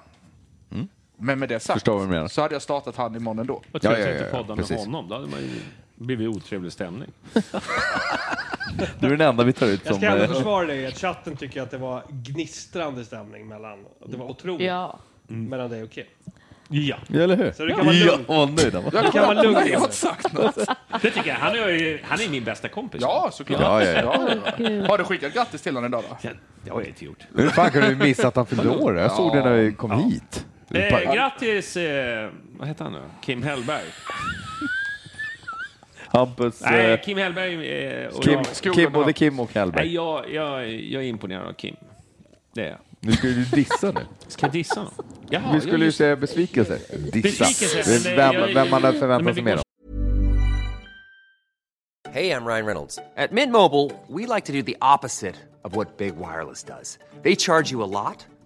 [SPEAKER 4] Men med det sagt
[SPEAKER 5] Mm. Förstår vad du menar.
[SPEAKER 4] så hade jag startat han imorgon ändå.
[SPEAKER 1] Vad trevligt
[SPEAKER 5] Ja,
[SPEAKER 1] att
[SPEAKER 5] ja, ja,
[SPEAKER 1] inte podda med
[SPEAKER 5] precis.
[SPEAKER 1] honom. Då hade man ju blivit otrevlig stämning.
[SPEAKER 5] Du är den enda vi tar ut
[SPEAKER 7] Jag
[SPEAKER 5] som...
[SPEAKER 7] ska ändå
[SPEAKER 5] eh,
[SPEAKER 7] försvara dig. att Chatten tycker att det var gnistrande stämning mellan... Det var otroligt.
[SPEAKER 3] Ja.
[SPEAKER 1] Mm.
[SPEAKER 7] Mellan dig och Kim. Ja.
[SPEAKER 5] Eller hur?
[SPEAKER 7] Så det kan vara lugnt.
[SPEAKER 5] Ja, vad nöjd han var.
[SPEAKER 7] Du kan vara
[SPEAKER 4] (laughs)
[SPEAKER 7] lugn.
[SPEAKER 4] Jag har
[SPEAKER 7] Kim.
[SPEAKER 4] inte sagt något.
[SPEAKER 1] Det tycker jag. Han är, ju- han är min bästa kompis.
[SPEAKER 4] Ja, såklart.
[SPEAKER 5] Ja, ja, ja.
[SPEAKER 3] Gud.
[SPEAKER 4] Har du skickat grattis till honom idag då?
[SPEAKER 1] Det har jag inte gjort.
[SPEAKER 5] Hur fan kunde du missa att han fyllde år? Jag såg det när vi kom hit.
[SPEAKER 1] Eh, grattis, eh, vad heter han nu? Kim Hellberg.
[SPEAKER 5] Hampus...
[SPEAKER 1] Nej,
[SPEAKER 5] eh,
[SPEAKER 1] Kim Hellberg eh, och
[SPEAKER 5] Kim,
[SPEAKER 1] jag.
[SPEAKER 5] Kim, både Kim och Hellberg.
[SPEAKER 1] Nej, jag, jag, jag är imponerad av Kim. Det är jag.
[SPEAKER 5] Nu ska du dissa nu.
[SPEAKER 1] Ska jag dissa honom? Jaha,
[SPEAKER 5] Vi
[SPEAKER 1] jag
[SPEAKER 5] skulle ju
[SPEAKER 1] just-
[SPEAKER 5] säga besvikelse. Dissa.
[SPEAKER 1] Besvikelse, men jag-
[SPEAKER 5] Vem, vem man hade
[SPEAKER 1] Nej, men
[SPEAKER 5] förväntat
[SPEAKER 1] vi
[SPEAKER 5] sig mer
[SPEAKER 1] går-
[SPEAKER 5] av.
[SPEAKER 8] Hey, I'm Ryan Reynolds. At Mint Mobile, we like to do the opposite of what Big Wireless does. They charge you a lot,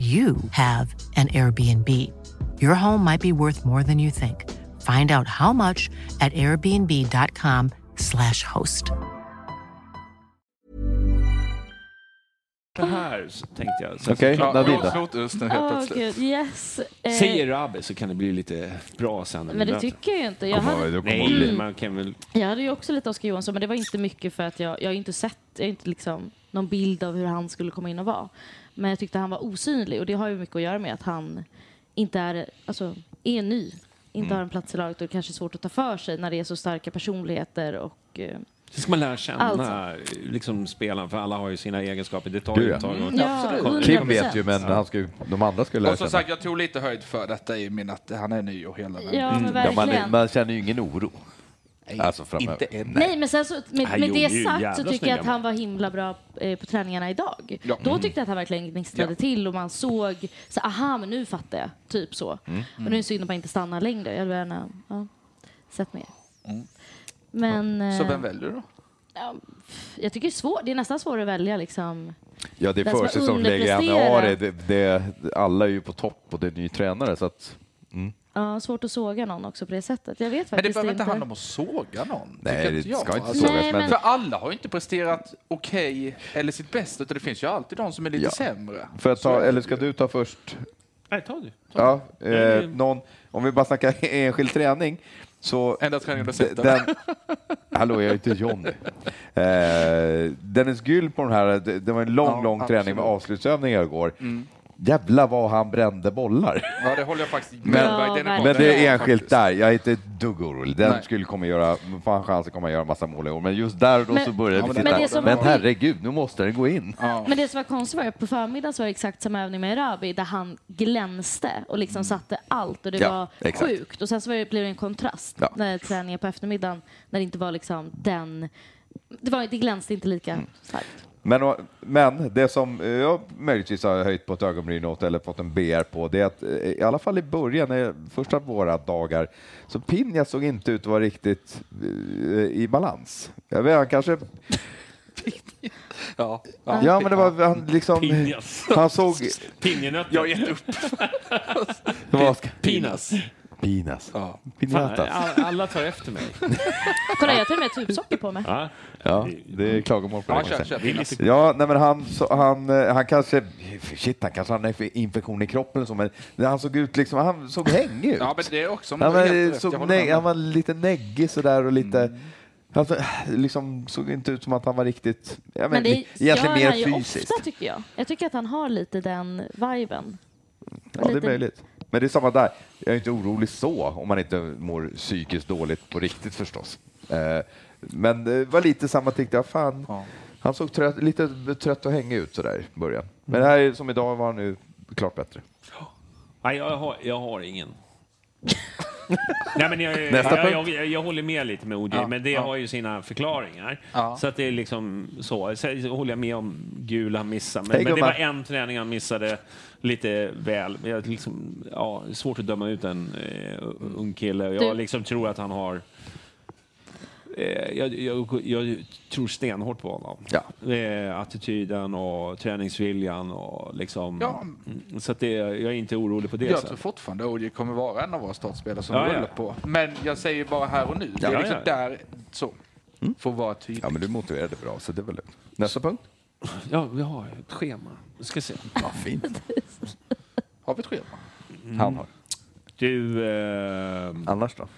[SPEAKER 9] you have an Airbnb. Your home might be worth more than you think. Find out how much at airbnb.com/slash host.
[SPEAKER 1] Det här så tänkte jag. Sen
[SPEAKER 5] Okej,
[SPEAKER 4] Ja,
[SPEAKER 5] Nadine då?
[SPEAKER 4] rotsnotus nu helt
[SPEAKER 3] Åh
[SPEAKER 4] plötsligt.
[SPEAKER 3] Ah, gud, yes. Eh,
[SPEAKER 1] så- Säger Rabbe så kan det bli lite bra sen.
[SPEAKER 3] men det tycker jag ju inte. Jag hade,
[SPEAKER 5] Då kommer hon
[SPEAKER 1] Nej,
[SPEAKER 5] bli...
[SPEAKER 1] man kan väl...
[SPEAKER 3] jag hade ju också lite Oskar Johansson, men det var inte mycket för att jag, jag har ju inte sett, jag har inte liksom någon bild av hur han skulle komma in och vara. Men jag tyckte han var osynlig och det har ju mycket att göra med att han inte är, alltså, är ny, inte har en plats i laget och det kanske är svårt att ta för sig när det är så starka personligheter och eh,
[SPEAKER 1] Så ska man lära känna
[SPEAKER 3] Alltså.
[SPEAKER 1] liksom, spelaren, för alla har ju sina egenskaper. Det tar
[SPEAKER 5] Gud,
[SPEAKER 1] ju
[SPEAKER 5] ja.
[SPEAKER 1] ett tag.
[SPEAKER 3] Mm, ja,
[SPEAKER 1] Absolut.
[SPEAKER 3] 100%.
[SPEAKER 5] Kim vet ju, men han ska, ju- de andra ska ju lära
[SPEAKER 4] Och som
[SPEAKER 5] känna.
[SPEAKER 4] sagt, jag tog lite höjd för detta i min att han är ny och hela världen.
[SPEAKER 3] ja men
[SPEAKER 5] Ja,
[SPEAKER 3] verkligen.
[SPEAKER 5] man, man känner ju ingen oro. Alltså framöver.
[SPEAKER 8] Inte än.
[SPEAKER 3] Nej, men sen så, med,
[SPEAKER 1] Han
[SPEAKER 3] med
[SPEAKER 1] gjorde
[SPEAKER 3] det
[SPEAKER 1] ju
[SPEAKER 3] sagt så
[SPEAKER 1] jävla
[SPEAKER 3] tycker jag
[SPEAKER 1] snygga
[SPEAKER 3] att han var himla bra eh, på träningarna idag.
[SPEAKER 4] Mm.
[SPEAKER 3] Då tyckte jag att han verkligen gnistrade till och man såg så aha, men nu fattar jag. Typ så.
[SPEAKER 4] Mm.
[SPEAKER 3] Och nu är det synd att man inte stannar längre. Jag hade gärna ja, sett mer. Men
[SPEAKER 4] Mm. Så
[SPEAKER 3] eh,
[SPEAKER 4] vem väljer du då?
[SPEAKER 3] jag tycker det är svårt. Det är nästan svårare att välja liksom.
[SPEAKER 5] Ja, det är
[SPEAKER 3] Den som har
[SPEAKER 5] försäsongsläge i
[SPEAKER 3] underpresterat.
[SPEAKER 5] januari. Det, det, alla är ju på topp och det är ny tränare. Så att,
[SPEAKER 3] Ja, svårt att såga någon också på det sättet. Jag vet
[SPEAKER 4] Men det
[SPEAKER 3] faktiskt
[SPEAKER 4] behöver inte
[SPEAKER 3] inte.
[SPEAKER 4] handla om att såga någon.
[SPEAKER 5] nej,
[SPEAKER 4] tycker
[SPEAKER 5] det
[SPEAKER 4] inte jag.
[SPEAKER 5] ska inte
[SPEAKER 4] Alltså,
[SPEAKER 5] sågas.
[SPEAKER 3] Nej,
[SPEAKER 5] Men,
[SPEAKER 3] men-
[SPEAKER 4] För alla har ju inte presterat okej eller sitt bästa, utan det finns ju alltid de som är lite
[SPEAKER 5] Ja.
[SPEAKER 4] sämre.
[SPEAKER 5] för att
[SPEAKER 4] Så
[SPEAKER 5] ta,
[SPEAKER 4] är det
[SPEAKER 5] eller ska
[SPEAKER 4] ju.
[SPEAKER 5] du ta först?
[SPEAKER 1] Nej, ta du.
[SPEAKER 5] Ja, eh, någon, om vi bara snackar (laughs) enskild träning. Så
[SPEAKER 4] Enda träningen du har
[SPEAKER 5] D-
[SPEAKER 4] sett där.
[SPEAKER 5] Den, (laughs) hallå, jag är inte Johnny. Eh, Dennis Gyll på den här, det, det var en lång,
[SPEAKER 4] Ja,
[SPEAKER 5] lång träning med
[SPEAKER 4] absolut. Mm.
[SPEAKER 5] avslutsövningar igår. Jävlar vad han brände bollar.
[SPEAKER 4] (laughs) Ja, det håller jag faktiskt
[SPEAKER 5] Men-
[SPEAKER 4] med om. Den är
[SPEAKER 5] Men
[SPEAKER 4] borta.
[SPEAKER 5] det är enskilt
[SPEAKER 4] Faktiskt.
[SPEAKER 5] där, jag är inte ett dugg orolig. Den
[SPEAKER 4] Nej.
[SPEAKER 5] skulle komma göra, fan chansen kommer att göra massa mål i år. Men just där och då
[SPEAKER 3] Men-
[SPEAKER 5] så började
[SPEAKER 4] Ja,
[SPEAKER 5] vi
[SPEAKER 4] men
[SPEAKER 5] titta.
[SPEAKER 4] det
[SPEAKER 5] Men,
[SPEAKER 4] som-
[SPEAKER 5] herregud, nu måste den gå in.
[SPEAKER 4] Ja.
[SPEAKER 3] Men det som var konstigt var att på förmiddagen så var det exakt samma övning med Rabi där han glänste och liksom satte allt och det
[SPEAKER 5] Mm. Ja,
[SPEAKER 3] var
[SPEAKER 5] exakt.
[SPEAKER 3] sjukt. Och sen så var det, blev det en kontrast
[SPEAKER 5] Ja.
[SPEAKER 3] när
[SPEAKER 5] Mm.
[SPEAKER 3] träningen på eftermiddagen när det inte var liksom den det, var, det glänste inte lika starkt.
[SPEAKER 5] Men, å- men det som eh, jag möjligtvis har höjt på ett ögonbryn åt eller fått en BR på, det är att eh, i alla fall i början, eh, första våra dagar, så Pinja såg inte ut att vara riktigt eh, i balans. Jag vet, han kanske...
[SPEAKER 4] Ja.
[SPEAKER 5] Ja, men det var han liksom...
[SPEAKER 1] Pinjas.
[SPEAKER 5] Han såg...
[SPEAKER 1] Pinjenötter.
[SPEAKER 4] Jag har gett upp.
[SPEAKER 5] (laughs) Vad ska-
[SPEAKER 1] Pinas.
[SPEAKER 5] Pinas.
[SPEAKER 4] Ja.
[SPEAKER 1] Fan,
[SPEAKER 5] Pinjatas.
[SPEAKER 1] all- alla tar efter mig.
[SPEAKER 3] (laughs) Kolla, jag har till och med tubsocker på mig.
[SPEAKER 1] Ja.
[SPEAKER 5] (laughs) Ja, det är klagomål på det.
[SPEAKER 4] Ja,
[SPEAKER 5] kan jag
[SPEAKER 4] kör,
[SPEAKER 5] säga.
[SPEAKER 4] kör. Pinas.
[SPEAKER 5] Ja, nej men han, så, han, eh, han kanske, shit, han kanske hade en infektion i kroppen och så, men han såg ut liksom, han såg hängig ut.
[SPEAKER 4] Ja, men det är också...
[SPEAKER 5] Han
[SPEAKER 4] det är
[SPEAKER 5] var,
[SPEAKER 4] helt rätt. Jag
[SPEAKER 5] såg
[SPEAKER 4] håller
[SPEAKER 5] neg-
[SPEAKER 4] med. Mm.
[SPEAKER 5] han var lite neggig sådär och lite... Han så- liksom såg inte ut som att han var riktigt... Ja, men,
[SPEAKER 3] Men det
[SPEAKER 5] li- egentligen
[SPEAKER 3] gör
[SPEAKER 5] mer
[SPEAKER 3] han ju
[SPEAKER 5] fysiskt.
[SPEAKER 3] ofta, tycker jag. Jag tycker att han har lite den viben.
[SPEAKER 5] Ja, det är
[SPEAKER 3] lite-
[SPEAKER 5] möjligt. Men det är samma där. Jag är inte orolig så, om man inte mår psykiskt dåligt på riktigt förstås. Eh, men det var lite samma tyckte jag. Fan,
[SPEAKER 4] Ja.
[SPEAKER 5] han såg trött, lite trött och hängig ut sådär i början.
[SPEAKER 4] Mm.
[SPEAKER 5] Men det här är- som idag var han nu klart bättre.
[SPEAKER 1] Nej, jag har, jag har ingen. Nej, men jag,
[SPEAKER 5] Nästa
[SPEAKER 1] jag, jag, jag, jag håller med lite med OJ,
[SPEAKER 4] Ja,
[SPEAKER 1] men det
[SPEAKER 4] ja.
[SPEAKER 1] har ju sina förklaringar.
[SPEAKER 4] Ja.
[SPEAKER 1] Så att det är liksom så. Sen håller jag med om gul han missade, men,
[SPEAKER 5] Hej,
[SPEAKER 1] men det var
[SPEAKER 5] gubbar.
[SPEAKER 1] en träning han missade lite väl. Men Jag liksom, ja, svårt att döma ut en eh, ung kille. Jag
[SPEAKER 3] Du-
[SPEAKER 1] liksom tror att han har... Eh, jag, jag, jag tror stenhårt på honom.
[SPEAKER 5] Ja.
[SPEAKER 1] Eh, attityden och träningsviljan och liksom...
[SPEAKER 4] Ja.
[SPEAKER 1] Mm, Så att det, jag är inte orolig på det
[SPEAKER 4] Jag
[SPEAKER 1] sättet.
[SPEAKER 4] tror fortfarande OJ kommer vara en av våra startspelare som
[SPEAKER 1] Ja, ja.
[SPEAKER 4] rullar på. Men jag säger bara här och nu. Det är
[SPEAKER 1] Ja,
[SPEAKER 4] liksom
[SPEAKER 1] ja.
[SPEAKER 4] där, så. Får vara tydlig.
[SPEAKER 5] Mm. Ja, men du motiverade bra, så det var lugnt. Nästa punkt.
[SPEAKER 1] Ja, vi har ett schema. Vi ska
[SPEAKER 5] (laughs)
[SPEAKER 1] se.
[SPEAKER 5] Ja,
[SPEAKER 1] (laughs)
[SPEAKER 5] fint.
[SPEAKER 4] Har vi ett schema?
[SPEAKER 5] Han har.
[SPEAKER 1] Mm. Du... Eh,
[SPEAKER 5] Annars då?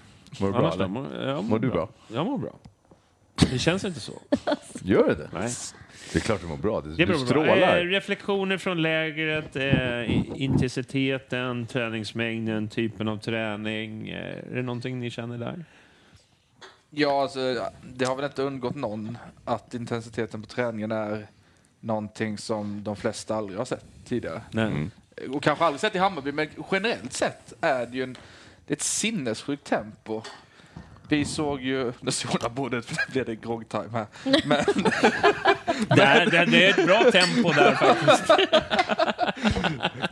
[SPEAKER 5] Mår du bra?
[SPEAKER 1] annars då?
[SPEAKER 5] eller?
[SPEAKER 1] Mår, jag
[SPEAKER 5] Mår du bra?
[SPEAKER 1] Jag mår
[SPEAKER 5] (laughs)
[SPEAKER 1] bra. Det känns inte så.
[SPEAKER 5] Gör det?
[SPEAKER 1] Nej.
[SPEAKER 5] Det är klart du mår bra. Du,
[SPEAKER 1] Det
[SPEAKER 5] du
[SPEAKER 1] beror bra. Eh,
[SPEAKER 5] strålar.
[SPEAKER 1] reflektioner från lägret, eh, i- intensiteten, träningsmängden, typen av träning. Eh, är det någonting ni känner där?
[SPEAKER 4] Ja, alltså, det har väl inte undgått någon att intensiteten på träningen är någonting som de flesta aldrig har sett tidigare.
[SPEAKER 1] Nej.
[SPEAKER 5] (laughs)
[SPEAKER 1] (laughs)
[SPEAKER 4] Och kanske aldrig sett i Hammarby, men generellt sett är det ju en, det är ett sinnessjukt tempo. Vi såg ju... (laughs) Nu zonar bordet, för det blev det grogg-time här. Men,
[SPEAKER 1] (laughs) Det, är, det, det är ett bra tempo där faktiskt.
[SPEAKER 4] (laughs)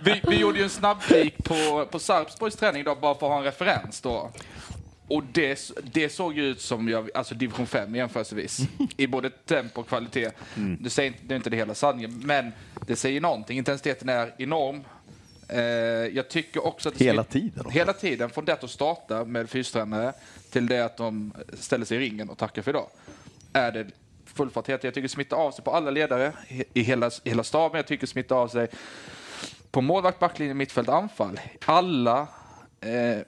[SPEAKER 4] Vi, vi gjorde ju en snabb peek på, på Sarpsborgs träning idag bara för att ha en referens då. Och det, det såg ju ut som jag, alltså division
[SPEAKER 5] (laughs)
[SPEAKER 4] 5 jämförelsevis. I både tempo och kvalitet.
[SPEAKER 5] Mm.
[SPEAKER 4] Du säger inte, det är inte det hela sanningen, men det säger någonting. Intensiteten är enorm. Eh, jag tycker också att... det
[SPEAKER 5] Hela tiden också.
[SPEAKER 4] Hela tiden. Från det att de startar med fystränare till det att de ställer sig i ringen och tackar för idag. Är det full fart hela tiden. Jag tycker det smittar av sig på alla ledare i- i hela, i hela staben. Jag tycker det smittar av sig på målvakt, backlinje, mittfält, anfall. Alla. Eh,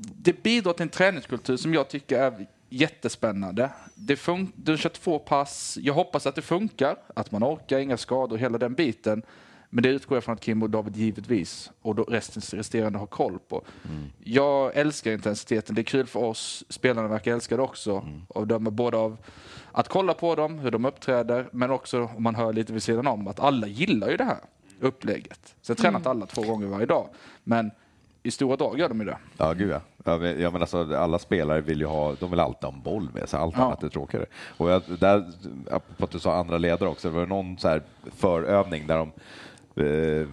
[SPEAKER 4] det bidrar till en träningskultur som jag tycker är jättespännande. Det fun- du kör två pass. Jag hoppas att det funkar, att man orkar, inga skador, hela den biten. Men det utgår jag från att Kim och David givetvis och då resten resterande har koll på. Jag älskar intensiteten. Det är kul för oss. Spelarna verkar älska det också. Och de är både av att kolla på dem, hur de uppträder, men också om man hör lite vid sidan om att alla gillar ju det här upplägget. Sen tränar inte alla två gånger varje dag, men i stora drag gör de ju det.
[SPEAKER 5] Ja, gud ja. ja. men- ja, men alltså, alla spelare vill ju ha, de vill alltid ha en boll med sig, allt
[SPEAKER 4] Ja.
[SPEAKER 5] annat är tråkigare. Och jag, där, apropå att du sa andra ledare också, det var någon så här förövning där de eh,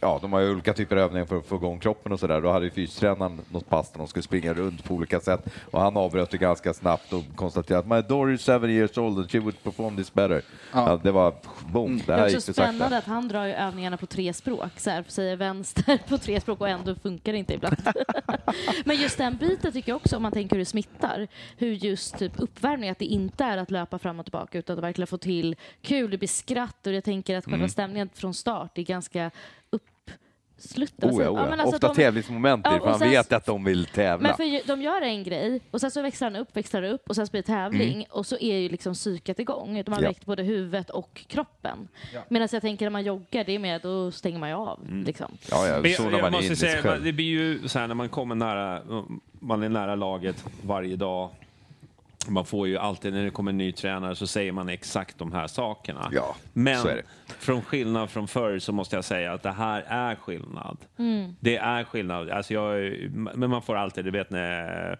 [SPEAKER 5] Ja, de har ju olika typer av övningar för att få igång kroppen och sådär. Då hade ju fystränaren något pass där de skulle springa runt på olika sätt och han avbröt det ganska snabbt och konstaterade att my daughter is seven years old and she would perform this better. Ja. det var boom, det
[SPEAKER 3] Det
[SPEAKER 5] här
[SPEAKER 3] är
[SPEAKER 5] gick
[SPEAKER 3] också
[SPEAKER 5] för sakta.
[SPEAKER 3] spännande att han drar ju övningarna på tre språk. Så här, säger vänster på tre språk och ändå funkar det inte
[SPEAKER 5] (laughs)
[SPEAKER 3] ibland. Men just den biten tycker jag också, om man tänker hur det smittar, hur just typ uppvärmning, att det inte är att löpa fram och tillbaka utan att verkligen få till kul, det blir skratt och jag tänker att själva
[SPEAKER 5] Mm.
[SPEAKER 3] stämningen från start är ganska uppsluttad.
[SPEAKER 5] Oh ja, oh ja.
[SPEAKER 3] men alltså
[SPEAKER 5] Ofta
[SPEAKER 3] att de-
[SPEAKER 5] tävlingsmoment i
[SPEAKER 3] Ja,
[SPEAKER 5] det,
[SPEAKER 3] och
[SPEAKER 5] för han
[SPEAKER 3] sen-
[SPEAKER 5] vet att de vill tävla.
[SPEAKER 3] Men för ju- de gör en grej och sen så växlar den upp, växlar den upp och sen så blir det tävling och så är ju liksom psyket igång. De har
[SPEAKER 5] Mm. Ja.
[SPEAKER 3] väckt både huvudet och kroppen. Medan jag tänker när man joggar, det är mer, då stänger man ju av.
[SPEAKER 5] Mm.
[SPEAKER 3] Liksom.
[SPEAKER 5] Ja, ja,
[SPEAKER 1] Men
[SPEAKER 5] zonar
[SPEAKER 1] jag, jag
[SPEAKER 5] man in
[SPEAKER 1] måste
[SPEAKER 5] i sig
[SPEAKER 1] säga,
[SPEAKER 5] själv.
[SPEAKER 1] man- det blir ju så här när man kommer nära, man är nära laget varje dag. för man får ju alltid när det kommer en ny tränare så säger man exakt de här sakerna.
[SPEAKER 5] Ja,
[SPEAKER 1] Men
[SPEAKER 5] så är det.
[SPEAKER 1] från skillnad från förr så måste jag säga att det här är skillnad.
[SPEAKER 3] Mm.
[SPEAKER 1] Det är skillnad. Alltså jag, men man får alltid, du vet när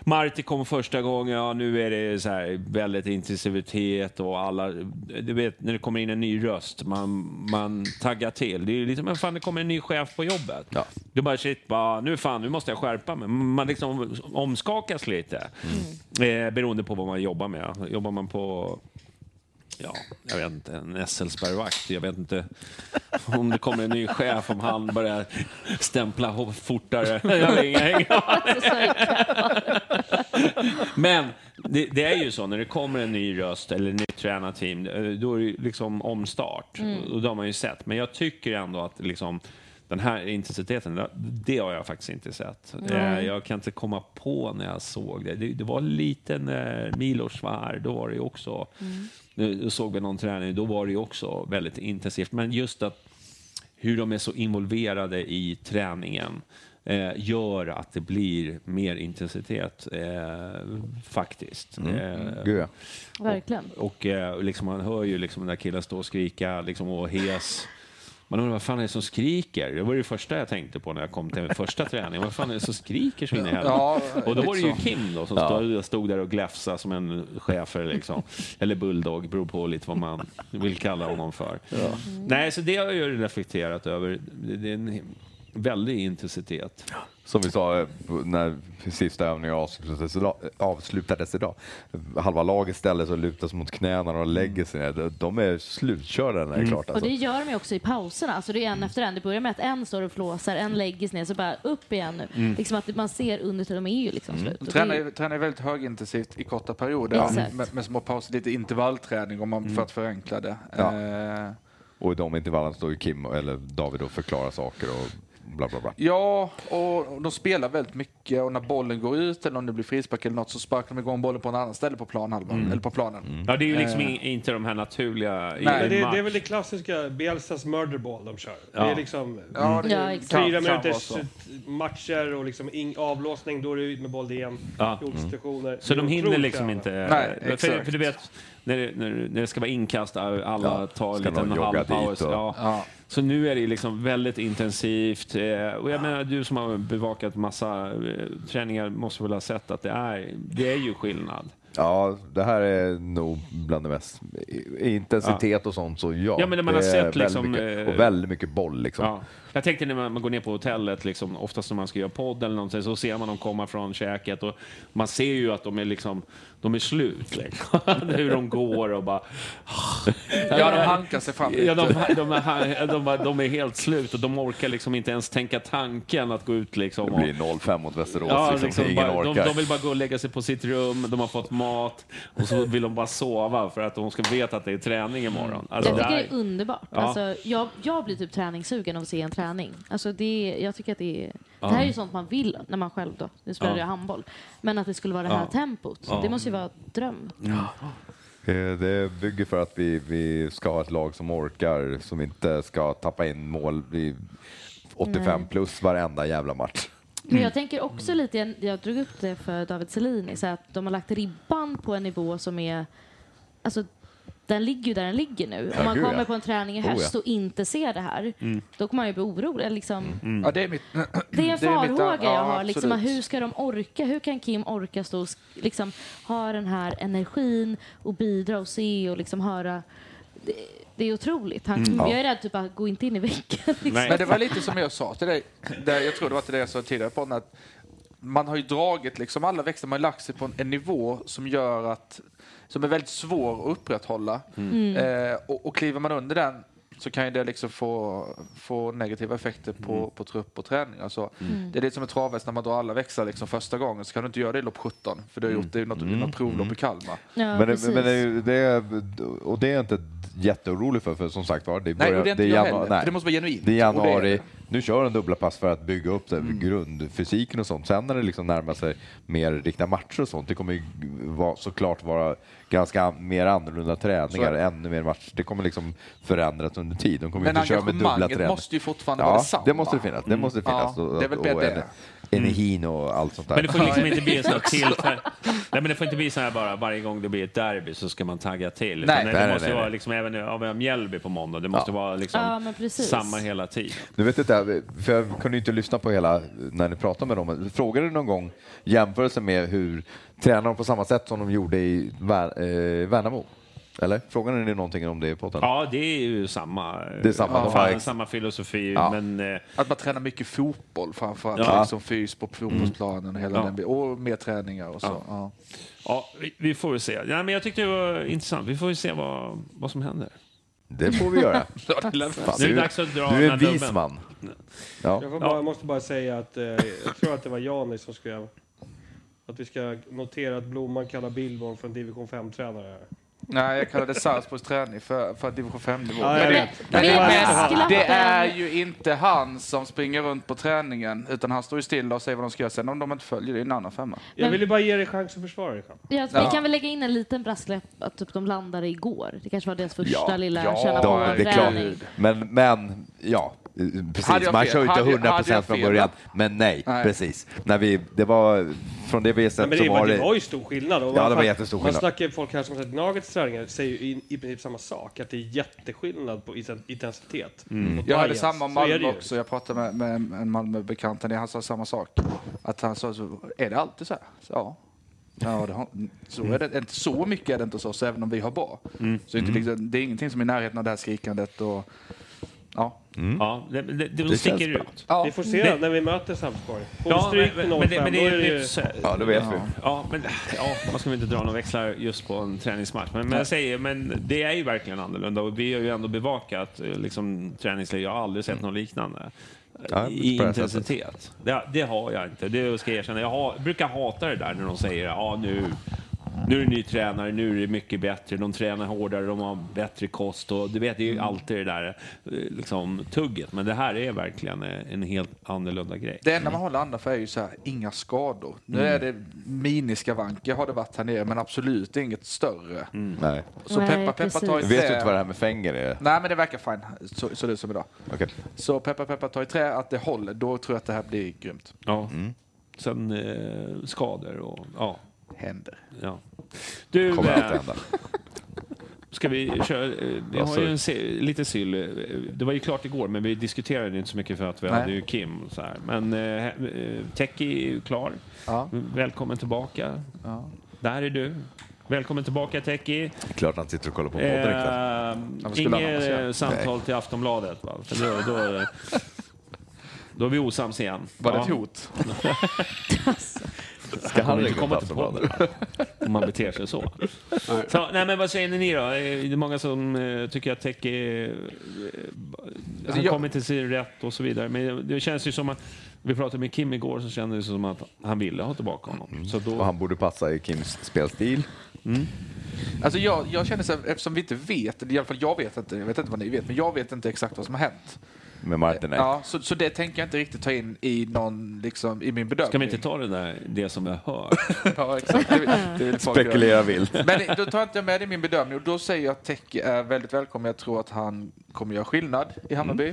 [SPEAKER 1] Marti kom första gången, ja nu är det så här väldigt intensivitet och alla, du vet när det kommer in en ny röst, man, man taggar till. Det är ju liksom, men fan det kommer en ny chef på jobbet.
[SPEAKER 5] Ja.
[SPEAKER 1] Du bara shit, bara, nu fan, nu måste jag skärpa mig. Man liksom omskakas lite. Eh, beroende på vad man jobbar med. Jobbar man på ja, jag vet inte, en Esselsbergvakt. Jag vet inte om det kommer en ny chef, om han börjar stämpla ho- fortare. Jag har ingen- ingen aning. Men det, det är ju så, när det kommer en ny röst eller nytt tränarteam, eh, då är det ju liksom omstart. Och det har man ju sett. Men jag tycker ändå att liksom, den här intensiteten, det har jag faktiskt inte sett. Eh, Jag kan inte komma på när jag såg det. Det, det var lite när Milos var här, då var det ju också... Nu nu såg vi någon träning, då var det ju också väldigt intensivt. Men just att hur de är så involverade i träningen eh, gör att det blir mer intensitet, eh, faktiskt. Eh,
[SPEAKER 5] Mm. Gud ja.
[SPEAKER 3] Verkligen.
[SPEAKER 1] och eh, liksom, man hör ju liksom den där killen stå och skrika liksom, och hes. Man undrar vad fan är det som skriker? Det var det första jag tänkte på när jag kom till första träningen. Vad fan är det som skriker så in i helvete?
[SPEAKER 4] Ja,
[SPEAKER 1] och då var det ju
[SPEAKER 4] liksom.
[SPEAKER 1] Kim då som stod, stod där och gläfsade som en schäfer liksom. Eller bulldog, beror på lite vad man vill kalla honom för. Nej, så det har jag ju reflekterat över. Det det är en
[SPEAKER 5] Mm.
[SPEAKER 1] väldig intensitet.
[SPEAKER 5] Som vi sa eh, på- när sista övningen avslutades idag, avslutades idag. Halva laget ställer sig och lutar sig mot knäna och lägger sig ner. De- De är slutkörda när det är klart.
[SPEAKER 3] Och
[SPEAKER 5] Alltså. Mm.
[SPEAKER 3] det gör de ju också i pauserna. Alltså det är en efter en. Det börjar med att en står och flåsar, en lägger sig ner, så bara upp igen nu.
[SPEAKER 5] Mm.
[SPEAKER 3] Liksom att man ser under till de är ju liksom slut. Och
[SPEAKER 4] De
[SPEAKER 3] det
[SPEAKER 4] tränar,
[SPEAKER 3] är-
[SPEAKER 4] ju- tränar ju väldigt högintensivt i korta perioder
[SPEAKER 3] Exakt.
[SPEAKER 4] med, med små pauser, lite intervallträning om man, för att förenkla det.
[SPEAKER 5] Ja.
[SPEAKER 4] Eh,
[SPEAKER 5] Och i de intervallen står ju Kim eller David och förklarar saker och bla bla bla.
[SPEAKER 4] Ja, och de spelar väldigt mycket och när bollen går ut eller om det blir frispark eller något så sparkar de igång bollen på en annan ställe på planhalvan. Eller på planen. Eh.
[SPEAKER 1] Ja, det är ju liksom in- inte de här naturliga... i
[SPEAKER 4] Nej,
[SPEAKER 7] Men det, det är
[SPEAKER 1] match.
[SPEAKER 7] väl det klassiska Bielsas murderball de kör. Det
[SPEAKER 1] Ja.
[SPEAKER 7] är liksom
[SPEAKER 4] Ja, det
[SPEAKER 3] Ja, exakt.
[SPEAKER 4] kan-
[SPEAKER 7] fyra
[SPEAKER 4] kan vara
[SPEAKER 7] minuters eh,
[SPEAKER 4] så.
[SPEAKER 7] matcher och liksom ing, avblåsning, då är det ut med boll igen.
[SPEAKER 1] Ja. Mm.
[SPEAKER 7] Jordstationer.
[SPEAKER 1] Så de hinner
[SPEAKER 7] Otroligt
[SPEAKER 1] liksom
[SPEAKER 7] jävla.
[SPEAKER 1] inte...
[SPEAKER 4] Nej,
[SPEAKER 1] för,
[SPEAKER 4] exakt.
[SPEAKER 1] för du vet, när det, när, det- när det ska vara inkast, alla
[SPEAKER 5] Ja,
[SPEAKER 1] tar
[SPEAKER 5] ska
[SPEAKER 1] lite en
[SPEAKER 5] någon jogga
[SPEAKER 1] halv paus.
[SPEAKER 5] dit och-
[SPEAKER 1] Ja.
[SPEAKER 4] Ja.
[SPEAKER 1] Så nu är det ju liksom väldigt intensivt. eh, Och jag menar, du som har bevakat massa eh, träningar måste väl ha sett att det är, det är ju skillnad.
[SPEAKER 5] Ja, det här är nog bland det mest. i- Intensitet och sånt så ja.
[SPEAKER 1] Ja, men när man
[SPEAKER 5] det
[SPEAKER 1] har
[SPEAKER 5] är
[SPEAKER 1] sett
[SPEAKER 5] väldigt
[SPEAKER 1] liksom,
[SPEAKER 5] mycket,
[SPEAKER 1] eh,
[SPEAKER 5] och väldigt mycket boll liksom.
[SPEAKER 1] Ja. Jag tänkte när man man går ner på hotellet, liksom, oftast när man ska göra podd eller någonting, så ser man dem komma från käket och man ser ju att de är, liksom, de är slut. Liksom. (laughs) Hur de går och bara...
[SPEAKER 4] (laughs) Ja, de hankar sig fram
[SPEAKER 1] Ja, de,
[SPEAKER 4] lite.
[SPEAKER 1] de, är, de, är- de är helt slut och de orkar liksom inte ens tänka tanken att gå ut. Liksom,
[SPEAKER 5] Det
[SPEAKER 1] och,
[SPEAKER 5] blir 0-5 mot Västerås.
[SPEAKER 1] ja,
[SPEAKER 5] liksom,
[SPEAKER 1] liksom,
[SPEAKER 5] ingen
[SPEAKER 1] bara, de,
[SPEAKER 5] orkar.
[SPEAKER 1] de vill bara gå och lägga sig på sitt rum, de har fått mat och så vill de bara sova för att de ska veta att det är träning
[SPEAKER 5] Mm.
[SPEAKER 1] imorgon. Alltså,
[SPEAKER 3] Jag
[SPEAKER 1] det
[SPEAKER 3] tycker det
[SPEAKER 1] här-
[SPEAKER 3] är underbart.
[SPEAKER 1] Ja.
[SPEAKER 3] Alltså, jag, jag blir typ träningssugen av att se en träning. Alltså, det, jag tycker att det är... Det här är ju sånt man vill när man själv då, nu spelade jag handboll, men att det skulle vara det här tempot, det måste ju vara dröm.
[SPEAKER 5] Eh, Det bygger för att vi, vi ska ha ett lag som orkar, som inte ska tappa in mål i 85 plus varenda jävla match.
[SPEAKER 3] Men jag tänker också lite, jag- jag drog upp det för David Selin, så att de har lagt ribban på en nivå som är, alltså den ligger ju där den ligger nu. Om man
[SPEAKER 5] gud,
[SPEAKER 3] kommer
[SPEAKER 5] ja.
[SPEAKER 3] på en träning i höst
[SPEAKER 5] ja.
[SPEAKER 3] och inte ser det här,
[SPEAKER 4] Mm.
[SPEAKER 1] mm.
[SPEAKER 3] då kommer man ju bli orolig. eller Liksom,
[SPEAKER 4] Ja, det är mitt... (clears throat)
[SPEAKER 3] Det är en
[SPEAKER 4] Det är mitt-
[SPEAKER 3] farhåga jag
[SPEAKER 4] ja,
[SPEAKER 3] har. Liksom,
[SPEAKER 4] absolut.
[SPEAKER 3] hur ska de orka? Hur kan Kim orka stå och sk- liksom, ha den här energin och bidra och se och liksom höra? Det, det är otroligt. Han, Jag är rädd typ att gå inte in i väggen. Liksom.
[SPEAKER 1] Nej.
[SPEAKER 4] Mm. Men det var lite som jag sa till dig, där jag tror det var till dig jag sa tidigare på den, att man har ju dragit liksom alla växter, man har lagt sig på en, en nivå som gör att, som är väldigt svår att upprätthålla.
[SPEAKER 1] Mm.
[SPEAKER 4] Eh, och, och kliver man under den så kan ju det liksom få, få negativa effekter på,
[SPEAKER 1] Mm.
[SPEAKER 4] på trupp och träning. Alltså, Det är lite som ett travhäst när man drar alla växlar liksom första gången så kan du inte göra det i lopp 17 för du har gjort det i något,
[SPEAKER 1] Mm.
[SPEAKER 4] i något provlopp i Kalmar.
[SPEAKER 3] Ja,
[SPEAKER 5] men det,
[SPEAKER 3] precis.
[SPEAKER 5] men det, är ju- det, är- och det är jag inte jätteorolig för, för som sagt var, det, börjar-
[SPEAKER 4] och det är inte jag
[SPEAKER 5] janu-
[SPEAKER 4] heller, för det måste vara genuint.
[SPEAKER 5] Det är
[SPEAKER 4] Och det är
[SPEAKER 5] januari,
[SPEAKER 4] det. Mm.
[SPEAKER 5] nu kör en dubbla pass för att bygga upp det, grundfysiken och sånt. Sen när det liksom närmar sig mer riktiga matcher och sånt, det kommer ju vara, såklart vara ganska an- mer annorlunda träningar,
[SPEAKER 4] Så är det.
[SPEAKER 5] ännu mer matcher. Det kommer liksom förändras under tid. De kommer
[SPEAKER 4] Men
[SPEAKER 5] inte köra med dubbla
[SPEAKER 4] engagemanget
[SPEAKER 5] träningar.
[SPEAKER 4] måste ju fortfarande vara detsamma. Mm.
[SPEAKER 5] det måste det finnas. Det måste
[SPEAKER 4] Ja,
[SPEAKER 5] finnas.
[SPEAKER 4] det är väl
[SPEAKER 5] och,
[SPEAKER 4] bättre
[SPEAKER 5] och,
[SPEAKER 4] det.
[SPEAKER 5] Enehin och allt sånt där.
[SPEAKER 1] Mm. Men det får liksom inte
[SPEAKER 5] (laughs)
[SPEAKER 1] bli en sån här tillfälle. Nej, men det får inte bli så här bara varje gång det blir ett derby så ska man tagga till. Utan
[SPEAKER 5] nej,
[SPEAKER 1] det
[SPEAKER 5] nej,
[SPEAKER 1] måste
[SPEAKER 5] nej,
[SPEAKER 1] vara
[SPEAKER 5] nej.
[SPEAKER 1] liksom även nu, ja, vi har Mjällby på måndag. Det måste vara liksom
[SPEAKER 3] Ja, men precis.
[SPEAKER 1] samma hela tid.
[SPEAKER 5] Nu vet inte, jag, för jag kunde ju inte lyssna på hela när ni pratade med dem. Frågade du någon gång jämförelsen med hur tränar de på samma sätt som de gjorde i Vär, eh, Värnamo? Eller? Frågade ni någonting om det i podden?
[SPEAKER 1] Ja, det är ju samma.
[SPEAKER 5] Det är samma,
[SPEAKER 1] Ja,
[SPEAKER 5] de har
[SPEAKER 1] fan,
[SPEAKER 5] ex-
[SPEAKER 1] samma filosofi,
[SPEAKER 5] Ja.
[SPEAKER 1] men eh,
[SPEAKER 4] Att man tränar mycket fotboll framförallt.
[SPEAKER 1] Ja. Mm.
[SPEAKER 4] Liksom fys på fotbollsplanen och hela
[SPEAKER 1] Ja.
[SPEAKER 4] den biten. Och mer träningar och så. Ja.
[SPEAKER 1] ja, vi- vi får väl se. Ja, men jag tyckte det var intressant. Vi får väl se vad, vad som händer.
[SPEAKER 5] Det får vi
[SPEAKER 1] (laughs)
[SPEAKER 5] göra.
[SPEAKER 4] (laughs) Ja, det lär vi
[SPEAKER 5] Fan,
[SPEAKER 1] Nu är det
[SPEAKER 5] du-
[SPEAKER 1] dags att dra
[SPEAKER 5] Du är
[SPEAKER 1] den
[SPEAKER 5] en
[SPEAKER 1] här
[SPEAKER 5] vis
[SPEAKER 1] dubben.
[SPEAKER 5] man. Ja.
[SPEAKER 7] Jag, får bara, jag måste bara säga att eh, jag tror att det var Janis som skrev att vi ska notera att Blomman kallar Billborn för en division 5-tränare. här.
[SPEAKER 4] Nej, jag kallade Sarpsborgs träning för, för division 5-nivå.
[SPEAKER 7] Ja, jag
[SPEAKER 4] Men det-
[SPEAKER 7] vet.
[SPEAKER 4] men det-
[SPEAKER 7] Det var-
[SPEAKER 4] men Det är
[SPEAKER 3] Brasklappen.
[SPEAKER 4] ju inte han som springer runt på träningen, utan han står ju stilla och säger vad de ska göra. Sen om de inte följer, det är en annan femma.
[SPEAKER 7] Jag ville bara ge dig chans att försvara dig. Jean.
[SPEAKER 3] Ja,
[SPEAKER 4] Ja.
[SPEAKER 3] Vi kan väl lägga in en liten brasklapp att typ de landade igår. Det kanske var deras första
[SPEAKER 5] Ja,
[SPEAKER 3] lilla
[SPEAKER 4] ja,
[SPEAKER 3] känna
[SPEAKER 5] Ja, det är
[SPEAKER 3] på-träning.
[SPEAKER 5] klart. Men, men ja, eh,
[SPEAKER 4] Hade
[SPEAKER 5] precis.
[SPEAKER 4] jag
[SPEAKER 5] Man
[SPEAKER 4] fel?
[SPEAKER 5] kör ju inte
[SPEAKER 4] Hade jag-
[SPEAKER 5] 100
[SPEAKER 4] hade jag
[SPEAKER 5] procent från
[SPEAKER 4] fel?
[SPEAKER 5] början. Men nej,
[SPEAKER 4] Nej.
[SPEAKER 5] precis. När vi, det var från det vi har
[SPEAKER 7] (laughs) Nej,
[SPEAKER 5] sett
[SPEAKER 7] men
[SPEAKER 5] så
[SPEAKER 7] det, var,
[SPEAKER 5] var
[SPEAKER 7] det var
[SPEAKER 5] det...
[SPEAKER 7] ju stor skillnad. Och
[SPEAKER 5] Ja, det
[SPEAKER 7] man-
[SPEAKER 5] var jättestor
[SPEAKER 7] Man
[SPEAKER 5] skillnad.
[SPEAKER 7] snackar ju folk här som har sett Nuggets träningar säger ju i, i princip samma sak. Att det är jätteskillnad på isen- intensitet.
[SPEAKER 5] Mm.
[SPEAKER 7] Och
[SPEAKER 4] Jag hade
[SPEAKER 7] bias.
[SPEAKER 4] samma om
[SPEAKER 7] Så är det
[SPEAKER 4] Malmö
[SPEAKER 7] ju.
[SPEAKER 4] också. Jag pratade med, med en- en Malmöbekant, han sa samma sak. Att han sa så, är det alltid så här? Så, ja. Ja, det har, så är det inte. Så mycket är det inte hos oss, även om vi har bra.
[SPEAKER 5] Mm.
[SPEAKER 4] Så det är inte liksom, det är ingenting som är i närheten av det här skrikandet och... Ja.
[SPEAKER 1] Ja, det, det, det,
[SPEAKER 5] Mm. Det
[SPEAKER 1] sticker
[SPEAKER 5] känns bra.
[SPEAKER 1] ut.
[SPEAKER 4] ja.
[SPEAKER 7] Vi får se när vi möter Sarpsborg. Får vi
[SPEAKER 1] Ja,
[SPEAKER 7] stryk
[SPEAKER 1] men,
[SPEAKER 7] med 0-5
[SPEAKER 1] men, det, men
[SPEAKER 7] då
[SPEAKER 1] det är ju... nytt.
[SPEAKER 5] Ja, det vet vi.
[SPEAKER 1] Ja, men ja, man ska väl inte dra några växlar just på en träningsmatch. Men, men jag säger, men det är ju verkligen annorlunda och vi har ju ändå bevakat eh, liksom, träningsläge. Jag har aldrig sett något liknande.
[SPEAKER 5] Ja,
[SPEAKER 1] I
[SPEAKER 5] på det här sättet.
[SPEAKER 1] intensitet. Det, det har jag inte. Det ska jag erkänna. Jag har, brukar hata det där när de säger ja nu, nu är det ny tränare, nu är det mycket bättre, de tränar hårdare, de har bättre kost och du vet, det är ju alltid det där eh, liksom, tugget. Men det här är verkligen eh, en helt annorlunda grej.
[SPEAKER 4] Det enda man håller andan för är ju så här, inga skador. Nu
[SPEAKER 5] Mm.
[SPEAKER 4] är det miniskavanker har det varit här nere, men absolut inget större.
[SPEAKER 5] Nej.
[SPEAKER 4] Så
[SPEAKER 3] Nej,
[SPEAKER 4] peppa peppa
[SPEAKER 3] precis.
[SPEAKER 4] ta i
[SPEAKER 5] Vet du inte vad
[SPEAKER 4] trä.
[SPEAKER 5] det här med fänger är?
[SPEAKER 4] Nej, men det verkar fine. Så, så det är som idag.
[SPEAKER 5] Okej.
[SPEAKER 4] Så peppa peppa ta i trä, att det håller, då tror jag att det här blir grymt.
[SPEAKER 1] Ja. Sen eh, skador och ja.
[SPEAKER 4] Händer.
[SPEAKER 1] ja. Du,
[SPEAKER 5] Kommer
[SPEAKER 1] eh,
[SPEAKER 5] alltid hända.
[SPEAKER 1] ska vi köra? (laughs) Eh, vi
[SPEAKER 5] Ja,
[SPEAKER 1] har
[SPEAKER 5] sorry.
[SPEAKER 1] ju en, se- lite sill. eh, Det var ju klart igår, men vi diskuterade inte så mycket för att vi
[SPEAKER 4] Nej.
[SPEAKER 1] hade ju Kim. och Så här. Men eh, eh, Teki är ju klar.
[SPEAKER 4] Ja.
[SPEAKER 1] Välkommen tillbaka.
[SPEAKER 4] Ja.
[SPEAKER 1] Där är du. Välkommen tillbaka Teki.
[SPEAKER 5] Klart han sitter och kollar på podden ikväll.
[SPEAKER 1] Eh,
[SPEAKER 4] vad skulle han annars
[SPEAKER 1] Inget
[SPEAKER 4] göra?
[SPEAKER 1] eh, samtal till Aftonbladet. Va? För då, då,
[SPEAKER 4] (laughs)
[SPEAKER 1] då är vi osams igen.
[SPEAKER 4] Var det
[SPEAKER 1] Ja. (laughs)
[SPEAKER 4] ett hot?
[SPEAKER 5] Ska
[SPEAKER 1] Han
[SPEAKER 5] han
[SPEAKER 1] kommer
[SPEAKER 5] ringa
[SPEAKER 1] inte
[SPEAKER 5] upp
[SPEAKER 1] komma till
[SPEAKER 5] Aftonbladet?
[SPEAKER 1] podden om man beter sig så. så nej, men vad säger ni då? Eh, Det är många som eh, tycker att Tech är... eh, Han
[SPEAKER 4] Alltså, jag-
[SPEAKER 1] kommer inte till rätt och så vidare. Men det känns ju som att... Vi pratade med Kim igår så kändes det som att han ville ha tillbaka honom. Så då,
[SPEAKER 5] Och han borde passa i Kims spelstil.
[SPEAKER 4] Alltså jag, jag känner så här, eftersom vi inte vet, eller i alla fall jag vet inte, jag vet inte vad ni vet, men jag vet inte exakt vad som har hänt.
[SPEAKER 5] Med Martinek.
[SPEAKER 4] Ja, så, så det tänker jag inte riktigt ta in i någon, liksom, i min bedömning.
[SPEAKER 1] Ska vi inte ta det där, det som jag hör?
[SPEAKER 4] (laughs) Ja, exakt. Det, vill- det vill folk göra.
[SPEAKER 5] Spekulera vilt.
[SPEAKER 4] Men då tar inte jag med det i min bedömning och då säger jag att Teki är väldigt välkommen. Jag tror att han kommer göra skillnad
[SPEAKER 1] Mm.
[SPEAKER 4] i Hammarby.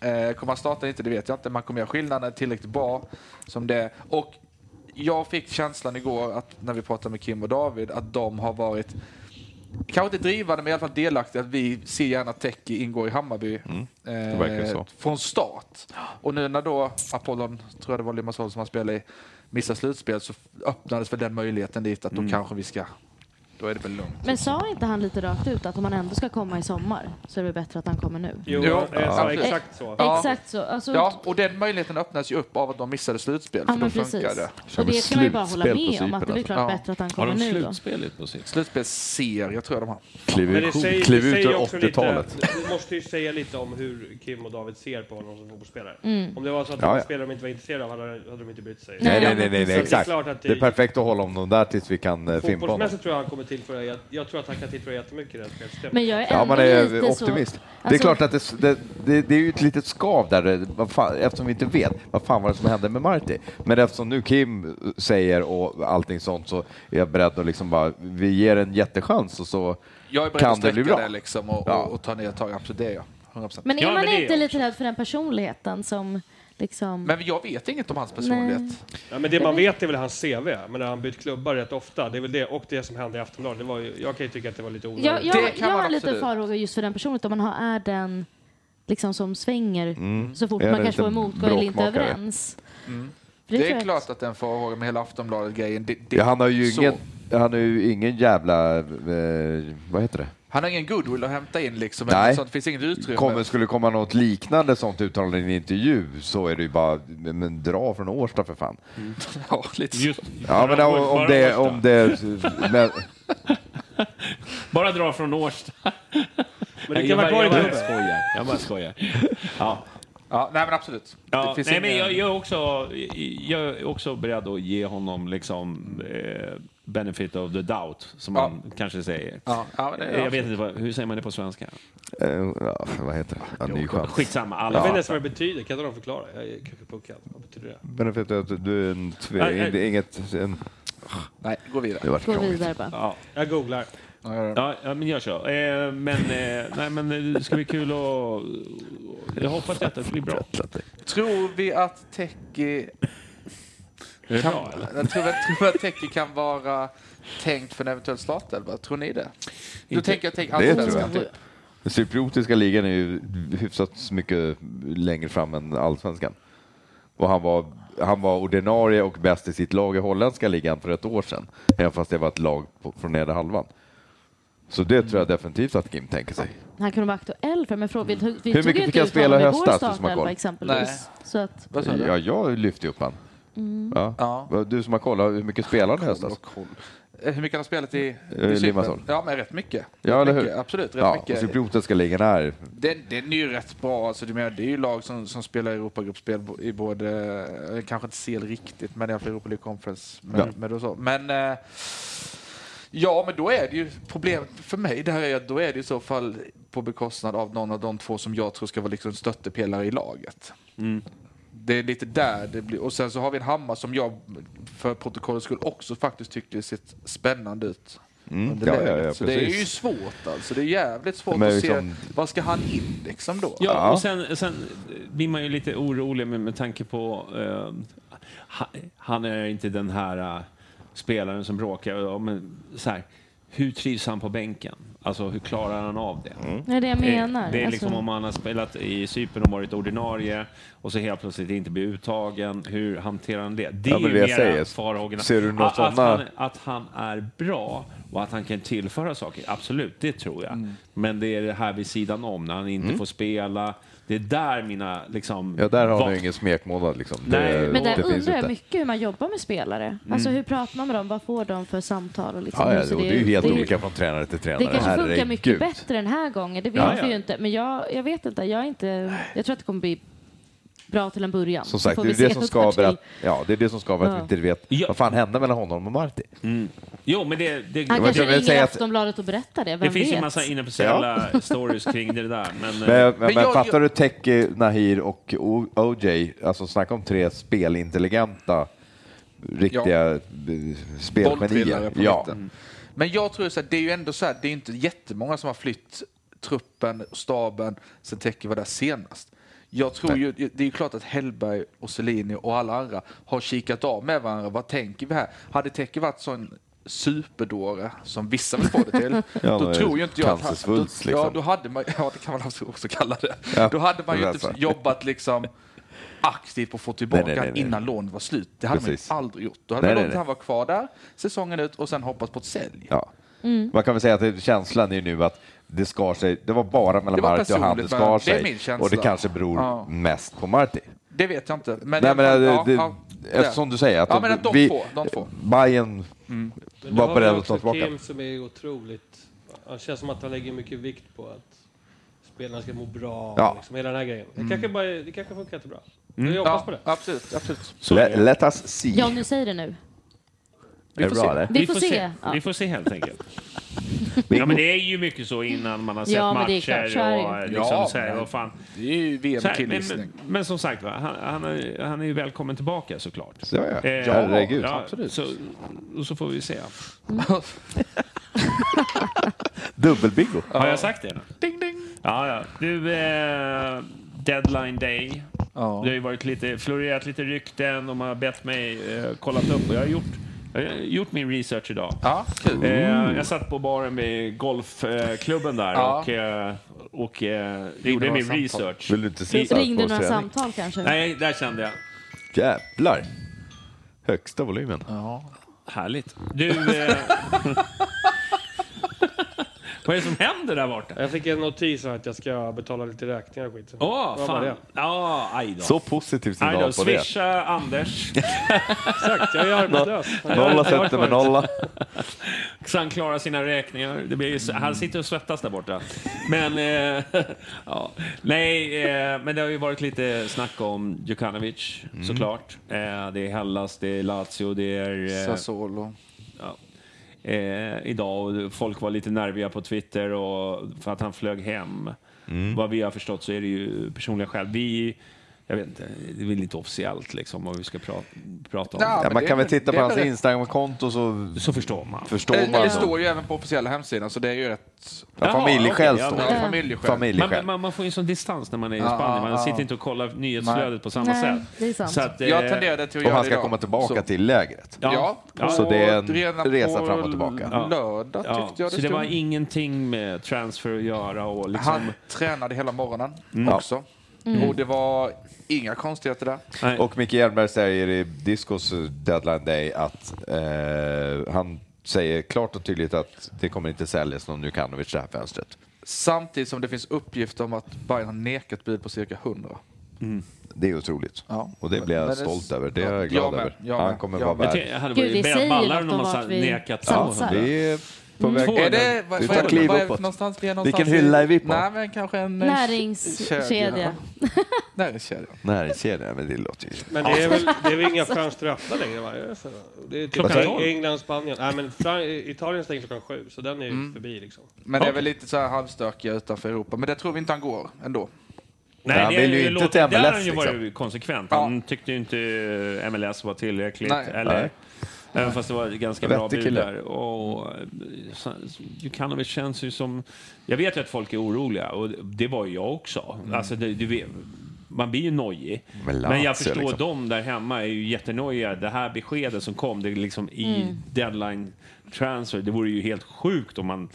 [SPEAKER 4] Eh, kommer han starta eller inte, det vet jag inte. Man kommer göra skillnaden tillräckligt bra som det är. Och jag fick känslan igår att när vi pratade med Kim och David att de har varit Kanske inte drivande, men i alla fall delaktiga. Att vi ser gärna att Teki ingår i Hammarby eh,
[SPEAKER 5] Mm. verkar så.
[SPEAKER 4] från start. Och nu när då Apollon, tror jag det var Limassol som han spelade i, missar slutspel så öppnades väl den möjligheten dit att
[SPEAKER 7] Mm.
[SPEAKER 4] då kanske vi ska... Då är det väl lugnt.
[SPEAKER 3] Men sa inte han lite rakt ut att om han ändå ska komma i sommar så är det väl bättre att han kommer nu?
[SPEAKER 7] Jo,
[SPEAKER 4] Ja,
[SPEAKER 7] det är så,
[SPEAKER 4] absolut.
[SPEAKER 7] exakt så.
[SPEAKER 4] Ja.
[SPEAKER 3] Exakt så. Alltså,
[SPEAKER 4] Ja, och den möjligheten öppnas ju upp av att de missade slutspel.
[SPEAKER 3] ja,
[SPEAKER 4] för
[SPEAKER 3] men
[SPEAKER 4] då funkar
[SPEAKER 3] precis.
[SPEAKER 4] det.
[SPEAKER 3] Och det kan man ju bara hålla
[SPEAKER 5] slutspel på
[SPEAKER 3] med om
[SPEAKER 5] Cypern,
[SPEAKER 3] att det är väl klart
[SPEAKER 4] alltså. Ja.
[SPEAKER 3] bättre att han
[SPEAKER 1] Har
[SPEAKER 3] kommer
[SPEAKER 1] de
[SPEAKER 3] nu då.
[SPEAKER 1] slutspelet på sitt?
[SPEAKER 4] Slutspelsserie tror jag de har.
[SPEAKER 5] Kliv
[SPEAKER 7] Men det
[SPEAKER 5] ut,
[SPEAKER 7] säger,
[SPEAKER 5] kliv
[SPEAKER 7] det
[SPEAKER 5] ut
[SPEAKER 7] säger
[SPEAKER 5] ur
[SPEAKER 7] också lite-
[SPEAKER 5] 80-talet.
[SPEAKER 7] Du måste ju säga lite om hur Kim och David ser på honom som fotbollsspelare.
[SPEAKER 3] Mm.
[SPEAKER 7] Om det var så att
[SPEAKER 5] Ja,
[SPEAKER 7] de
[SPEAKER 5] ja.
[SPEAKER 7] spelare de inte var intresserade av hade, hade de inte brytt sig.
[SPEAKER 5] Nej, nej,
[SPEAKER 3] men
[SPEAKER 5] nej, nej,
[SPEAKER 7] Så
[SPEAKER 5] nej
[SPEAKER 7] det är
[SPEAKER 5] exakt.
[SPEAKER 7] klart att
[SPEAKER 5] Det är
[SPEAKER 7] det-
[SPEAKER 5] perfekt att hålla om dem där tills vi kan eh, fimpa honom.
[SPEAKER 7] Fotbollsmässigt tror jag han kommer tillföra, jag, jag tror att han kan tillföra jättemycket i det här spelsystemet.
[SPEAKER 3] Men jag är ändå
[SPEAKER 5] Ja, man är
[SPEAKER 3] lite
[SPEAKER 5] optimist.
[SPEAKER 3] Så, Alltså-
[SPEAKER 5] det
[SPEAKER 7] alltså-
[SPEAKER 5] är klart att det, det, det, det är ju ett litet skav där, eh, vad fan, eftersom vi inte vet vad fan var det som hände med Marti. Men eftersom nu Kim eh, säger och allting sånt så är jag beredd att liksom bara, vi ger en jättechans och så
[SPEAKER 4] Jag är beredd att
[SPEAKER 5] kan det bli
[SPEAKER 4] sträcka
[SPEAKER 5] bra.
[SPEAKER 4] det liksom och,
[SPEAKER 5] Ja.
[SPEAKER 4] och, och ta ner tag. Absolut, det är jag. 100%.
[SPEAKER 3] Men är
[SPEAKER 1] Ja,
[SPEAKER 3] man
[SPEAKER 1] men det är
[SPEAKER 3] inte
[SPEAKER 1] jag
[SPEAKER 3] lite rädd för den personligheten som liksom...
[SPEAKER 4] Men jag vet inget om hans personlighet.
[SPEAKER 3] Nej.
[SPEAKER 7] Ja, men det man vet är väl hans CV, men han bytt klubbar rätt ofta. Det är väl det, och det som hände i Aftonbladet. Det var ju, jag kan ju tycka att det var lite onödigt.
[SPEAKER 3] Jag,
[SPEAKER 4] Det
[SPEAKER 3] jag,
[SPEAKER 4] kan
[SPEAKER 3] jag
[SPEAKER 4] man
[SPEAKER 3] har en liten
[SPEAKER 4] absolut.
[SPEAKER 3] farhåga just för den personen, om man har, är den liksom som svänger så fort
[SPEAKER 5] Mm. Är
[SPEAKER 3] man
[SPEAKER 5] det
[SPEAKER 3] kanske får
[SPEAKER 5] lite
[SPEAKER 3] motgång eller inte är
[SPEAKER 5] bråkmakare?
[SPEAKER 3] överens. För
[SPEAKER 4] Mm. Det
[SPEAKER 3] tror jag
[SPEAKER 4] är
[SPEAKER 3] att-
[SPEAKER 4] klart att den farhågan med hela Aftonbladet-grejen. Det, det,
[SPEAKER 5] Ja, han har ju
[SPEAKER 4] så.
[SPEAKER 5] ingen, han har ju ingen jävla, eh, vad heter det?
[SPEAKER 4] Han har ingen goodwill att hämta in liksom.
[SPEAKER 5] Nej.
[SPEAKER 4] Nej. Sånt, det finns inget utrymme.
[SPEAKER 5] Kommer, skulle komma något liknande sånt uttalande i en intervju så är det ju bara, men dra från Årsta för fan.
[SPEAKER 4] Mm. (laughs) Ja, lite så.
[SPEAKER 1] Just,
[SPEAKER 5] Ja men om, om det,
[SPEAKER 1] Årsta.
[SPEAKER 5] om det, (laughs) men,
[SPEAKER 1] Bara dra från (laughs) Årsta.
[SPEAKER 7] Men du
[SPEAKER 1] Jag
[SPEAKER 7] kan vara
[SPEAKER 1] bara-
[SPEAKER 7] kvar i
[SPEAKER 1] jag bara
[SPEAKER 7] klubben.
[SPEAKER 1] skojar. Jag bara skojar. (laughs) Ja.
[SPEAKER 4] Ja, nej, men absolut.
[SPEAKER 1] Ja,
[SPEAKER 4] finns
[SPEAKER 1] nej,
[SPEAKER 4] ingen-
[SPEAKER 1] men jag, jag, är också, jag är också beredd att ge honom liksom, eh, benefit of the doubt, som
[SPEAKER 4] Ja.
[SPEAKER 1] man kanske säger.
[SPEAKER 4] Ja, ja, men det är
[SPEAKER 1] jag
[SPEAKER 4] absolut.
[SPEAKER 1] vet inte, vad, hur säger man det på svenska?
[SPEAKER 5] eh, ja, vad heter det? Ja, ny chans.
[SPEAKER 1] Skitsamma, alla
[SPEAKER 7] Jag vet inte ens
[SPEAKER 1] fattar.
[SPEAKER 7] vad det betyder. Kan inte någon förklara? Jag är kuckupuckad. Vad betyder det?
[SPEAKER 5] Men vet du att du är en
[SPEAKER 1] Nej, nej.
[SPEAKER 5] tve, det är inget, en,
[SPEAKER 4] Nej, gå vidare.
[SPEAKER 5] det vart
[SPEAKER 3] Gå
[SPEAKER 5] krångligt.
[SPEAKER 3] vidare bara.
[SPEAKER 1] Ja.
[SPEAKER 7] Jag googlar.
[SPEAKER 1] Ja, ja, men jag kör. Eh, men, eh, nej, men det ska bli kul att... Jag hoppas att det blir bra.
[SPEAKER 4] Tror vi att Teki
[SPEAKER 1] Är det
[SPEAKER 4] kan,
[SPEAKER 1] bra eller?
[SPEAKER 4] jag tror, jag tror att Teki kan vara tänkt för en eventuell startelva? Tror ni det? Då
[SPEAKER 1] Inte-
[SPEAKER 4] tänker jag tänk
[SPEAKER 5] tror jag.
[SPEAKER 4] allsvenskan typ.
[SPEAKER 5] Den cypriotiska ligan är ju hyfsat mycket längre fram än allsvenskan. Och han var, han var ordinarie och bäst i sitt lag i holländska ligan för ett år sedan, även fast det var ett lag på, från nedre halvan. Så det tror jag definitivt att Kim tänker sig.
[SPEAKER 3] Han kunde vara aktuell för men fråga, vi, tog- vi
[SPEAKER 5] mycket
[SPEAKER 3] tog ju
[SPEAKER 5] fick
[SPEAKER 3] inte
[SPEAKER 5] han
[SPEAKER 3] ut
[SPEAKER 5] spela
[SPEAKER 3] honom i
[SPEAKER 5] höstas,
[SPEAKER 3] vår
[SPEAKER 5] du som har
[SPEAKER 3] startelva
[SPEAKER 5] koll?
[SPEAKER 3] exempelvis. Så att,
[SPEAKER 4] Vad sa du?
[SPEAKER 5] Ja, jag lyfte ju upp han. Ja.
[SPEAKER 4] Ja.
[SPEAKER 5] Du som har kollat, hur mycket spelade han i höstas? Eh,
[SPEAKER 4] Eh, Hur mycket har han spelat i, i Cypern?
[SPEAKER 5] Limassol.
[SPEAKER 4] Ja, men rätt mycket.
[SPEAKER 5] Ja, eller
[SPEAKER 4] mycket.
[SPEAKER 5] hur?
[SPEAKER 4] Absolut, rätt
[SPEAKER 5] Ja, och
[SPEAKER 4] mycket.
[SPEAKER 5] cypriotiska ligan är...
[SPEAKER 4] Den, den är ju rätt bra. Alltså, du menar, det är ju lag som, som spelar Europagruppspel bo- i både, eh, kanske inte CL riktigt, men i alla fall Europa League Conference. Men,
[SPEAKER 5] Ja.
[SPEAKER 4] men, då så. men eh, ja, men då är det ju problemet för mig där är att då är det i så fall på bekostnad av någon av de två som jag tror ska vara liksom stöttepelare i laget.
[SPEAKER 5] Mm.
[SPEAKER 4] Det är lite där det blir. Och sen så har vi en Hammar som jag för protokollets skull också faktiskt tyckte sett spännande ut. under
[SPEAKER 5] Mm. ja, ja,
[SPEAKER 4] läget.
[SPEAKER 5] ja,
[SPEAKER 4] så det är
[SPEAKER 5] precis.
[SPEAKER 4] ju svårt alltså. Det är jävligt svårt
[SPEAKER 5] Men
[SPEAKER 4] att
[SPEAKER 5] liksom-
[SPEAKER 4] se. Vad ska han in liksom då?
[SPEAKER 1] Ja, och sen, sen blir man ju lite orolig med, med tanke på... Eh, ha- han är inte den här eh, spelaren som bråkar. Ja, men, så här, hur trivs han på bänken? Alltså, hur klarar han av det?
[SPEAKER 5] Mm.
[SPEAKER 3] det är det jag menar.
[SPEAKER 1] Eh, Det är
[SPEAKER 3] Alltså-
[SPEAKER 1] liksom om han har spelat i Cypern och varit ordinarie och så helt plötsligt inte blir uttagen. Hur hanterar han det? Det
[SPEAKER 5] Ja,
[SPEAKER 1] är
[SPEAKER 5] men
[SPEAKER 1] ju
[SPEAKER 5] det jag
[SPEAKER 1] mera
[SPEAKER 5] säger.
[SPEAKER 1] farhågorna.
[SPEAKER 5] Ser du något
[SPEAKER 1] att, att,
[SPEAKER 5] sådana-
[SPEAKER 1] han, att han är bra och att han kan tillföra saker, absolut, det tror jag.
[SPEAKER 5] Mm.
[SPEAKER 1] Men det är det här vid sidan om, när han inte får spela. Det är där mina... Liksom,
[SPEAKER 5] Ja, där har han
[SPEAKER 1] va-
[SPEAKER 5] ju ingen smekmånad liksom.
[SPEAKER 1] Nej.
[SPEAKER 5] Det,
[SPEAKER 3] Men
[SPEAKER 5] det
[SPEAKER 3] där
[SPEAKER 5] finns ju
[SPEAKER 3] undrar jag
[SPEAKER 5] inte.
[SPEAKER 3] mycket hur man jobbar med spelare.
[SPEAKER 4] Mm.
[SPEAKER 3] Alltså hur pratar man med dem? Vad får de för samtal? Och liksom,
[SPEAKER 5] Ja, ja,
[SPEAKER 3] hur ser
[SPEAKER 5] det, och det är ju helt
[SPEAKER 3] ut? Det-
[SPEAKER 5] olika från tränare till tränare.
[SPEAKER 3] Det kanske funkar
[SPEAKER 5] Herregud.
[SPEAKER 3] mycket bättre den här gången. Det vet
[SPEAKER 1] Ja,
[SPEAKER 3] vi
[SPEAKER 1] ja.
[SPEAKER 3] ju inte. Men jag, jag vet inte. Jag, är inte. jag tror att det kommer bli bra till en början.
[SPEAKER 5] Som
[SPEAKER 3] Så
[SPEAKER 5] sagt,
[SPEAKER 3] får
[SPEAKER 5] det är
[SPEAKER 3] vi se
[SPEAKER 5] det som
[SPEAKER 3] vad det
[SPEAKER 5] skaver
[SPEAKER 3] blir.
[SPEAKER 5] att, ja, det är det som skaver att vi
[SPEAKER 3] Ja.
[SPEAKER 5] inte vet
[SPEAKER 1] Ja.
[SPEAKER 5] vad fan hände mellan honom och Marti.
[SPEAKER 4] Mm,
[SPEAKER 1] Jo, men det... det,
[SPEAKER 3] Han
[SPEAKER 5] jag
[SPEAKER 1] det,
[SPEAKER 3] kanske
[SPEAKER 5] vill
[SPEAKER 3] ringer
[SPEAKER 5] säga att-
[SPEAKER 3] Aftonbladet och berättar det. Vem
[SPEAKER 1] finns ju
[SPEAKER 3] vet?
[SPEAKER 1] en massa inofficiella stories kring det där. Men, eh,
[SPEAKER 5] Men, men, men
[SPEAKER 4] jag-
[SPEAKER 5] fattar du Teki, Nahir och O- OJ, alltså snacka om tre spelintelligenta, riktiga b-
[SPEAKER 4] Bolltrillare
[SPEAKER 5] spelgenier.
[SPEAKER 4] på
[SPEAKER 5] Ja.
[SPEAKER 4] mitten. Men jag tror så här, det är ju ändå så här, det är inte jättemånga som har flytt truppen, staben, sen Teki var där senast. Jag tror ju, det är ju klart att Hellberg och Selini och alla andra har kikat av med varandra. Vad tänker vi här? Hade Teki varit sån superdåre som vissa vill få det
[SPEAKER 5] (laughs)
[SPEAKER 4] till,
[SPEAKER 5] men
[SPEAKER 4] då tror ju inte jag att han, då,
[SPEAKER 5] cancersvulst, liksom.
[SPEAKER 4] ja, då hade man, ja det kan man alltså också kalla det.
[SPEAKER 5] Ja,
[SPEAKER 4] Då hade man ju
[SPEAKER 5] det är
[SPEAKER 4] inte
[SPEAKER 5] så.
[SPEAKER 4] jobbat liksom aktivt på att få tillbaka
[SPEAKER 5] Nej, nej, nej, nej.
[SPEAKER 4] innan lånet var slut. Det hade
[SPEAKER 5] Precis.
[SPEAKER 4] man ju aldrig gjort. Då hade
[SPEAKER 5] Nej,
[SPEAKER 4] man
[SPEAKER 5] nej,
[SPEAKER 4] låtit
[SPEAKER 5] nej.
[SPEAKER 4] han vara kvar där säsongen ut och sen hoppas på ett sälj.
[SPEAKER 5] Ja.
[SPEAKER 3] Mm.
[SPEAKER 5] Man kan väl säga att det- känslan är ju nu att det skar sig, det var bara mellan
[SPEAKER 4] Det var
[SPEAKER 5] Marti och han det
[SPEAKER 4] personligt, men
[SPEAKER 5] skar
[SPEAKER 4] det
[SPEAKER 5] sig.
[SPEAKER 4] är min känsla.
[SPEAKER 5] Och det kanske beror
[SPEAKER 4] Ja.
[SPEAKER 5] mest på Marti.
[SPEAKER 4] Det vet jag inte. Men
[SPEAKER 5] Nej, men
[SPEAKER 4] ja,
[SPEAKER 5] det,
[SPEAKER 4] ja,
[SPEAKER 5] det,
[SPEAKER 4] ja, det.
[SPEAKER 5] eftersom du säger att
[SPEAKER 4] ja, men att de två, de två. Mm.
[SPEAKER 5] Bayern
[SPEAKER 7] Men
[SPEAKER 5] var beredd att ta
[SPEAKER 7] tillbaka.
[SPEAKER 5] tillbaka.
[SPEAKER 7] Kim som är otroligt... Han känns som att han lägger mycket vikt på att spelarna ska må bra.
[SPEAKER 5] Ja.
[SPEAKER 7] Liksom, hela den här grejen. Det kanske, bara, det kanske funkar jättebra. Jag hoppas på
[SPEAKER 4] Mm. Ja,
[SPEAKER 7] det.
[SPEAKER 4] absolut, absolut.
[SPEAKER 5] Let, let us see.
[SPEAKER 3] Johnny, säg det nu.
[SPEAKER 5] vi får se.
[SPEAKER 3] Vi, får se. Ja.
[SPEAKER 1] Vi får se helt
[SPEAKER 4] (laughs)
[SPEAKER 1] enkelt. Ja, men det är ju mycket så innan man har sett
[SPEAKER 3] Ja, men det är klart.
[SPEAKER 1] matcher
[SPEAKER 3] Så är det ju.
[SPEAKER 1] och eh, liksom
[SPEAKER 4] Ja,
[SPEAKER 1] så här,
[SPEAKER 4] men-
[SPEAKER 1] vad fan.
[SPEAKER 4] Det är ju
[SPEAKER 1] Så här, men,
[SPEAKER 4] VM-killgissning.
[SPEAKER 1] men, men som sagt, va, han, han, är, han är ju välkommen tillbaka såklart.
[SPEAKER 5] Ja, ja.
[SPEAKER 1] Eh,
[SPEAKER 5] Herregud.
[SPEAKER 1] ja,
[SPEAKER 4] absolut.
[SPEAKER 1] Så, och så får vi se.
[SPEAKER 3] Mm.
[SPEAKER 4] (laughs)
[SPEAKER 5] Dubbelbingo.
[SPEAKER 1] Har jag sagt det? Ding, ding. Ja, ja. Du, eh, deadline day.
[SPEAKER 4] Ja.
[SPEAKER 1] Det har ju varit lite, florerat lite rykten. De har bett mig eh, kollat upp och jag har gjort, jag har gjort min research idag.
[SPEAKER 4] Ja, kul.
[SPEAKER 1] Eh, jag satt på baren vid golfklubben där
[SPEAKER 4] Ja.
[SPEAKER 1] och, eh, och eh, gjorde
[SPEAKER 4] några
[SPEAKER 1] min
[SPEAKER 4] samtal.
[SPEAKER 1] research.
[SPEAKER 5] Vill du inte sista
[SPEAKER 3] Ringde
[SPEAKER 5] på
[SPEAKER 3] några
[SPEAKER 5] träning?
[SPEAKER 3] samtal kanske?
[SPEAKER 1] Nej, där kände jag.
[SPEAKER 5] Jävlar! Högsta volymen.
[SPEAKER 1] Härligt. Du...
[SPEAKER 4] (laughs)
[SPEAKER 1] Eh, vad är det som händer där borta?
[SPEAKER 7] Jag fick en notis om att jag ska betala lite räkningar och skit.
[SPEAKER 1] Åh,
[SPEAKER 7] Vad var
[SPEAKER 1] fan.
[SPEAKER 7] det?
[SPEAKER 1] Ja, aj då.
[SPEAKER 5] Så positivt
[SPEAKER 1] Aj då,
[SPEAKER 5] idag på det.
[SPEAKER 1] swisha
[SPEAKER 5] (laughs)
[SPEAKER 1] Anders
[SPEAKER 7] Exakt, jag är arbetslös.
[SPEAKER 5] Nolla sätter med nolla.
[SPEAKER 1] så han klarar sina räkningar. Det blir ju, s- Han sitter och svettas där borta. Men, eh, (laughs) ja. Nej, eh, men det har ju varit lite snack om Djukanovic,
[SPEAKER 5] Mm.
[SPEAKER 1] såklart. Eh, det är Hellas, det är Lazio, det är... Eh,
[SPEAKER 4] Sassuolo.
[SPEAKER 1] ja. eh, idag och folk var lite nerviga på Twitter och, för att han flög hem.
[SPEAKER 5] Mm.
[SPEAKER 1] Vad vi har förstått så är det ju personliga skäl. Vi, jag vet inte, det är väl inte officiellt liksom vad vi ska pra, prata om.
[SPEAKER 4] Ja,
[SPEAKER 5] Ja,
[SPEAKER 4] men
[SPEAKER 5] man
[SPEAKER 4] det-
[SPEAKER 5] kan väl titta
[SPEAKER 4] det
[SPEAKER 5] på
[SPEAKER 4] är
[SPEAKER 5] hans
[SPEAKER 4] väl-
[SPEAKER 5] Instagramkonto så
[SPEAKER 1] (laughs) Så förstår man.
[SPEAKER 5] förstår
[SPEAKER 4] Det,
[SPEAKER 5] man.
[SPEAKER 4] Eh, det står ju även på officiella hemsidan, så det är ju rätt...
[SPEAKER 5] Ja, familjeskäl
[SPEAKER 1] Jaha, okej,
[SPEAKER 5] står
[SPEAKER 1] ja,
[SPEAKER 5] det.
[SPEAKER 4] Ja, familjeskäl.
[SPEAKER 5] Familjeskäl.
[SPEAKER 1] Man, man, man får ju en sån distans när man är i
[SPEAKER 4] Ja,
[SPEAKER 1] Spanien. Man
[SPEAKER 4] ja, ja.
[SPEAKER 1] sitter inte och kollar nyhetsflödet
[SPEAKER 4] Nej.
[SPEAKER 1] på samma
[SPEAKER 3] Nej,
[SPEAKER 1] sätt.
[SPEAKER 3] det är sant.
[SPEAKER 1] Så att, eh,
[SPEAKER 4] Jag tenderade till
[SPEAKER 5] Och
[SPEAKER 4] att göra
[SPEAKER 5] han
[SPEAKER 4] det
[SPEAKER 5] ska
[SPEAKER 4] idag.
[SPEAKER 5] komma tillbaka
[SPEAKER 4] Så-
[SPEAKER 5] till lägret.
[SPEAKER 1] Ja,
[SPEAKER 4] Ja,
[SPEAKER 1] ja.
[SPEAKER 5] Så det är en
[SPEAKER 4] redan
[SPEAKER 5] resa
[SPEAKER 4] på
[SPEAKER 5] fram och tillbaka.
[SPEAKER 4] l- Lördag
[SPEAKER 1] Ja,
[SPEAKER 4] tyckte jag
[SPEAKER 1] så det var
[SPEAKER 4] stod.
[SPEAKER 1] ingenting med transfer att göra och liksom...
[SPEAKER 4] Han tränade hela morgonen
[SPEAKER 5] Mm.
[SPEAKER 4] Mm. också.
[SPEAKER 3] Mm.
[SPEAKER 4] Och det var inga konstigheter där.
[SPEAKER 1] nej.
[SPEAKER 5] Och Micke Hjelmberg säger i Discos deadline day att eh, han säger klart och tydligt att det kommer inte säljas någon Djukanovic det här fönstret.
[SPEAKER 4] Samtidigt som det finns uppgifter om att Bayern har nekat bud på cirka 100.
[SPEAKER 5] Det är otroligt.
[SPEAKER 4] Ja.
[SPEAKER 5] Och det blir jag
[SPEAKER 4] Men det-
[SPEAKER 5] stolt över. Det är
[SPEAKER 4] Ja,
[SPEAKER 5] jag glad
[SPEAKER 4] jag med,
[SPEAKER 5] över.
[SPEAKER 4] jag
[SPEAKER 5] Han
[SPEAKER 4] med,
[SPEAKER 5] kommer
[SPEAKER 4] jag
[SPEAKER 5] vara
[SPEAKER 4] med.
[SPEAKER 1] Jag
[SPEAKER 5] värd.
[SPEAKER 1] ty- jag hade
[SPEAKER 3] Gud,
[SPEAKER 1] varit
[SPEAKER 3] det
[SPEAKER 1] mer
[SPEAKER 3] säger
[SPEAKER 1] ballar
[SPEAKER 3] något
[SPEAKER 1] om
[SPEAKER 3] om
[SPEAKER 1] man
[SPEAKER 3] vart
[SPEAKER 1] sa-
[SPEAKER 3] vi
[SPEAKER 1] nekat.
[SPEAKER 5] Ja,
[SPEAKER 3] satsar.
[SPEAKER 5] vi är på väg.
[SPEAKER 1] Två.
[SPEAKER 4] Är det, vad,
[SPEAKER 5] Vi
[SPEAKER 4] vad är,
[SPEAKER 5] tar
[SPEAKER 4] vad
[SPEAKER 5] kliv
[SPEAKER 4] är det
[SPEAKER 5] uppåt.
[SPEAKER 4] för någonstans vi är någonstans?
[SPEAKER 5] Vilken hylla är vi på?
[SPEAKER 4] Nej, men kanske en eh,
[SPEAKER 3] Näringskedja.
[SPEAKER 4] Näringskedja.
[SPEAKER 5] Näringskedja, men det låter ju...
[SPEAKER 7] Men det är väl, det är väl inga fönster öppna längre? Va? Är det så? Det är
[SPEAKER 1] Klockan
[SPEAKER 7] typ
[SPEAKER 1] tolv.
[SPEAKER 7] England, Spanien. Nej, men Fran- Italien stänger klockan sju, så den är ju förbi liksom.
[SPEAKER 4] Mm. Men det är väl lite så här halvstökiga utanför Europa. Men det tror vi inte han går ändå.
[SPEAKER 1] Nej,
[SPEAKER 5] Han vill ju inte
[SPEAKER 1] låter-
[SPEAKER 5] till MLS,
[SPEAKER 1] Där har han ju
[SPEAKER 5] liksom.
[SPEAKER 1] varit konsekvent. Han tyckte ju inte eh, MLS var tillräckligt.
[SPEAKER 4] Nej.
[SPEAKER 1] Eller,
[SPEAKER 5] Nej.
[SPEAKER 1] Även fast det var ett ganska bra
[SPEAKER 5] Vettig
[SPEAKER 1] bud
[SPEAKER 5] kille.
[SPEAKER 1] där. Och, eh, så- Djukanovic känns ju som... Jag vet ju att folk är oroliga och det var ju jag också.
[SPEAKER 5] Mm.
[SPEAKER 1] Alltså, det, du vet, man blir ju nojig.
[SPEAKER 5] Men
[SPEAKER 1] Men,
[SPEAKER 5] Lazio,
[SPEAKER 1] jag förstår
[SPEAKER 5] liksom.
[SPEAKER 1] de där hemma är ju jättenojiga. Det här beskedet som kom det är liksom i deadline transfer, det vore ju helt sjukt om man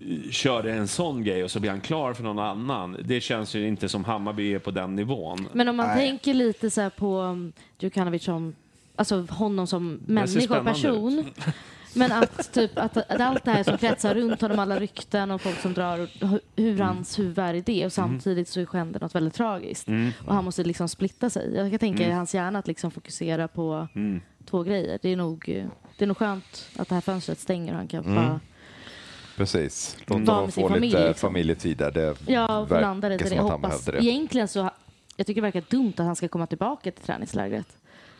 [SPEAKER 1] eh, körde en sån grej och så blir han klar för någon annan. Det känns ju inte som Hammarby är på den nivån.
[SPEAKER 3] Men om man tänker lite så här på um, Djukanovic som, alltså honom som människa och
[SPEAKER 1] spännande
[SPEAKER 3] person. (laughs) Men att, typ, att, att allt det här som kretsar runt honom, alla rykten och folk som drar, och hu- hur
[SPEAKER 1] Mm.
[SPEAKER 3] hans huvud är i det och samtidigt så skänder något väldigt tragiskt.
[SPEAKER 1] Mm.
[SPEAKER 3] Och han måste liksom splitta sig. Jag kan tänka i hans hjärna att liksom fokusera på
[SPEAKER 1] mm.
[SPEAKER 3] två grejer. Det är, nog, eh, det är nog skönt att det här fönstret stänger och han
[SPEAKER 5] Mm.
[SPEAKER 3] kan bara
[SPEAKER 5] Precis. Låt
[SPEAKER 3] Vara
[SPEAKER 5] honom
[SPEAKER 3] med sin
[SPEAKER 5] få
[SPEAKER 3] familj,
[SPEAKER 5] lite
[SPEAKER 3] liksom.
[SPEAKER 5] familjetid där. Det
[SPEAKER 3] Ja, och få landa lite i
[SPEAKER 5] verkar
[SPEAKER 3] det.
[SPEAKER 5] som
[SPEAKER 3] Jag
[SPEAKER 5] att han
[SPEAKER 3] hoppas.
[SPEAKER 5] behövde det.
[SPEAKER 3] Egentligen så, jag tycker det verkar dumt att han ska komma tillbaka till träningslägret.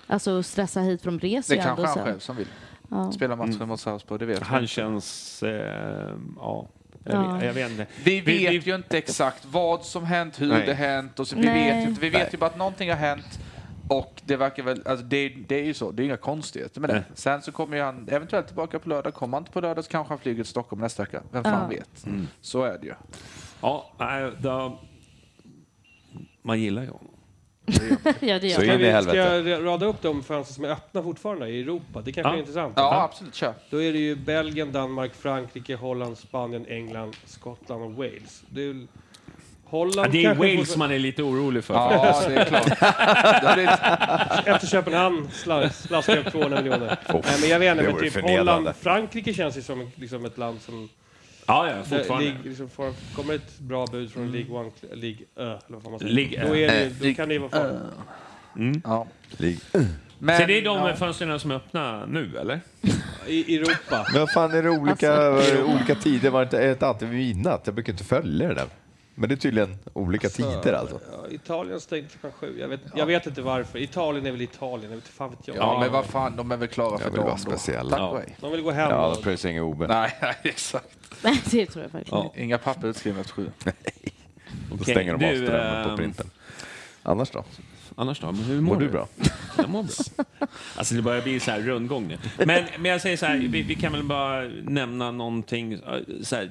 [SPEAKER 3] Alltså stressa hit från
[SPEAKER 4] Det
[SPEAKER 3] reser ju
[SPEAKER 4] kanske
[SPEAKER 3] Alltså, ändå
[SPEAKER 4] han
[SPEAKER 3] sen.
[SPEAKER 4] själv som vill. Spela matchen mot Sarpsborg, det vet vi.
[SPEAKER 1] Han känns... Eh, ja. Jag,
[SPEAKER 3] Ja.
[SPEAKER 1] Vet, jag vet inte.
[SPEAKER 4] Vi vet ju inte exakt vad som hänt, hur
[SPEAKER 5] Nej.
[SPEAKER 4] det hänt. Och så, vi,
[SPEAKER 3] Nej.
[SPEAKER 4] vet ju, inte- vi vet ju bara att någonting har hänt. Och det verkar väl, alltså det, det är ju så, det är inga konstigheter med det.
[SPEAKER 1] Nej.
[SPEAKER 4] Sen så kommer ju han eventuellt tillbaka på lördag. Kommer han inte på lördag så kanske han flyger till Stockholm nästa vecka. Vem fan vet? Så är det ju.
[SPEAKER 1] Ja, nej, då, man gillar ju honom.
[SPEAKER 3] (laughs) ja, det gör
[SPEAKER 5] Så
[SPEAKER 3] jag.
[SPEAKER 5] är in i
[SPEAKER 7] Vi ska
[SPEAKER 5] helvete.
[SPEAKER 7] jag rada upp de fönster som är öppna fortfarande i Europa. Det kanske
[SPEAKER 1] Ja.
[SPEAKER 7] är intressant.
[SPEAKER 4] Ja, absolut. Kör.
[SPEAKER 7] Då är det ju Belgien, Danmark, Frankrike, Holland, Spanien, England, Skottland och Wales. Det är ju...
[SPEAKER 1] Ja,
[SPEAKER 7] Holland
[SPEAKER 1] det är
[SPEAKER 7] kanske
[SPEAKER 1] Wales
[SPEAKER 7] fortfar-
[SPEAKER 1] man är lite orolig för. (laughs)
[SPEAKER 4] Ja, det är klart. Det blir
[SPEAKER 7] Efter Köpenhamn sla- slaskar jag 200 miljoner. Nej, men jag vet
[SPEAKER 5] det
[SPEAKER 7] inte, men
[SPEAKER 5] vore
[SPEAKER 7] typ
[SPEAKER 5] förnedrande.
[SPEAKER 7] Holland, Frankrike känns ju som liksom ett land som...
[SPEAKER 1] ja, ja
[SPEAKER 7] där
[SPEAKER 1] fortfarande.
[SPEAKER 7] lig- liksom, får, kommer ett bra bud från League One, kl- League Ö, eller vad fan man säger.
[SPEAKER 1] League Ö.
[SPEAKER 7] då, är det, ju- då kan det ju
[SPEAKER 3] äh,
[SPEAKER 7] vara fart.
[SPEAKER 5] Mm.
[SPEAKER 4] Ja.
[SPEAKER 5] Lig-
[SPEAKER 4] Men,
[SPEAKER 1] Så det är de
[SPEAKER 4] ja.
[SPEAKER 1] fönstren som är öppna nu, eller?
[SPEAKER 7] I Europa.
[SPEAKER 5] Men vad fan är det olika,
[SPEAKER 3] Alltså.
[SPEAKER 5] olika tider? Var det inte, är det inte alltid vid midnatt? Jag brukar inte följa det där. Men det är tydligen olika tider alltså.
[SPEAKER 7] Ja, Italien stängde klockan sju. Jag vet, jag vet inte varför. Italien är väl Italien. Jag vet, fan vet jag.
[SPEAKER 4] ja, men vad
[SPEAKER 1] (laughs)
[SPEAKER 4] fan, de är väl klara
[SPEAKER 5] Jag
[SPEAKER 4] för
[SPEAKER 5] vill vara
[SPEAKER 4] dagen då.
[SPEAKER 5] speciella.
[SPEAKER 4] Tack
[SPEAKER 5] Ja,
[SPEAKER 4] och hej.
[SPEAKER 7] De vill gå hem.
[SPEAKER 5] ja
[SPEAKER 7] och-
[SPEAKER 5] de pröjs inga OB.
[SPEAKER 4] Nej, nej, exakt.
[SPEAKER 3] Nej, (laughs) det tror jag verkligen inte.
[SPEAKER 4] Inga papper utskrivna efter sju.
[SPEAKER 5] Då stänger de av
[SPEAKER 1] du,
[SPEAKER 5] strömmen på
[SPEAKER 1] ehm,
[SPEAKER 5] printern. Annars då?
[SPEAKER 1] Annars då? Men Hur
[SPEAKER 5] Mår du bra?
[SPEAKER 1] Jag mår bra. Alltså det börjar bli så här rundgång nu. Men, men jag säger så här, vi, vi kan väl bara nämna någonting eh, så här,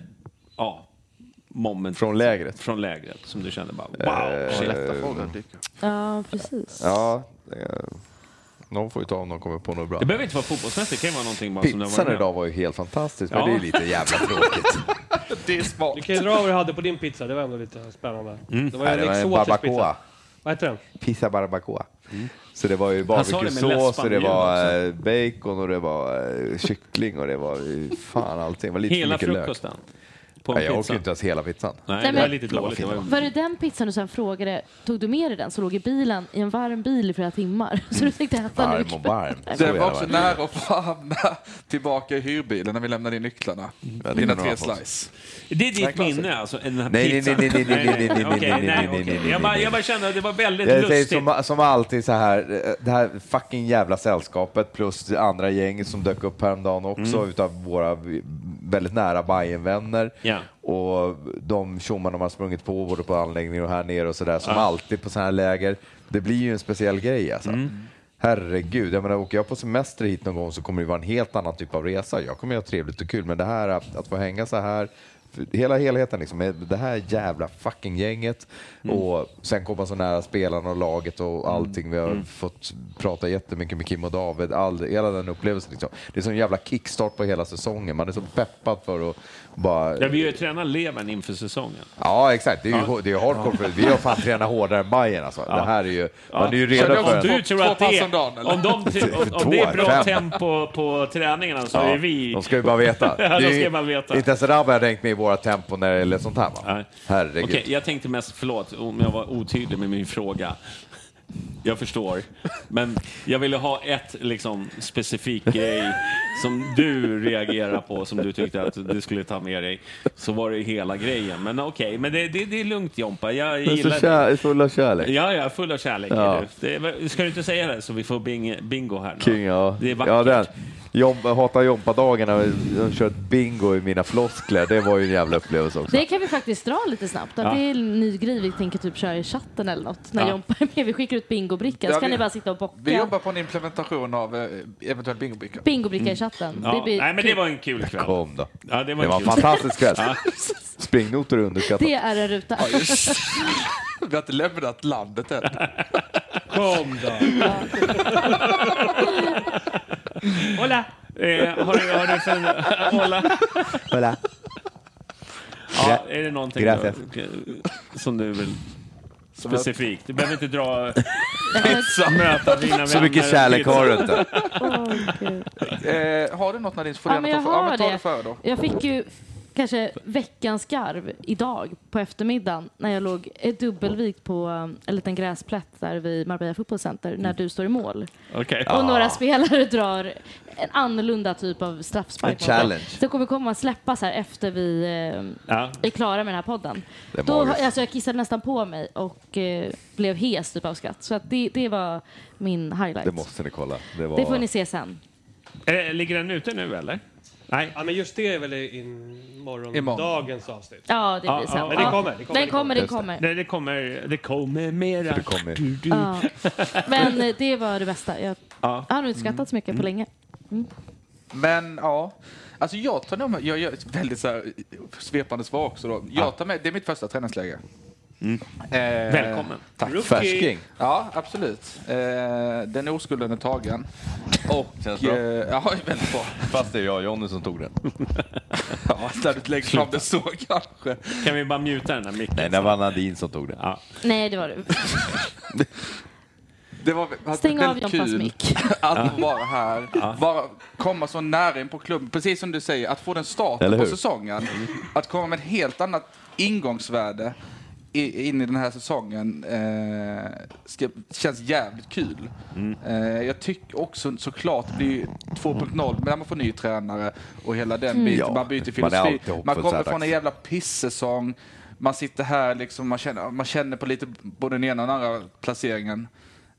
[SPEAKER 1] ja. moment
[SPEAKER 5] Från lägret. Eh,
[SPEAKER 1] från lägret som du kände bara wow, shit.
[SPEAKER 4] Lätta frågor dyker upp.
[SPEAKER 3] Ja, precis.
[SPEAKER 5] Ja, eh, någon får ju ta om de kommer på något bra.
[SPEAKER 1] Det behöver inte vara fotbollsmässigt, det kan ju vara någonting bara som du har
[SPEAKER 5] Pizzan
[SPEAKER 1] varit med
[SPEAKER 5] idag
[SPEAKER 1] om.
[SPEAKER 5] var ju helt fantastisk,
[SPEAKER 1] Ja.
[SPEAKER 5] men det är lite
[SPEAKER 1] (laughs)
[SPEAKER 5] jävla tråkigt.
[SPEAKER 4] Det är smart.
[SPEAKER 7] Du kan ju dra vad du hade på din pizza, det var ändå lite spännande.
[SPEAKER 1] Mm.
[SPEAKER 7] Det var ju
[SPEAKER 5] Mm. Nej, det
[SPEAKER 7] en
[SPEAKER 5] var en
[SPEAKER 7] exotisk pizza.
[SPEAKER 5] barbacoa.
[SPEAKER 7] Vad heter den?
[SPEAKER 5] Pizza barbacoa. Så det var ju
[SPEAKER 1] Mm. Han sa det med
[SPEAKER 5] barbecuesås och det
[SPEAKER 1] läspan
[SPEAKER 5] var eh, bacon och det var eh, kyckling och det var eh, fan allting. Det var lite för
[SPEAKER 1] Hela
[SPEAKER 5] mycket lök.
[SPEAKER 1] frukosten på en
[SPEAKER 5] Nej, jag åt
[SPEAKER 1] pizza.
[SPEAKER 5] ju inte ens hela pizzan.
[SPEAKER 1] Nej, det
[SPEAKER 3] Nej,
[SPEAKER 1] var
[SPEAKER 3] men-
[SPEAKER 1] lite dåligt. Det var ju-
[SPEAKER 3] Var det den pizzan du sen frågade, tog du med dig den? Så låg i bilen, i en varm bil i flera timmar. (laughs) Så du tänkte äta den
[SPEAKER 5] Varm
[SPEAKER 3] ikväll.
[SPEAKER 5] och varm. Så
[SPEAKER 4] Det
[SPEAKER 5] jävla
[SPEAKER 4] var också
[SPEAKER 5] varm.
[SPEAKER 4] nära att få hamna tillbaka i hyrbilen när vi lämnade in nycklarna.
[SPEAKER 5] Mm. det
[SPEAKER 4] Dina
[SPEAKER 5] kan
[SPEAKER 4] tre
[SPEAKER 5] man få.
[SPEAKER 4] slice.
[SPEAKER 1] Det är ditt
[SPEAKER 4] klassiker.
[SPEAKER 1] minne alltså? Den här
[SPEAKER 5] Nej, nej,
[SPEAKER 1] pizzan.
[SPEAKER 5] nej, nej, nej, nej, nej, nej, nej,
[SPEAKER 1] Okej,
[SPEAKER 5] nej, nej,
[SPEAKER 1] nej,
[SPEAKER 5] nej,
[SPEAKER 1] okej.
[SPEAKER 5] nej,
[SPEAKER 1] Jag
[SPEAKER 5] nej,
[SPEAKER 1] bara-
[SPEAKER 5] nej.
[SPEAKER 1] Jag bara kände att det var väldigt
[SPEAKER 5] Jag säger
[SPEAKER 1] lustigt.
[SPEAKER 5] som, som alltid så här, eh, det här fucking jävla sällskapet plus det andra gäng som dök upp häromdagen också
[SPEAKER 1] Mm.
[SPEAKER 5] utav våra v- väldigt nära Bayern-vänner
[SPEAKER 1] Ja.
[SPEAKER 5] och de tjommar de har sprungit på både på anläggningen och här nere och sådär som alltid på sådana här läger. Det blir ju en speciell grej alltså. Herregud, jag menar, åker jag på semester hit någon gång så kommer det vara en helt annan typ av resa. Jag kommer ju ha trevligt och kul, men det här att, att få hänga så här, för hela helheten liksom, det här jävla fucking gänget och sen komma så nära spelarna och laget och allting. Vi har fått prata jättemycket med Kim och David, all, hela den upplevelsen. Liksom. Det är som en jävla kickstart på hela säsongen. Man är så peppad för att bara...
[SPEAKER 1] Ja, vi har ju tränat levern inför säsongen.
[SPEAKER 5] Ja, exakt. Det är ju det är ju hardcore. För, vi har fan tränat hårdare än Bayern alltså. Det här är ju... Man är ju
[SPEAKER 1] Så
[SPEAKER 5] redo
[SPEAKER 1] om
[SPEAKER 5] för...
[SPEAKER 1] du
[SPEAKER 4] Två-
[SPEAKER 1] tror
[SPEAKER 4] två
[SPEAKER 1] att det,
[SPEAKER 4] pass om dagen, eller?
[SPEAKER 1] om, de, ty- om, om
[SPEAKER 5] Två,
[SPEAKER 1] det är bra
[SPEAKER 5] fem.
[SPEAKER 1] tempo på träningarna så
[SPEAKER 5] Ja,
[SPEAKER 1] är vi...
[SPEAKER 5] De ska ju bara veta.
[SPEAKER 1] (laughs) Ja, de
[SPEAKER 5] Det är ju-
[SPEAKER 1] ska bara veta.
[SPEAKER 5] Inte ens Rabbe har hängt med i våra tempon när det gäller sånt här. Va?
[SPEAKER 1] Nej.
[SPEAKER 5] Herregud.
[SPEAKER 1] Okej, jag tänkte mest, förlåt om jag var otydlig med min fråga. Jag förstår, men jag ville ha ett liksom, specifik grej som du reagerar på, som du tyckte att du skulle ta med dig. Så var det hela grejen. Men okej, men det, det, det är lugnt Jompa. Jag
[SPEAKER 5] Det är så
[SPEAKER 1] gillar det.
[SPEAKER 5] kär, full av kärlek.
[SPEAKER 1] Ja, ja, full av kärlek.
[SPEAKER 5] Ja.
[SPEAKER 1] är du. Det, men ska du inte säga det så vi får bing, bingo här? nu?
[SPEAKER 5] King, ja.
[SPEAKER 1] Det är vackert.
[SPEAKER 5] ja, den. Jompa, hatar Jompa-dagarna. De kör ett bingo i mina floskler. Det var ju en jävla upplevelse också.
[SPEAKER 3] Det kan vi faktiskt dra lite snabbt. Att Det är en ny grej vi tänker typ köra i chatten eller något. När
[SPEAKER 1] Ja.
[SPEAKER 3] Jompa är med. Vi skickar ut bingobrickan
[SPEAKER 4] Ja,
[SPEAKER 3] så kan
[SPEAKER 4] vi-
[SPEAKER 3] ni bara sitta och bocka.
[SPEAKER 4] Vi jobbar på en implementation av eh, eventuell bingobricka.
[SPEAKER 3] Bingobricka i chatten.
[SPEAKER 1] Ja.
[SPEAKER 3] Det blir
[SPEAKER 1] Nej, men det var en kul kväll.
[SPEAKER 5] Mm. Kom då.
[SPEAKER 1] Ja, det var
[SPEAKER 5] Det var en
[SPEAKER 1] kul.
[SPEAKER 5] fantastisk kväll. Springnotor är
[SPEAKER 3] det
[SPEAKER 5] underskattat.
[SPEAKER 3] är en ruta.
[SPEAKER 4] Vi har inte lämnat landet än.
[SPEAKER 7] (laughs) Kom då!
[SPEAKER 3] (laughs)
[SPEAKER 1] Hola! (laughs) Eh, har du, har du sen, (laughs) hola.
[SPEAKER 5] Hola.
[SPEAKER 1] Ja, är det någonting
[SPEAKER 5] Gracias.
[SPEAKER 1] du- som du vill specifikt? Du behöver inte
[SPEAKER 3] (laughs)
[SPEAKER 1] dra möta dina vänner.
[SPEAKER 5] Så mycket kärlek har du inte.
[SPEAKER 4] Eh, har du något Nadine så får du
[SPEAKER 3] Ja, men
[SPEAKER 4] gärna
[SPEAKER 3] jag har
[SPEAKER 4] ta för. Ja, men ta det före
[SPEAKER 3] det.
[SPEAKER 4] då.
[SPEAKER 3] Jag fick ju kanske veckans garv idag på eftermiddagen när jag låg eh, dubbelvikt på um, en liten gräsplätt där vid Marbella Football Center
[SPEAKER 4] Mm.
[SPEAKER 3] när du står i mål.
[SPEAKER 1] Okej.
[SPEAKER 3] Och några spelare drar en annorlunda typ av straffspark.
[SPEAKER 5] En challenge.
[SPEAKER 3] Det kommer komma att släppas här efter vi eh,
[SPEAKER 1] Ja.
[SPEAKER 3] är klara med den här podden.
[SPEAKER 5] Det är
[SPEAKER 3] Då,
[SPEAKER 5] magiskt.
[SPEAKER 3] alltså, jag kissade nästan på mig och eh, blev hes typ av skratt. Så att det, det var min highlight.
[SPEAKER 5] Det måste ni kolla. Det var...
[SPEAKER 3] Det får ni se sen.
[SPEAKER 1] Eh, ligger den ute nu eller? Nej.
[SPEAKER 7] Ja, men just det är väl i- imorgon,
[SPEAKER 4] Imorgon.
[SPEAKER 7] dagens avsnitt.
[SPEAKER 3] Ja, det
[SPEAKER 1] Ja,
[SPEAKER 3] blir sen.
[SPEAKER 1] ja,
[SPEAKER 7] Men det
[SPEAKER 3] Ja.
[SPEAKER 7] kommer, det kommer.
[SPEAKER 3] Den kommer, det
[SPEAKER 5] Just det.
[SPEAKER 3] kommer.
[SPEAKER 1] Det, det, kommer, det kommer mera.
[SPEAKER 5] Det kommer.
[SPEAKER 1] Du, du.
[SPEAKER 3] Ja. Men eh, det var det bästa. Jag
[SPEAKER 1] Ja.
[SPEAKER 3] har nog inte skrattat så
[SPEAKER 5] Mm.
[SPEAKER 3] mycket på länge.
[SPEAKER 4] Men ja, alltså jag tar nog med, jag gör ett väldigt så här svepande svar också då. Jag tar med, det är mitt första träningsläger.
[SPEAKER 5] Mm.
[SPEAKER 4] Eh,
[SPEAKER 1] Välkommen.
[SPEAKER 4] Tack.
[SPEAKER 5] Färsking.
[SPEAKER 4] Ja, absolut. Eh, den oskulden är tagen.
[SPEAKER 5] (laughs) Känns
[SPEAKER 4] Och, eh,
[SPEAKER 5] bra.
[SPEAKER 4] ja, (laughs) väldigt bra.
[SPEAKER 5] Fast det är jag och Jonny som tog den.
[SPEAKER 4] (laughs) Ja, när du lägger fram det så kanske.
[SPEAKER 1] Kan vi bara mjuta den här micken?
[SPEAKER 5] Nej, det var Nadine som tog den.
[SPEAKER 1] Ja.
[SPEAKER 3] Nej, det var det.
[SPEAKER 4] Det var alltså,
[SPEAKER 3] Stäng av
[SPEAKER 4] väldigt
[SPEAKER 3] Jompas
[SPEAKER 4] kul.
[SPEAKER 3] mick.
[SPEAKER 4] (laughs) Att vara här, vara, komma så nära in på klubben, precis som du säger, att få den
[SPEAKER 5] Eller
[SPEAKER 4] starten på
[SPEAKER 5] hur? Mm.
[SPEAKER 4] säsongen. Att komma med ett helt annat ingångsvärde i, in i den här säsongen eh, ska, känns jävligt kul.
[SPEAKER 5] Mm.
[SPEAKER 4] Eh, jag tycker också såklart, det blir ju 2.0 men när man får ny tränare och hela den biten.
[SPEAKER 5] Mm. Ja,
[SPEAKER 4] Man byter
[SPEAKER 5] man är
[SPEAKER 4] filosofi.
[SPEAKER 5] alltid hoppfull
[SPEAKER 4] Man
[SPEAKER 5] så här
[SPEAKER 4] kommer från en
[SPEAKER 5] dags.
[SPEAKER 4] jävla pissäsong. Man sitter här liksom, man känner, man känner på lite både den ena och den andra placeringen.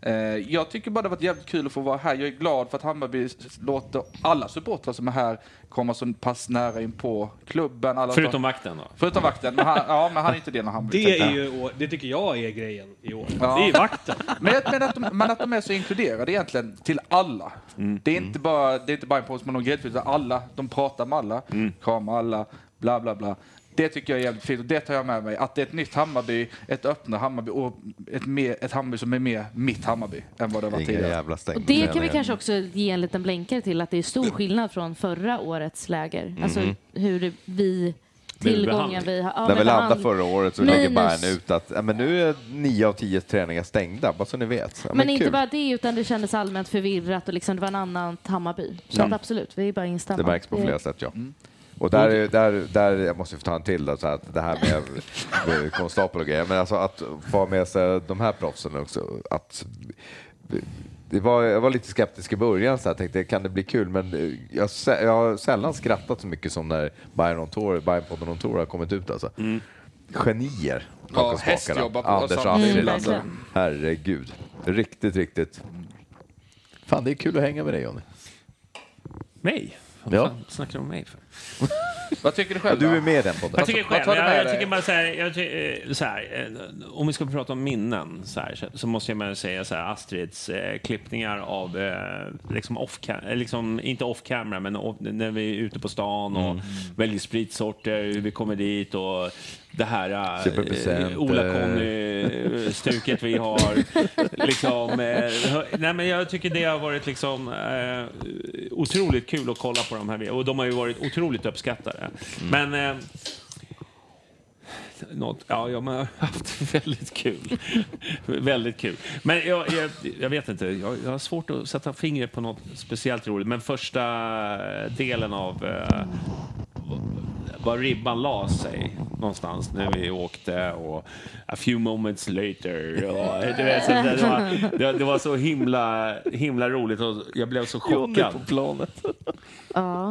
[SPEAKER 4] Eh, jag tycker bara det har varit jävligt kul att få vara här. Jag är glad för att Hammarby s- låter alla supportrar som är här komma så pass nära in på klubben. Alla
[SPEAKER 1] Förutom vakten då.
[SPEAKER 4] Förutom vakten. Men han, ja, men han är inte del av Hammarby.
[SPEAKER 7] Det,
[SPEAKER 4] tänkte
[SPEAKER 7] är
[SPEAKER 4] jag.
[SPEAKER 7] ju, å- det tycker jag är grejen i år.
[SPEAKER 4] Ja.
[SPEAKER 7] Det är ju vakten.
[SPEAKER 4] Men, jag, men, att de, men att de är så inkluderade egentligen till alla.
[SPEAKER 1] Mm.
[SPEAKER 4] Det, är inte
[SPEAKER 1] Mm.
[SPEAKER 4] bara, det är inte bara en påse med någon gräddfil, utan alla. De pratar med alla, kramar alla, bla bla bla. Det tycker jag är jävligt fint och det tar jag med mig. Att det är ett nytt Hammarby, ett öppnare Hammarby och ett, mer, ett Hammarby som är mer mitt Hammarby än vad det var
[SPEAKER 5] Inga
[SPEAKER 4] tidigare.
[SPEAKER 5] jävla stäng.
[SPEAKER 3] Och det kan vi kanske också ge en liten blänkare till att det är stor skillnad från förra årets läger.
[SPEAKER 5] Mm.
[SPEAKER 3] Alltså hur det- vi, tillgången vi har. Ja,
[SPEAKER 5] När vi
[SPEAKER 3] men
[SPEAKER 5] landade
[SPEAKER 3] behandling.
[SPEAKER 5] förra året så lägger
[SPEAKER 3] Minus-
[SPEAKER 5] Bayern ut att ja, men nu är nio av tio träningar stängda, bara så ni vet. Ja,
[SPEAKER 3] Men, inte
[SPEAKER 5] kul.
[SPEAKER 3] bara det, utan det kändes allmänt förvirrat och liksom, det var en annan Hammarby. Så att absolut, vi är bara instämda.
[SPEAKER 5] Mm. Det märks på
[SPEAKER 3] Det-
[SPEAKER 5] flera sätt, ja. Och där, är- där, där, jag måste ju få ta en till då, så att det här med- med konstapel och grejer, men alltså att få ha med sig de här proffsen också. Att, det var, jag var lite skeptisk i början, så jag tänkte kan det bli kul, men eh, jag, sä- jag har sällan skrattat så mycket som när Bayern on Tour, Bayernpodden on Tour har kommit ut alltså. Genier.
[SPEAKER 4] Ja,
[SPEAKER 5] bakom spakarna.
[SPEAKER 4] hästjobbar på-
[SPEAKER 5] Anders och
[SPEAKER 4] Mm,
[SPEAKER 5] Astrid. Alltså.
[SPEAKER 3] verkligen.
[SPEAKER 5] Herregud. Riktigt, riktigt. Fan, det är kul att hänga med dig Johnny.
[SPEAKER 1] Mig? Vad
[SPEAKER 5] Ja.
[SPEAKER 1] fan snackar du om mig (laughs) för?
[SPEAKER 4] Vad tycker du
[SPEAKER 5] Ja,
[SPEAKER 4] själv?
[SPEAKER 5] du är
[SPEAKER 4] då?
[SPEAKER 5] med i den podden.
[SPEAKER 1] Jag tycker
[SPEAKER 4] Vad tar
[SPEAKER 1] själv,
[SPEAKER 4] du med
[SPEAKER 1] jag, jag
[SPEAKER 4] dig?
[SPEAKER 1] tycker bara så här, jag, ty- eh, så här, eh, om vi ska prata om minnen så, här, så- så måste jag bara säga så här, Astrids eh, klippningar av, eh, liksom off cam- eh, liksom, inte off camera, men off, när vi är ute på stan
[SPEAKER 5] Mm.
[SPEAKER 1] och väljer spritsorter, hur vi kommer dit och det här
[SPEAKER 5] Köper presenter.
[SPEAKER 1] Ola-Conny-stuket eh, vi
[SPEAKER 5] (laughs)
[SPEAKER 1] har. liksom, eh, hö- nej, men jag tycker det har varit liksom, eh, otroligt kul att kolla på de här och de har ju varit otroligt uppskattade. Men eh, något, ja, jag har haft (laughs) väldigt kul. väldigt kul. Men jag, jag, jag vet inte, jag, jag har svårt att sätta fingret på något speciellt roligt. Men första delen av eh, var ribban la sig någonstans när vi åkte och a few moments later. Och, du vet, så det, var, det, det var så himla, himla roligt och jag blev så chockad.
[SPEAKER 5] planet.
[SPEAKER 3] Ja,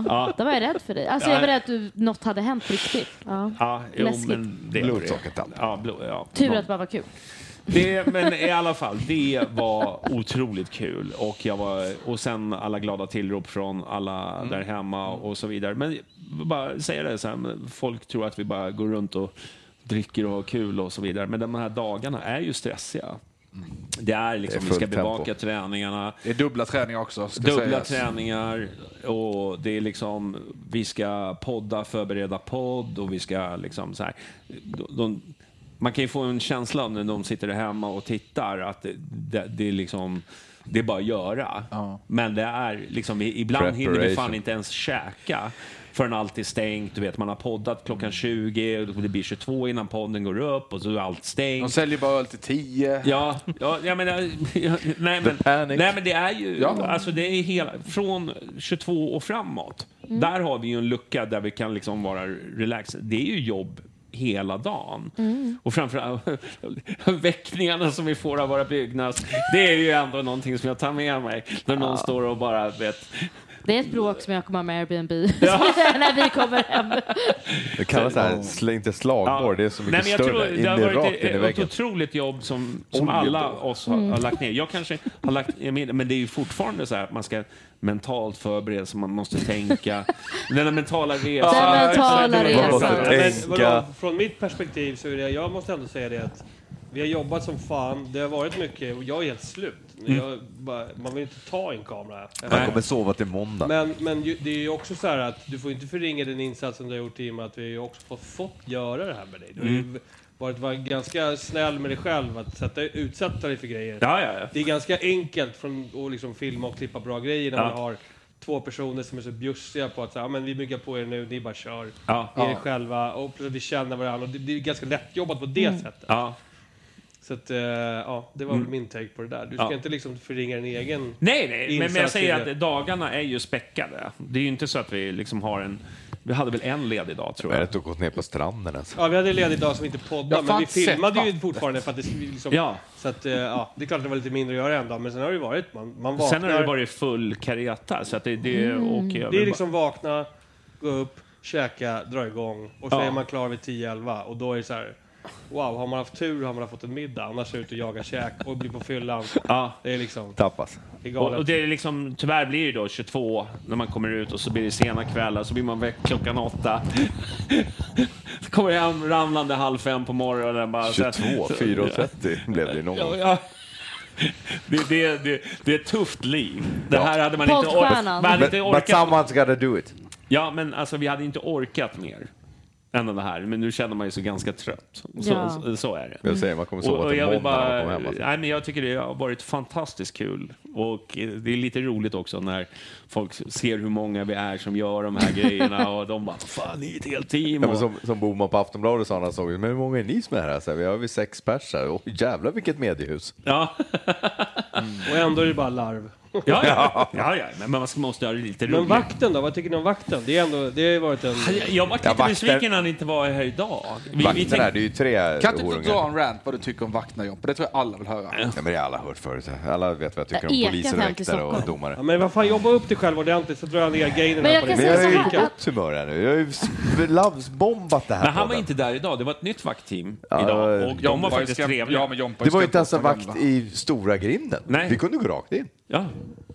[SPEAKER 1] Ja.
[SPEAKER 3] då var jag rädd för dig. Alltså jag var rädd att du, något hade hänt på riktigt. Ja.
[SPEAKER 1] Ja, jo,
[SPEAKER 3] Läskigt.
[SPEAKER 1] men det
[SPEAKER 5] Blodsockret alltid.
[SPEAKER 1] Ja, blod, ja.
[SPEAKER 3] Tur att det bara var kul.
[SPEAKER 1] Det, men i alla fall, det var otroligt kul. Och, jag var, och sen alla glada tillrop från alla
[SPEAKER 5] Mm.
[SPEAKER 1] där hemma och så vidare. Men bara säga det, så här, men folk tror att vi bara går runt och dricker och har kul och så vidare. Men de här dagarna är ju stressiga. Det är liksom,
[SPEAKER 5] Mm. Det
[SPEAKER 1] vi
[SPEAKER 5] är
[SPEAKER 1] ska
[SPEAKER 5] fullt tempo.
[SPEAKER 1] bevaka träningarna.
[SPEAKER 4] Det är dubbla träningar också. Ska
[SPEAKER 1] Dubbla
[SPEAKER 4] sägas.
[SPEAKER 1] träningar och det är liksom, vi ska podda, förbereda podd och vi ska liksom så här. De, de, man kan ju få en känsla av när de sitter där hemma och tittar att det, det, det är liksom, det är bara att göra.
[SPEAKER 4] Ja.
[SPEAKER 1] Men det är liksom, vi- ibland hinner vi fan inte ens käka förrän allt är stängt. Du vet, man har poddat klockan 20 och det blir 22 innan podden går upp och så är allt
[SPEAKER 4] De
[SPEAKER 1] stängt.
[SPEAKER 4] säljer bara öl till 10.
[SPEAKER 1] Ja, ja, eh, jag menar, nej, men,
[SPEAKER 5] panic.
[SPEAKER 1] nej men det är ju,
[SPEAKER 4] Ja.
[SPEAKER 1] alltså det är hela, från 22 och framåt, där har vi ju en lucka där vi kan liksom vara relaxed. Det är ju jobb hela dagen.
[SPEAKER 7] Mm.
[SPEAKER 1] Och framförallt (laughs) väckningarna som vi får av våra byggnads, det är ju ändå någonting som jag tar med mig när någon står och bara vet,
[SPEAKER 3] Det är ett bråk som jag kommer ha med Airbnb (laughs) när vi kommer hem.
[SPEAKER 5] Det kallas så här, sl- inte slagborr, det är så
[SPEAKER 1] Nej,
[SPEAKER 5] mycket
[SPEAKER 1] men jag
[SPEAKER 5] större.
[SPEAKER 1] Tror,
[SPEAKER 5] in
[SPEAKER 1] det har
[SPEAKER 5] i
[SPEAKER 1] varit
[SPEAKER 5] rakt in i
[SPEAKER 1] ett, ett
[SPEAKER 5] väggen.
[SPEAKER 1] otroligt jobb som, som alla oss har, har lagt ner. Jag kanske har lagt ner mindre, men det är ju fortfarande så här att man ska mentalt förbereda sig, man måste
[SPEAKER 7] (laughs)
[SPEAKER 1] tänka. Den där mentala resan.
[SPEAKER 3] Den mentala
[SPEAKER 1] exakt.
[SPEAKER 3] resan. Man måste
[SPEAKER 7] Ja, men
[SPEAKER 5] tänka.
[SPEAKER 7] vadå, från mitt perspektiv så är det, jag måste ändå säga det att vi har jobbat som fan, det har varit mycket och jag är helt slut. Jag, bara, man vill inte ta i en kamera.
[SPEAKER 5] Man Mm. kommer sova till måndag.
[SPEAKER 7] Men, men ju, det är ju också så här att du får inte förringa den insatsen du har gjort i och med att vi har ju också fått, fått göra det här med dig. Du har
[SPEAKER 5] Mm.
[SPEAKER 7] ju varit, varit ganska snäll med dig själv att sätta, utsätta dig för grejer.
[SPEAKER 1] Ja, ja, ja.
[SPEAKER 7] Det är ganska enkelt från att liksom filma och klippa bra grejer när
[SPEAKER 1] Ja.
[SPEAKER 7] man har två personer som är så bjussiga på att säga, ah, men vi myggar på er nu, ni bara kör.
[SPEAKER 1] Ja.
[SPEAKER 7] Är er själva och plötsligt känner varandra. Och det, det är ganska lättjobbat på det sättet.
[SPEAKER 1] Ja.
[SPEAKER 7] Så att, eh, ja, det var väl min take på det där. Du ska
[SPEAKER 1] Mm. Ja.
[SPEAKER 7] inte liksom förringa din egen...
[SPEAKER 1] Nej, nej, men, men jag
[SPEAKER 7] Insats i
[SPEAKER 1] säger
[SPEAKER 7] det.
[SPEAKER 1] att dagarna är ju späckade. Det är ju inte så att vi liksom har en... Vi hade väl en ledig dag, tror
[SPEAKER 5] Jag har
[SPEAKER 1] jag.
[SPEAKER 5] inte gått ner på stranden ens.
[SPEAKER 7] Ja, vi hade en ledig dag som vi inte poddade,
[SPEAKER 4] Jag
[SPEAKER 7] men
[SPEAKER 4] fan
[SPEAKER 7] vi
[SPEAKER 4] sett
[SPEAKER 7] filmade ju
[SPEAKER 4] vattnet.
[SPEAKER 7] fortfarande för att det skulle liksom...
[SPEAKER 1] Ja.
[SPEAKER 7] Så att, eh, ja, det är klart att det var lite mindre att göra en dag, men sen har det ju varit... Man, man vaknar,
[SPEAKER 1] Sen har det varit full kareta, så att det, det, och jag
[SPEAKER 7] det är
[SPEAKER 1] vill
[SPEAKER 7] liksom vakna, gå upp, käka, dra igång och så
[SPEAKER 1] Ja.
[SPEAKER 7] är man klar vid 10-11 och då är det så här... Wow, har man haft tur har man haft en middag, annars är det ut och jaga käk och bli på fyllan.
[SPEAKER 1] Ja.
[SPEAKER 7] Det är liksom...
[SPEAKER 5] Tappas.
[SPEAKER 7] Det är
[SPEAKER 1] Och,
[SPEAKER 7] galet.
[SPEAKER 1] och det är liksom, tyvärr blir det då 22 när man kommer ut och så blir det sena kvällar så blir man väckt klockan åtta. (laughs) så kommer jag hem ramlande halv fem på morgonen. och Bara,
[SPEAKER 5] 22,
[SPEAKER 1] Alltså, så-
[SPEAKER 5] 4.30 Alltså, blev det ju någon
[SPEAKER 1] Ja,
[SPEAKER 5] gång.
[SPEAKER 1] ja. (laughs) Det, det, det, det är ett tufft liv. Det här hade man inte, or-
[SPEAKER 3] Poddstjärnan.
[SPEAKER 1] man hade inte
[SPEAKER 5] But, but
[SPEAKER 1] orkat.
[SPEAKER 5] someone's gotta do it.
[SPEAKER 1] Ja, men alltså vi hade inte orkat mer. än den här. Men nu känner man ju sig ganska trött. Så,
[SPEAKER 3] Ja.
[SPEAKER 1] så, så är det.
[SPEAKER 5] Jag säger, man kommer sova till
[SPEAKER 1] jag vill
[SPEAKER 5] måndag när man kommer hem, alltså.
[SPEAKER 1] Nej, men jag tycker det har varit fantastiskt kul. Och eh, det är lite roligt också när folk ser hur många vi är som gör de här grejerna
[SPEAKER 5] (laughs)
[SPEAKER 1] och de bara fan ni är ett helt team.
[SPEAKER 5] Ja, men
[SPEAKER 1] Och-
[SPEAKER 5] som, som Boman på Aftonbladet sa när han såg det, men hur många är ni som är här? Så här vi har väl sex pers här. Åh, jävlar vilket mediehus.
[SPEAKER 1] Ja.
[SPEAKER 7] Och ändå är det bara larv.
[SPEAKER 1] Ja, ja. ja, ja. Men man ska- måste ha lite
[SPEAKER 7] (laughs) Men
[SPEAKER 1] roligt.
[SPEAKER 7] vakten då? Vad tycker ni om vakten? Det, är ändå, det har ju varit en...
[SPEAKER 1] Jag- Jag var lite
[SPEAKER 5] Ja, vakter-
[SPEAKER 1] besviken när han inte var här idag. Vi, vi
[SPEAKER 5] Vakterna här,
[SPEAKER 1] tänkte,
[SPEAKER 5] det är ju tre
[SPEAKER 4] Kan du inte dra
[SPEAKER 5] horungar.
[SPEAKER 4] en rant vad du tycker om vakterna Jompa? Det tror jag alla vill höra.
[SPEAKER 5] Ja, men det har alla hört förut. Alla vet vad jag tycker
[SPEAKER 3] Jag
[SPEAKER 5] om
[SPEAKER 3] ekat
[SPEAKER 5] poliser,
[SPEAKER 3] hem till
[SPEAKER 5] väktare och
[SPEAKER 3] Stockholm.
[SPEAKER 7] Ja,
[SPEAKER 5] domare.
[SPEAKER 7] men vad fan, jobba upp dig själv ordentligt så drar jag ner gainen
[SPEAKER 3] Men
[SPEAKER 7] här
[SPEAKER 3] jag
[SPEAKER 7] på
[SPEAKER 3] kan
[SPEAKER 7] dig.
[SPEAKER 5] Men jag
[SPEAKER 3] säga
[SPEAKER 5] är
[SPEAKER 3] så
[SPEAKER 5] ju
[SPEAKER 3] här
[SPEAKER 5] i gott humör här nu. Jag har ju (laughs) lovesbombat det här
[SPEAKER 1] men han var
[SPEAKER 5] podden.
[SPEAKER 1] inte där idag. Det var ett nytt vaktteam
[SPEAKER 5] Ja, eh,
[SPEAKER 1] idag. Och de
[SPEAKER 4] Jompa
[SPEAKER 1] var faktiskt
[SPEAKER 4] skrämd-
[SPEAKER 1] trevliga.
[SPEAKER 4] Ja, men Jompa är
[SPEAKER 5] Det var ju
[SPEAKER 4] skrämd
[SPEAKER 5] inte ens en
[SPEAKER 4] av gamla.
[SPEAKER 5] vakt i stora grinden.
[SPEAKER 1] Nej.
[SPEAKER 5] Vi kunde gå rakt in.
[SPEAKER 1] Ja,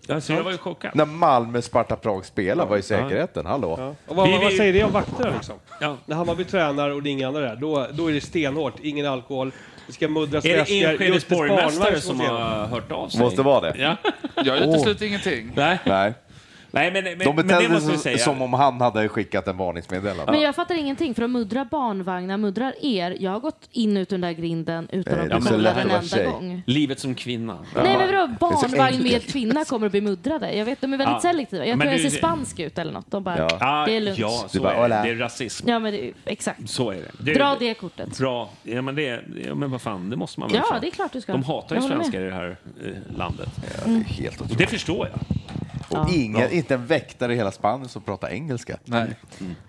[SPEAKER 1] alltså, jag var ju chockad.
[SPEAKER 5] När Malmö Sparta Prag spelar var ju säkerheten, hallå.
[SPEAKER 7] Och vad,
[SPEAKER 1] Vi-
[SPEAKER 7] vad, vad
[SPEAKER 1] vi-
[SPEAKER 7] säger det om vakterna liksom?
[SPEAKER 1] Ja.
[SPEAKER 7] När Hammarby tränar och det är inga andra där, då, då är det stenhårt. Ingen alkohol. Det ska muddras
[SPEAKER 1] Är det
[SPEAKER 7] väskor.
[SPEAKER 1] Enskede
[SPEAKER 7] Just till
[SPEAKER 1] borgmästare
[SPEAKER 7] spanvagn
[SPEAKER 1] som
[SPEAKER 7] måste in.
[SPEAKER 1] har hört av sig?
[SPEAKER 5] Måste vara det.
[SPEAKER 1] Ja.
[SPEAKER 4] Jag utesluter ingenting.
[SPEAKER 1] Nej.
[SPEAKER 5] Nej.
[SPEAKER 1] Nej, men, men,
[SPEAKER 5] De
[SPEAKER 1] men det
[SPEAKER 5] betedde
[SPEAKER 1] måste vi
[SPEAKER 5] sig
[SPEAKER 1] säga.
[SPEAKER 5] som om han hade skickat en varningsmeddelande.
[SPEAKER 3] Men jag fattar ingenting, för de muddrar barnvagnar, muddrar er. Jag har gått in ut ur den där grinden utan att
[SPEAKER 5] Nej, Eh, det är
[SPEAKER 3] bli
[SPEAKER 5] så lätt
[SPEAKER 3] muddrad
[SPEAKER 5] att
[SPEAKER 3] en
[SPEAKER 5] vara
[SPEAKER 3] enda
[SPEAKER 5] tjej.
[SPEAKER 3] gång.
[SPEAKER 1] Livet som kvinna.
[SPEAKER 3] Nej men vadå,
[SPEAKER 5] är så
[SPEAKER 3] barnvagn med
[SPEAKER 5] enkelt.
[SPEAKER 3] kvinna kommer att bli muddrade. Jag vet, de är väldigt
[SPEAKER 1] Ja.
[SPEAKER 3] selektiva. Jag
[SPEAKER 1] Men
[SPEAKER 3] tror jag
[SPEAKER 1] det-
[SPEAKER 3] ser spansk ut eller något. De bara,
[SPEAKER 5] Ja.
[SPEAKER 1] Ah,
[SPEAKER 3] det är lugnt.
[SPEAKER 1] Ja,
[SPEAKER 5] Du
[SPEAKER 1] så
[SPEAKER 5] bara,
[SPEAKER 1] är det.
[SPEAKER 5] "Hola."
[SPEAKER 1] Det är rasism.
[SPEAKER 3] Ja, men det, exakt.
[SPEAKER 1] Så är det. det
[SPEAKER 3] Dra det kortet.
[SPEAKER 1] Bra. Ja, men, det, ja, men vad fan, det måste man väl
[SPEAKER 3] Ja,
[SPEAKER 1] få.
[SPEAKER 3] det är klart du ska.
[SPEAKER 1] De hatar ju
[SPEAKER 3] Jag håller med. Mm.
[SPEAKER 1] svenskar i det här eh, landet.
[SPEAKER 5] Ja, det är helt otroligt.
[SPEAKER 1] Och det förstår jag.
[SPEAKER 5] Och ingen, inte en väktare i hela Spanien som pratar engelska.
[SPEAKER 4] Nej.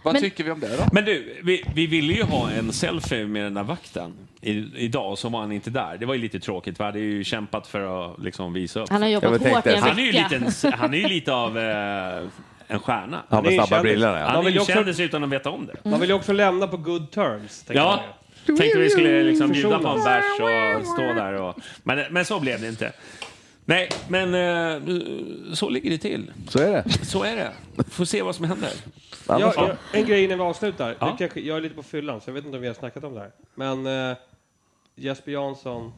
[SPEAKER 4] Vad
[SPEAKER 3] Men-
[SPEAKER 4] tycker vi om det då?
[SPEAKER 1] Mm. Men du, vi, vi ville ju ha en selfie med den där vakten i, idag, så var han inte där. Det var ju lite tråkigt. Vi hade ju kämpat för att liksom visa upp.
[SPEAKER 3] Han har
[SPEAKER 5] Jag
[SPEAKER 3] jobbat
[SPEAKER 5] tänkte
[SPEAKER 3] hårt i en
[SPEAKER 5] att-
[SPEAKER 3] vecka.
[SPEAKER 1] Han är ju, lite en, han är ju lite av eh, en stjärna.
[SPEAKER 5] Han
[SPEAKER 7] Det är
[SPEAKER 5] med snabba
[SPEAKER 7] en kändis.
[SPEAKER 5] brillorna,
[SPEAKER 7] Ja.
[SPEAKER 5] ja.
[SPEAKER 1] Han är
[SPEAKER 7] vill
[SPEAKER 1] ju
[SPEAKER 7] också-
[SPEAKER 1] kändis utan att veta om det.
[SPEAKER 7] Man vill ju också lämna på good terms. tänker
[SPEAKER 1] Ja.
[SPEAKER 7] jag.
[SPEAKER 1] Tänkte vi skulle liksom bjuda på
[SPEAKER 7] Försona.
[SPEAKER 1] en bärs och stå där. Och, men, men så blev det inte. Nej, men eh, så ligger det till.
[SPEAKER 5] Så är det.
[SPEAKER 1] Så är det. Får se vad som händer.
[SPEAKER 7] Jag, jag, en grej innan vi avslutar.
[SPEAKER 1] Ja.
[SPEAKER 7] Det kanske, jag är lite på fyllan, så jag vet inte om vi har snackat om det här. Men eh, Jesper Jansson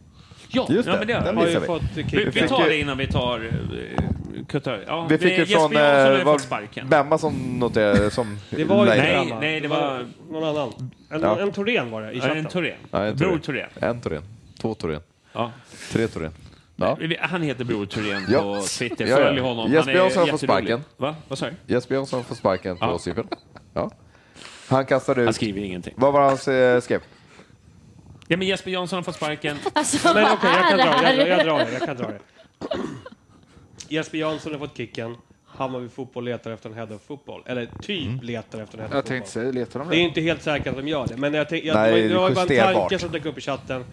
[SPEAKER 1] Ja,
[SPEAKER 5] Just
[SPEAKER 1] ja
[SPEAKER 5] det.
[SPEAKER 1] men det gör
[SPEAKER 5] Den
[SPEAKER 1] vi.
[SPEAKER 7] har ju
[SPEAKER 5] missar vi.
[SPEAKER 7] fått
[SPEAKER 1] Vi, vi
[SPEAKER 7] kicken.
[SPEAKER 1] tar det innan vi tar... eh, Kuttar. Ja,
[SPEAKER 5] Vi fick
[SPEAKER 1] det-
[SPEAKER 5] ju
[SPEAKER 1] Jesper
[SPEAKER 5] från...
[SPEAKER 1] Jansson har ju
[SPEAKER 5] eh, var
[SPEAKER 1] fått sparken.
[SPEAKER 5] Bemma som noterade... Som,
[SPEAKER 7] Det var ju
[SPEAKER 5] Nej,
[SPEAKER 7] inte
[SPEAKER 1] Nej,
[SPEAKER 7] Bemma.
[SPEAKER 1] nej, det var-
[SPEAKER 7] någon annan. En,
[SPEAKER 5] Ja.
[SPEAKER 7] en Torén var det i
[SPEAKER 1] Ja,
[SPEAKER 7] chatten.
[SPEAKER 1] En Thorén.
[SPEAKER 5] Nej, en
[SPEAKER 1] Bror Thorén.
[SPEAKER 5] En Torén. Två Torén.
[SPEAKER 1] Ja.
[SPEAKER 5] Tre Torén. Ja.
[SPEAKER 1] Han heter Bror Thorén
[SPEAKER 5] Ja.
[SPEAKER 1] på Twitter.
[SPEAKER 5] Ja, ja.
[SPEAKER 1] Följ honom.
[SPEAKER 5] Jesper
[SPEAKER 1] han är
[SPEAKER 5] Jansson har fått
[SPEAKER 1] jätterolig.
[SPEAKER 5] sparken.
[SPEAKER 1] Va? Vad sa du?
[SPEAKER 5] Jesper Jansson får sparken på
[SPEAKER 1] Ja.
[SPEAKER 5] Cypern. Ja. Han kastade ut...
[SPEAKER 1] Han skriver ingenting.
[SPEAKER 5] Vad var det han se- skrev?
[SPEAKER 1] Ja, men Jesper Jansson har fått sparken.
[SPEAKER 3] (laughs) Alltså,
[SPEAKER 7] Men okej, jag kan
[SPEAKER 3] vad
[SPEAKER 7] dra
[SPEAKER 3] är
[SPEAKER 7] det.
[SPEAKER 3] det
[SPEAKER 7] Jag, jag
[SPEAKER 3] här?
[SPEAKER 7] drar det. Jag kan dra det. (clears throat) Jesper Jansson har fått kicken. Hammarby fotboll letar efter en head of fotboll. Eller typ
[SPEAKER 1] Mm.
[SPEAKER 7] letar efter en head
[SPEAKER 4] Jag
[SPEAKER 7] of
[SPEAKER 4] tänkte
[SPEAKER 7] fotboll.
[SPEAKER 4] säga, letar de
[SPEAKER 7] Det är
[SPEAKER 4] det?
[SPEAKER 7] inte helt säkert att de gör det. Men jag tänk, jag,
[SPEAKER 5] Nej,
[SPEAKER 7] det var- det var ju bara en
[SPEAKER 5] justerbart.
[SPEAKER 7] tanke som dök upp i chatten.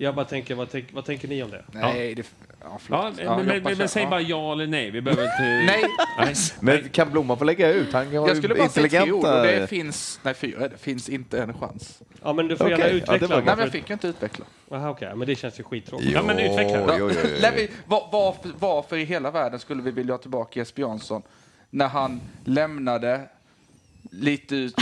[SPEAKER 7] Jag bara tänker, vad, tänk, vad tänker ni om det?
[SPEAKER 4] Nej, det... Ja,
[SPEAKER 1] Ja,
[SPEAKER 4] förlåt.
[SPEAKER 1] men, men,
[SPEAKER 4] Jompa
[SPEAKER 1] men,
[SPEAKER 4] kör.
[SPEAKER 1] säg
[SPEAKER 4] Ja.
[SPEAKER 1] bara ja eller nej. Vi behöver inte...
[SPEAKER 4] Nej,
[SPEAKER 5] Men kan Blomman få lägga ut? Han kan
[SPEAKER 4] jag skulle bara säga tre ord och det
[SPEAKER 5] intelligenta...
[SPEAKER 4] finns... Nej, fyra är det. Finns inte en chans.
[SPEAKER 7] Ja, men du får
[SPEAKER 5] Okej,
[SPEAKER 7] gärna
[SPEAKER 5] ja, det
[SPEAKER 7] utveckla.
[SPEAKER 5] var
[SPEAKER 7] Ja,
[SPEAKER 5] bra.
[SPEAKER 4] Nej, men jag fick ju inte utveckla.
[SPEAKER 7] Aha, okej, men det känns ju skittråkigt.
[SPEAKER 1] Ja, men utveckla det.
[SPEAKER 5] Jo, jo, jo, jo.
[SPEAKER 4] Nej, men var, varför, varför i hela världen skulle vi vilja ha tillbaka Jesper Jansson när han lämnade lite ut,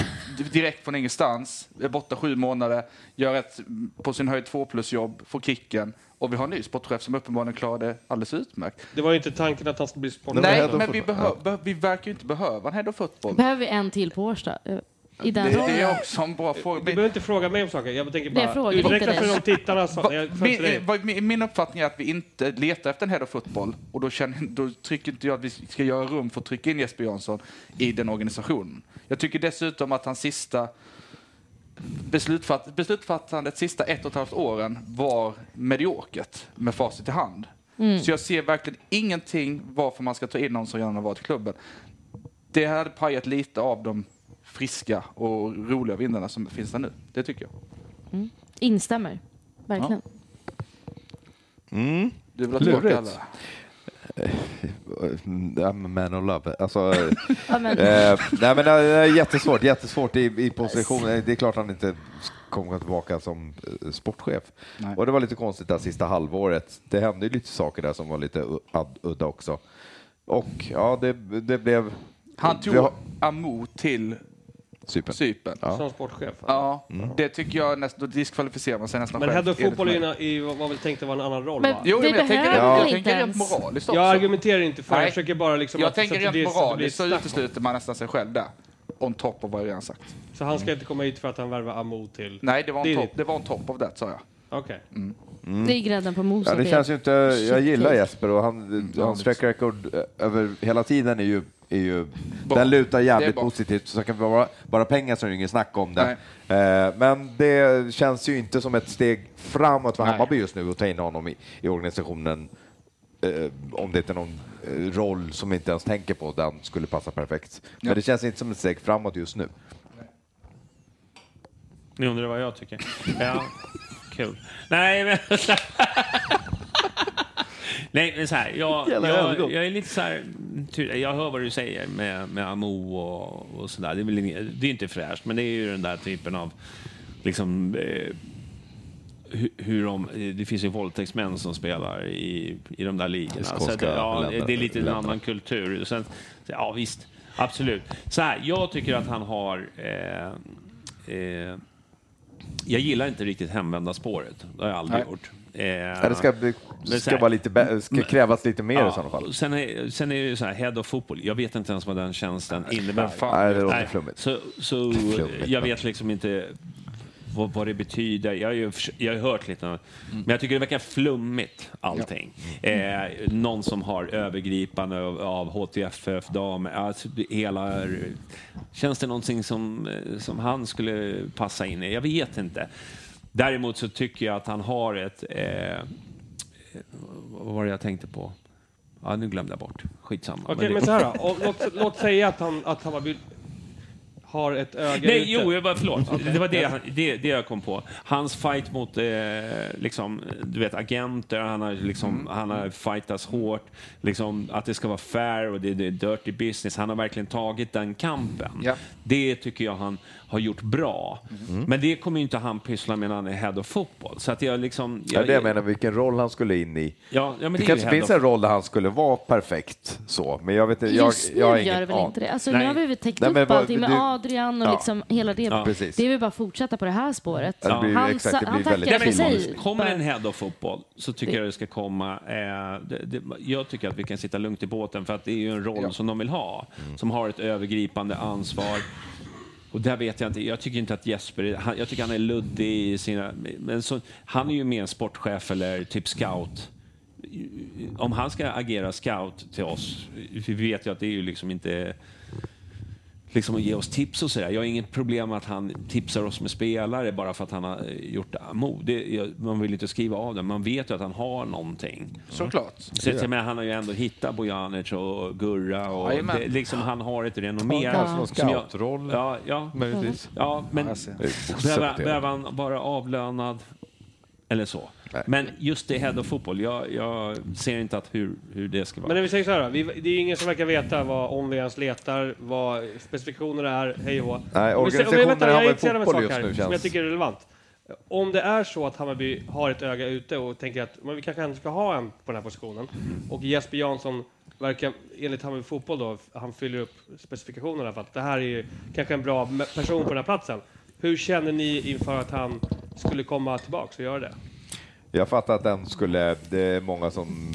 [SPEAKER 4] direkt från ingenstans, är borta sju månader, gör ett på sin höjd två plus jobb, får kicken och vi har en ny sportchef som uppenbarligen klarar det alldeles utmärkt.
[SPEAKER 7] Det var ju inte tanken att han skulle bli sportchef.
[SPEAKER 5] men
[SPEAKER 4] Nej,
[SPEAKER 5] head of
[SPEAKER 4] men vi,
[SPEAKER 5] football.
[SPEAKER 4] behö, behö, vi verkar ju inte behöva en head of football. Det,
[SPEAKER 3] Behöver vi en till på Årsta? Eh, I den
[SPEAKER 4] det
[SPEAKER 3] rollen?
[SPEAKER 4] är också en bra fråga.
[SPEAKER 7] Du
[SPEAKER 4] Men-
[SPEAKER 7] behöver inte fråga mig om saker. Jag tänker
[SPEAKER 3] Det
[SPEAKER 7] bara
[SPEAKER 3] frågar inte
[SPEAKER 7] utveckla
[SPEAKER 3] dig.
[SPEAKER 7] för de tittarna. Som,
[SPEAKER 4] Va,
[SPEAKER 7] jag, för
[SPEAKER 4] min,
[SPEAKER 7] dig.
[SPEAKER 4] eh, vad- min, min uppfattning är att vi inte letar efter en head of football och då, känner, då tycker inte jag att vi ska göra rum för att trycka in Jesper Jansson i den organisationen. Jag tycker dessutom att hans sista beslutfatt, beslutsfattandet sista ett och ett halvt åren var mediokert med facit i hand.
[SPEAKER 3] Mm.
[SPEAKER 4] Så jag ser verkligen ingenting varför man ska ta in någon som redan har varit i klubben. Det hade pajat lite av de friska och roliga vindarna som finns där nu. Det tycker jag.
[SPEAKER 3] Instämmer. Verkligen.
[SPEAKER 4] Du vill ha tillbaka alla?
[SPEAKER 5] Lurigt. I'm a Eh, mm, man of love.
[SPEAKER 4] (laughs)
[SPEAKER 5] Alltså, eh,
[SPEAKER 3] Ja, men,
[SPEAKER 5] eh, nej, men, eh, jättesvårt, jättesvårt i, i position. Eh, Det är klart han inte kommer tillbaka som eh, sportchef.
[SPEAKER 4] Nej.
[SPEAKER 5] Och det var lite konstigt det sista halvåret. Det hände ju lite saker där som var lite u- ad- udda också. Och ja, det, det blev...
[SPEAKER 4] Han tog
[SPEAKER 5] vi har-
[SPEAKER 4] Amo till
[SPEAKER 5] Cypern. Mm.
[SPEAKER 4] Cypern. Ja.
[SPEAKER 7] Som sportchef. alltså.
[SPEAKER 4] Det tycker jag nästan, då diskvalificerar man sig nästan
[SPEAKER 7] Men
[SPEAKER 4] själv,
[SPEAKER 7] head of
[SPEAKER 4] enligt
[SPEAKER 7] fotboll är
[SPEAKER 4] mig.
[SPEAKER 7] ju en- är ju vad vi tänkte vara en annan roll.
[SPEAKER 3] Men-
[SPEAKER 7] va?
[SPEAKER 4] Jo,
[SPEAKER 3] Det
[SPEAKER 4] men jag tänker,
[SPEAKER 3] behöver
[SPEAKER 4] jag
[SPEAKER 3] väl inte
[SPEAKER 4] tänker rent
[SPEAKER 3] ens?
[SPEAKER 4] moraliskt också.
[SPEAKER 7] Jag argumenterar inte för,
[SPEAKER 4] Nej.
[SPEAKER 7] jag försöker bara liksom...
[SPEAKER 4] jag
[SPEAKER 7] att- så
[SPEAKER 4] tänker
[SPEAKER 7] att det
[SPEAKER 4] rent
[SPEAKER 7] blir- så att det blir
[SPEAKER 4] moraliskt så
[SPEAKER 7] snack om det.
[SPEAKER 4] utesluter man nästan sig själv där. on top of vad jag redan sagt.
[SPEAKER 7] Så han ska inte komma hit för att han värvar Amo till...
[SPEAKER 4] Nej, det var Mm. on,
[SPEAKER 7] är
[SPEAKER 4] top,
[SPEAKER 7] ditt-
[SPEAKER 4] det var on top of that sa jag.
[SPEAKER 7] Okej.
[SPEAKER 3] Det är grädden på moset.
[SPEAKER 5] Ja, det
[SPEAKER 3] det.
[SPEAKER 5] känns ju inte, jag gillar Jesper och han,
[SPEAKER 4] ja,
[SPEAKER 5] hans track record eh, över hela tiden är ju, är ju
[SPEAKER 4] Bra.
[SPEAKER 5] den lutar
[SPEAKER 4] Det är
[SPEAKER 5] jävligt
[SPEAKER 4] bra.
[SPEAKER 5] positivt så det kan vara bara pengar som är det ingen snack om det. Eh, men det känns ju inte som ett steg framåt för
[SPEAKER 4] Nej.
[SPEAKER 5] Hammarby just nu att ta in honom i, i organisationen eh, om det inte är någon eh, roll som vi inte ens tänker på den skulle passa perfekt. Men
[SPEAKER 4] Ja.
[SPEAKER 5] det känns inte som ett steg framåt just nu.
[SPEAKER 1] Ni undrar vad jag tycker. Ja, kul. Nej, men... (laughs) Nej, men så här. Jag,
[SPEAKER 5] Jävla övergång.
[SPEAKER 1] jag, jag är lite så här... ty- Jag hör vad du säger med, med Amo och, och sådär. Det, är väl inget- det är inte fräscht, men det är ju den där typen av... Liksom, eh, hur, hur de, eh, det finns ju våldtäktsmän som spelar i, i de där ligorna. Så att,
[SPEAKER 5] Skånska
[SPEAKER 1] ja,
[SPEAKER 5] länder-
[SPEAKER 1] det är lite en
[SPEAKER 5] länderna.
[SPEAKER 1] annan kultur. Sen, så- ja, visst. Absolut. Så här, jag tycker att han har... Eh, eh, jag gillar inte riktigt hemvända spåret. Det har jag aldrig
[SPEAKER 4] Nej.
[SPEAKER 1] gjort. Eh,
[SPEAKER 5] Ja, det ska, bli-
[SPEAKER 1] så
[SPEAKER 5] ska,
[SPEAKER 1] här-
[SPEAKER 5] vara lite, bä- ska krävas lite mer i sådana fall.
[SPEAKER 1] och Sen är, sen är det ju så här, head of fotboll. Jag vet inte ens vad den tjänsten innebär.
[SPEAKER 4] fan.
[SPEAKER 5] Nej, det låter flummigt.
[SPEAKER 1] Så, så
[SPEAKER 5] Flummigt,
[SPEAKER 1] jag
[SPEAKER 5] men-
[SPEAKER 1] vet liksom inte vad, vad det betyder. Jag har ju förs- jag har hört lite, om- men jag tycker det verkar flummigt allting. Eh, någon som har övergripande av, av HTFF, dam, alltså det hela... Känns det någonting som, eh, som han skulle passa in i? Jag vet inte. Däremot så tycker jag att han har ett... Eh, vad var det jag tänkte på? Ja, nu glömde jag bort. Skitsamma.
[SPEAKER 7] Okej,
[SPEAKER 1] det-
[SPEAKER 7] men så här då. Och, låt, låt säga att, han, att Hammarby har ett öga
[SPEAKER 1] Nej,
[SPEAKER 7] ute.
[SPEAKER 1] jo, jag var, förlåt. Det var det, han- det, det jag kom på. Hans fight mot eh, liksom, du vet, agenter, han har, liksom, han har fightats hårt. Liksom, att det ska vara fair och det, det är dirty business. Han har verkligen tagit den kampen.
[SPEAKER 4] Ja.
[SPEAKER 1] Det tycker jag han har gjort bra. Men det kommer ju inte han pyssla med när han är head of fotboll. Så att jag liksom...
[SPEAKER 5] Det är det jag menar, vilken roll han skulle in i.
[SPEAKER 1] Ja, ja, men det
[SPEAKER 5] det,
[SPEAKER 1] är ju
[SPEAKER 5] kanske
[SPEAKER 1] head
[SPEAKER 5] finns
[SPEAKER 1] of-
[SPEAKER 5] en roll där han skulle vara perfekt så, men jag vet inte. Jag,
[SPEAKER 3] Just nu
[SPEAKER 5] jag har ingen
[SPEAKER 3] gör det väl
[SPEAKER 5] aning.
[SPEAKER 3] inte det. Alltså,
[SPEAKER 1] Nej.
[SPEAKER 3] nu har vi väl täckt
[SPEAKER 5] Nej, men
[SPEAKER 3] upp
[SPEAKER 5] vad-
[SPEAKER 3] allting med
[SPEAKER 5] du-
[SPEAKER 3] Adrian och
[SPEAKER 5] Ja.
[SPEAKER 3] liksom hela det.
[SPEAKER 5] precis.
[SPEAKER 3] det är väl bara att fortsätta på det här spåret.
[SPEAKER 5] Ja, det blir ju
[SPEAKER 3] han,
[SPEAKER 5] exakt, det
[SPEAKER 3] sa- han
[SPEAKER 5] blir väldigt
[SPEAKER 3] tackar för
[SPEAKER 1] Nej,
[SPEAKER 3] sig.
[SPEAKER 1] men kommer en head of fotboll så tycker jag det ska komma... Eh, det, det, jag tycker att vi kan sitta lugnt i båten för att det är ju en roll
[SPEAKER 4] Ja.
[SPEAKER 1] som de vill ha.
[SPEAKER 5] Mm.
[SPEAKER 1] Som har ett övergripande ansvar. Och där vet jag inte. Jag tycker inte att Jesper... är- Han, jag tycker han är luddig i sina... Men så, han är ju mer en sportchef eller typ scout. Om han ska agera scout till oss, vi vet ju att det är ju liksom inte liksom att ge oss tips och sådär. Jag har inget problem med att han tipsar oss med spelare bara för att han har eh, gjort mod. Det, jag, man vill inte skriva av det, men man vet ju att han har någonting. Mm.
[SPEAKER 4] Såklart.
[SPEAKER 1] Så jag menar, han har ju ändå hittat Bojanic och Gurra och
[SPEAKER 4] Jajamän.
[SPEAKER 1] det, liksom han har ett renommé.
[SPEAKER 5] Ja, kanske någon
[SPEAKER 1] Som jag-
[SPEAKER 5] scoutroll.
[SPEAKER 1] Ja, ja.
[SPEAKER 5] Möjligtvis.
[SPEAKER 1] Ja, men
[SPEAKER 4] ser.
[SPEAKER 1] behöver, behöver han vara avlönad eller så? Men just det, head of fotboll, jag, jag ser inte att hur, hur det ska vara.
[SPEAKER 7] Men när vi säger så här då, vi, det är ingen som verkar veta vad, om vi ens letar, vad specifikationerna är, hej och hå.
[SPEAKER 5] Nej,
[SPEAKER 7] Om vi säger- om vi-
[SPEAKER 5] organisationen
[SPEAKER 7] vänta, jag
[SPEAKER 5] har
[SPEAKER 7] är
[SPEAKER 5] väl
[SPEAKER 7] intresserad av en
[SPEAKER 5] fotboll
[SPEAKER 7] sak
[SPEAKER 5] just
[SPEAKER 7] här
[SPEAKER 5] nu,
[SPEAKER 7] Som
[SPEAKER 5] känns.
[SPEAKER 7] jag tycker är relevant. Om det är så att Hammarby har ett öga ute och tänker att men vi kanske ändå ska ha en på den här positionen och Jesper Jansson verkar, enligt Hammarby Fotboll då, han fyller upp specifikationerna för att det här är ju kanske en bra me- person på den här platsen. Hur känner ni inför att han skulle komma tillbaks och göra det?
[SPEAKER 5] Jag fattar att den skulle, det är många som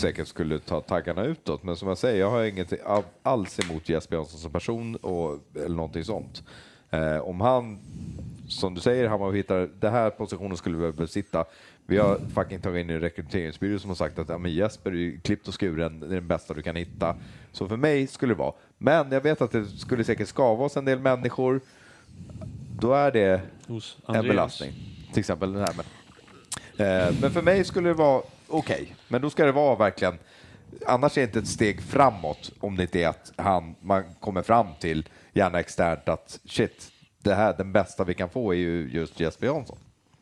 [SPEAKER 5] säkert skulle ta taggarna utåt, men som jag säger, jag har inget a- alls emot Jesper Jansson som person och, eller någonting sånt. Eh, om han, som du säger, Hammarby hittar, den här positionen skulle vi besitta. Vi har fucking tagit in en rekryteringsbyrå som har sagt att ja, men Jesper är ju klippt och skuren, det är den bästa du kan hitta. Så för mig skulle det vara. Men jag vet att det skulle säkert skava oss en del människor. Då är det
[SPEAKER 1] Hos
[SPEAKER 5] en
[SPEAKER 1] Andreas.
[SPEAKER 5] belastning. Till exempel den här. Men, Eh, men för mig skulle det vara okej. Men då ska det vara verkligen... Annars är det inte ett steg framåt om det inte är att han, man kommer fram till, gärna externt, att shit, det här, den bästa vi kan få är ju just Jesper Jansson.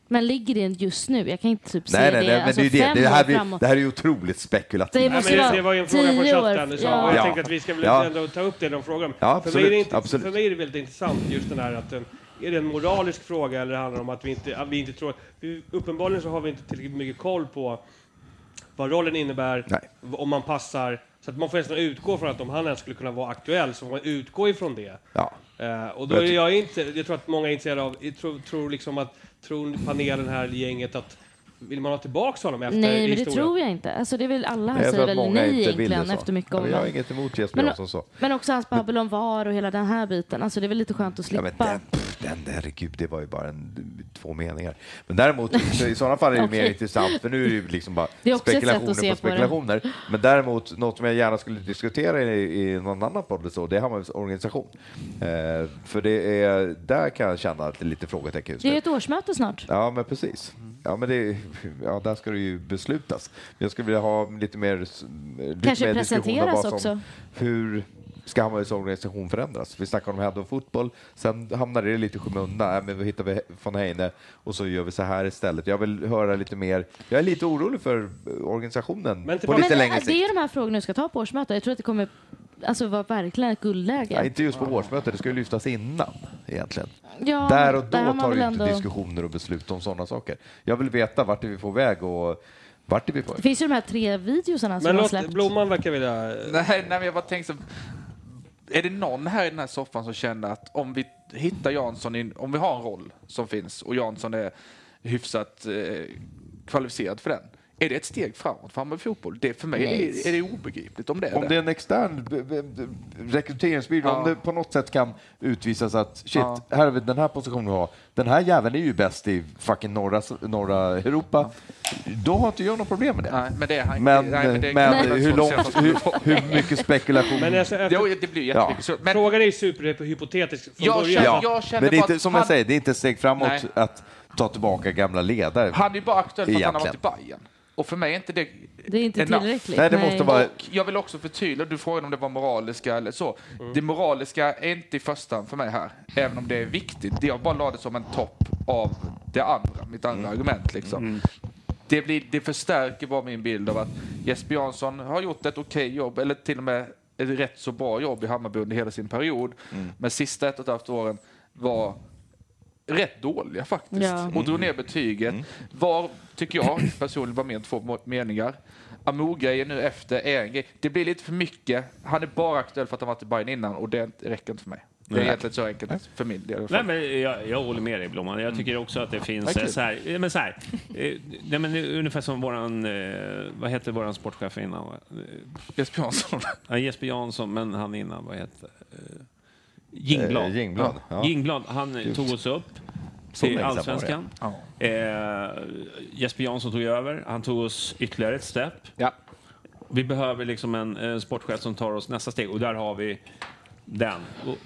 [SPEAKER 3] Men ligger det just nu? Jag kan inte typ säga
[SPEAKER 5] Nej, nej,
[SPEAKER 3] det. alltså
[SPEAKER 5] nej, men det är ju det.
[SPEAKER 3] fem
[SPEAKER 5] Det här,
[SPEAKER 3] år
[SPEAKER 5] blir,
[SPEAKER 3] framåt.
[SPEAKER 5] det här är ju otroligt spekulativt.
[SPEAKER 3] Det
[SPEAKER 7] Nej,
[SPEAKER 3] måste
[SPEAKER 7] men det,
[SPEAKER 3] vara
[SPEAKER 7] det var ju en fråga från
[SPEAKER 3] tio år.
[SPEAKER 7] chatten. Så
[SPEAKER 3] Ja.
[SPEAKER 7] Jag
[SPEAKER 5] Ja.
[SPEAKER 7] tänkte att vi ska väl
[SPEAKER 5] Ja.
[SPEAKER 7] ändå ta upp det i de frågorna.
[SPEAKER 5] Ja,
[SPEAKER 7] för, mig är det
[SPEAKER 5] absolut,
[SPEAKER 7] inte,
[SPEAKER 5] absolut.
[SPEAKER 7] för mig är det väldigt intressant just den här att eh, är det en moralisk fråga eller handlar det om att vi inte, att vi inte tror... Vi, uppenbarligen så har vi inte tillräckligt mycket koll på vad rollen innebär,
[SPEAKER 5] Nej.
[SPEAKER 7] v- om man passar. Så att man får nästan utgå från att om han ens skulle kunna vara aktuell så får man utgå ifrån det.
[SPEAKER 5] Ja.
[SPEAKER 7] Eh, och då
[SPEAKER 5] Jag
[SPEAKER 7] är
[SPEAKER 5] ty-
[SPEAKER 7] jag inte, jag tror att många är intresserade av, jag tror, tror liksom att, tror panelen här, gänget att Vill man ha tillbaka honom efter
[SPEAKER 3] Nej, men det
[SPEAKER 7] historien?
[SPEAKER 3] tror jag inte. Alltså, det är väl alla
[SPEAKER 5] Jag tror
[SPEAKER 3] säger
[SPEAKER 5] att
[SPEAKER 3] väl
[SPEAKER 5] många
[SPEAKER 3] nej
[SPEAKER 5] inte ville
[SPEAKER 3] egentligen
[SPEAKER 5] så.
[SPEAKER 3] efter mycket
[SPEAKER 5] Ja,
[SPEAKER 3] om
[SPEAKER 5] men jag har inget emot Jesper
[SPEAKER 3] Men-
[SPEAKER 5] Jansson så.
[SPEAKER 3] Men också hans babbel om VAR och hela den här biten. Alltså, det är väl lite skönt att
[SPEAKER 5] Ja,
[SPEAKER 3] slippa.
[SPEAKER 5] men den, pff, den, herregud, det var ju bara en, två meningar. Men däremot, så i sådana fall är det
[SPEAKER 3] (laughs)
[SPEAKER 5] mer
[SPEAKER 3] Okej.
[SPEAKER 5] intressant, för nu är det ju liksom bara
[SPEAKER 3] Det är också ett sätt att
[SPEAKER 5] spekulationer
[SPEAKER 3] se
[SPEAKER 5] på
[SPEAKER 3] på det.
[SPEAKER 5] spekulationer. Men däremot, något som jag gärna skulle diskutera i, i någon annan podd, eller så, det är Hammarbys organisation. Eh, för det är, där kan jag känna att det är lite frågetecken just
[SPEAKER 3] Det är
[SPEAKER 5] nu.
[SPEAKER 3] ett årsmöte snart.
[SPEAKER 5] Ja, men precis.
[SPEAKER 3] Mm.
[SPEAKER 5] Ja, men det, ja, där ska det ju beslutas. Men Jag skulle vilja ha lite mer, lite
[SPEAKER 3] Kanske
[SPEAKER 5] mer diskussion om
[SPEAKER 3] presenteras
[SPEAKER 5] vad som,
[SPEAKER 3] också.
[SPEAKER 5] hur ska Hammarbys organisation förändras? Vi snackar om head och fotboll, sen hamnar det lite i skymundan. Nej, men vi hittar vi von Heine och så gör vi så här istället. Jag vill höra lite mer. Jag är lite orolig för eh, organisationen
[SPEAKER 7] Men
[SPEAKER 5] på
[SPEAKER 7] tillbaka-
[SPEAKER 5] lite
[SPEAKER 3] Men
[SPEAKER 5] längre
[SPEAKER 3] äh, det är
[SPEAKER 5] sikt.
[SPEAKER 3] ju de här frågorna du ska ta på årsmötet. Jag tror att det kommer alltså, vara verkligen ett guldläge.
[SPEAKER 5] Ja, inte just på årsmötet, det ska ju lyftas innan egentligen.
[SPEAKER 3] Ja,
[SPEAKER 5] Där och då
[SPEAKER 3] där har man
[SPEAKER 5] tar du
[SPEAKER 3] väl
[SPEAKER 5] inte
[SPEAKER 3] ändå-
[SPEAKER 5] diskussioner och beslut om sådana saker. Jag vill veta vart är vi på väg och vart är vi på
[SPEAKER 3] Det
[SPEAKER 5] väg?
[SPEAKER 3] finns ju de här tre videosarna som
[SPEAKER 7] Men
[SPEAKER 3] har
[SPEAKER 7] låt,
[SPEAKER 3] släppt.
[SPEAKER 7] Blomman verkar vilja...
[SPEAKER 4] Nej, nej, men jag bara tänkte så. Är det någon här i den här soffan som känner att om vi hittar Jansson, in, om vi har en roll som finns och Jansson är hyfsat eh, kvalificerad för den. Är det ett steg framåt för Hammarby fotboll? Det, för mig är det, är det obegripligt om det är
[SPEAKER 5] Om det är en extern b- b- b- rekryteringsbyrå,
[SPEAKER 4] Ja.
[SPEAKER 5] om det på något sätt kan utvisas att shit,
[SPEAKER 4] Ja.
[SPEAKER 5] här har vi den här positionen vi har, den här jäveln är ju bäst i fucking norra, norra Europa, då har inte jag något problem med det.
[SPEAKER 4] Nej, men det är han
[SPEAKER 5] Men,
[SPEAKER 4] nej, det är-
[SPEAKER 5] men
[SPEAKER 4] det är-
[SPEAKER 5] hur, långt, hur, hur mycket spekulation...
[SPEAKER 7] Men alltså, efter,
[SPEAKER 4] Jo, det blir jättemycket så. Men
[SPEAKER 7] Frågan är ju superhypotetisk från
[SPEAKER 4] Jag
[SPEAKER 7] början.
[SPEAKER 4] känner-
[SPEAKER 5] ja.
[SPEAKER 4] jag kände
[SPEAKER 5] men det är
[SPEAKER 4] bara
[SPEAKER 5] inte,
[SPEAKER 4] att
[SPEAKER 5] som jag
[SPEAKER 4] han-
[SPEAKER 5] säger, det är inte ett steg framåt
[SPEAKER 4] Nej.
[SPEAKER 5] att ta tillbaka gamla ledare.
[SPEAKER 4] han är ju bara aktuell för att han har varit i
[SPEAKER 5] Egentligen.
[SPEAKER 4] Bayern. Och för mig är inte det
[SPEAKER 3] Det är inte
[SPEAKER 4] enough.
[SPEAKER 3] tillräckligt.
[SPEAKER 5] Nej, det måste vara...
[SPEAKER 4] Och jag vill också förtydliga, du frågade om det var moraliska eller så. Det moraliska är inte i första hand för mig här, även om det är viktigt. Det jag bara la det som en topp av det andra, mitt andra
[SPEAKER 5] Mm.
[SPEAKER 4] argument. Liksom. Det, blir, det förstärker bara min bild av att Jesper Jansson har gjort ett okej jobb, eller till och med ett rätt så bra jobb i Hammarby under hela sin period.
[SPEAKER 5] Mm.
[SPEAKER 4] Men sista ett och ett halvt åren var rätt dåliga faktiskt.
[SPEAKER 3] Ja.
[SPEAKER 4] Och drog ner betyget.
[SPEAKER 5] Mm.
[SPEAKER 4] Var, tycker jag personligen, var mer än två må- meningar. Amo-grejen nu efter är en grej. Det blir lite för mycket. Han är bara aktuell för att han varit i Bayern innan och det räcker inte för mig. Det är egentligen så enkelt för min del. i alla fall.
[SPEAKER 1] Nej, men jag, jag håller med dig, Blomman. Jag tycker också att det
[SPEAKER 5] Mm.
[SPEAKER 1] finns
[SPEAKER 4] Verkligen.
[SPEAKER 1] eh, så här, eh, men så här, eh, nej, men det är ungefär som våran, eh, vad hette våran sportchef innan? va? Eh,
[SPEAKER 4] Jesper Jansson.
[SPEAKER 1] ja, Jesper Jansson, men han innan, vad hette? Eh, Jingblad.
[SPEAKER 5] Eh, Jingblad, ja.
[SPEAKER 1] Jingblad, han eh, tog oss upp till
[SPEAKER 5] länge sedan var det.
[SPEAKER 1] allsvenskan. Eh, Jesper Jansson tog över. Han tog oss ytterligare ett steg.
[SPEAKER 4] Ja.
[SPEAKER 1] Vi behöver liksom en, en sportchef som tar oss nästa steg och där har vi den. Och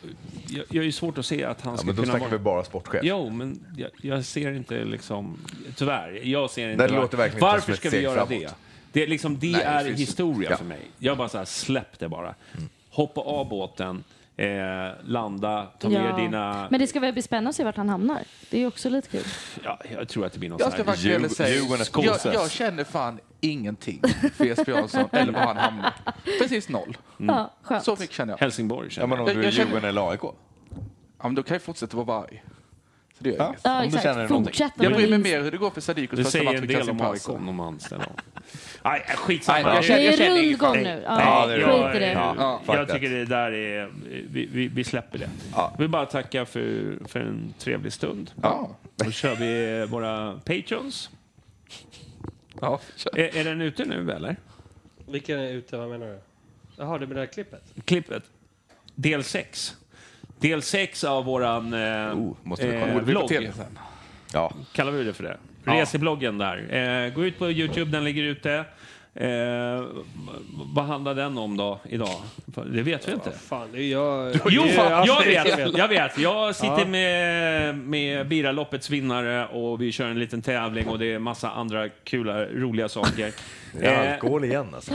[SPEAKER 1] jag, jag är ju svårt att se att han
[SPEAKER 5] Ja,
[SPEAKER 1] ska
[SPEAKER 5] men då
[SPEAKER 1] kunna
[SPEAKER 5] snackar
[SPEAKER 1] vara...
[SPEAKER 5] vi bara sportchef.
[SPEAKER 1] Jo, men jag, jag ser inte liksom... Tyvärr, jag ser inte...
[SPEAKER 5] Det låter verkligen inte
[SPEAKER 1] Varför
[SPEAKER 5] som ett
[SPEAKER 1] ska vi
[SPEAKER 5] steg
[SPEAKER 1] göra
[SPEAKER 5] framåt.
[SPEAKER 1] det? Det är, liksom, det
[SPEAKER 5] Nej, det
[SPEAKER 1] är
[SPEAKER 5] finns-
[SPEAKER 1] historia
[SPEAKER 5] ja. Mm.
[SPEAKER 1] för mig. Jag bara så här, släpp det bara. Hoppa av båten, eh, landa, ta
[SPEAKER 3] Ja.
[SPEAKER 1] med dina...
[SPEAKER 3] Men det ska väl bli spännande att se vart han hamnar. Det är ju också lite kul.
[SPEAKER 1] Ja, jag tror att det blir någon
[SPEAKER 4] Jag
[SPEAKER 1] så
[SPEAKER 4] ska
[SPEAKER 1] här...
[SPEAKER 4] faktiskt ärligt säga,
[SPEAKER 1] Djurgårdens
[SPEAKER 4] jag,
[SPEAKER 1] skålsös.
[SPEAKER 4] jag känner fan ingenting för Jesper
[SPEAKER 7] (laughs)
[SPEAKER 4] Jansson eller var han hamnar. Precis noll.
[SPEAKER 3] Mm. Ja, skönt.
[SPEAKER 4] Så mycket känner jag.
[SPEAKER 1] Helsingborg,
[SPEAKER 5] Ja,
[SPEAKER 1] känner
[SPEAKER 5] men
[SPEAKER 1] jag.
[SPEAKER 5] om
[SPEAKER 4] Jag-
[SPEAKER 5] du är
[SPEAKER 4] jag känner-
[SPEAKER 5] Djurgården eller AIK?
[SPEAKER 4] Ja, men då kan jag fortsätta vara varg. Så det gör jag inget.
[SPEAKER 3] Ja,
[SPEAKER 5] Om du känner
[SPEAKER 3] exakt.
[SPEAKER 5] någonting.
[SPEAKER 3] Fortsätt.
[SPEAKER 4] Jag bryr mig
[SPEAKER 3] med
[SPEAKER 4] mer hur det går för Sadiqos
[SPEAKER 1] Det
[SPEAKER 4] första
[SPEAKER 1] säger
[SPEAKER 4] match
[SPEAKER 1] en
[SPEAKER 4] vid
[SPEAKER 1] del om
[SPEAKER 4] Helsingborg.
[SPEAKER 1] Alsson om han ställer om. Nej, skitsamma.
[SPEAKER 4] Nej, jag
[SPEAKER 1] Det-
[SPEAKER 4] känner-
[SPEAKER 3] Det är
[SPEAKER 4] ingen
[SPEAKER 3] rundgång
[SPEAKER 1] Nej.
[SPEAKER 3] nu.
[SPEAKER 1] Ja,
[SPEAKER 3] Ja,
[SPEAKER 1] det är det.
[SPEAKER 3] skit i det.
[SPEAKER 5] Ja. fuck
[SPEAKER 1] jag
[SPEAKER 5] that.
[SPEAKER 1] tycker det där är... Vi, vi, vi släpper det. Vi vill bara tacka för, för en trevlig stund.
[SPEAKER 4] Ja.
[SPEAKER 1] Då kör vi våra patrons.
[SPEAKER 4] Ja, kör.
[SPEAKER 1] Är, är den ute nu, eller?
[SPEAKER 7] Vilken är ute? Vad menar du? Jaha, det med det där klippet?
[SPEAKER 1] Klippet. Del 6. Del 6 av våran eh,
[SPEAKER 5] Oh, måste vi kolla.
[SPEAKER 1] eh,
[SPEAKER 5] Borde vi
[SPEAKER 1] blogg.
[SPEAKER 5] Ja.
[SPEAKER 1] Kallar vi det för det? Resebloggen där. Eh, gå ut på Youtube, den ligger ute. Eh, vad handlar den om då, idag? Det vet vi inte.
[SPEAKER 7] Fan, det är jag...
[SPEAKER 1] Jo,
[SPEAKER 7] det är
[SPEAKER 1] fan, jag
[SPEAKER 7] Astrid som
[SPEAKER 1] vet, jag vet. Jag sitter med, med Biraloppets vinnare och vi kör en liten tävling och det är massa andra kula, roliga saker. Eh,
[SPEAKER 5] igen alltså.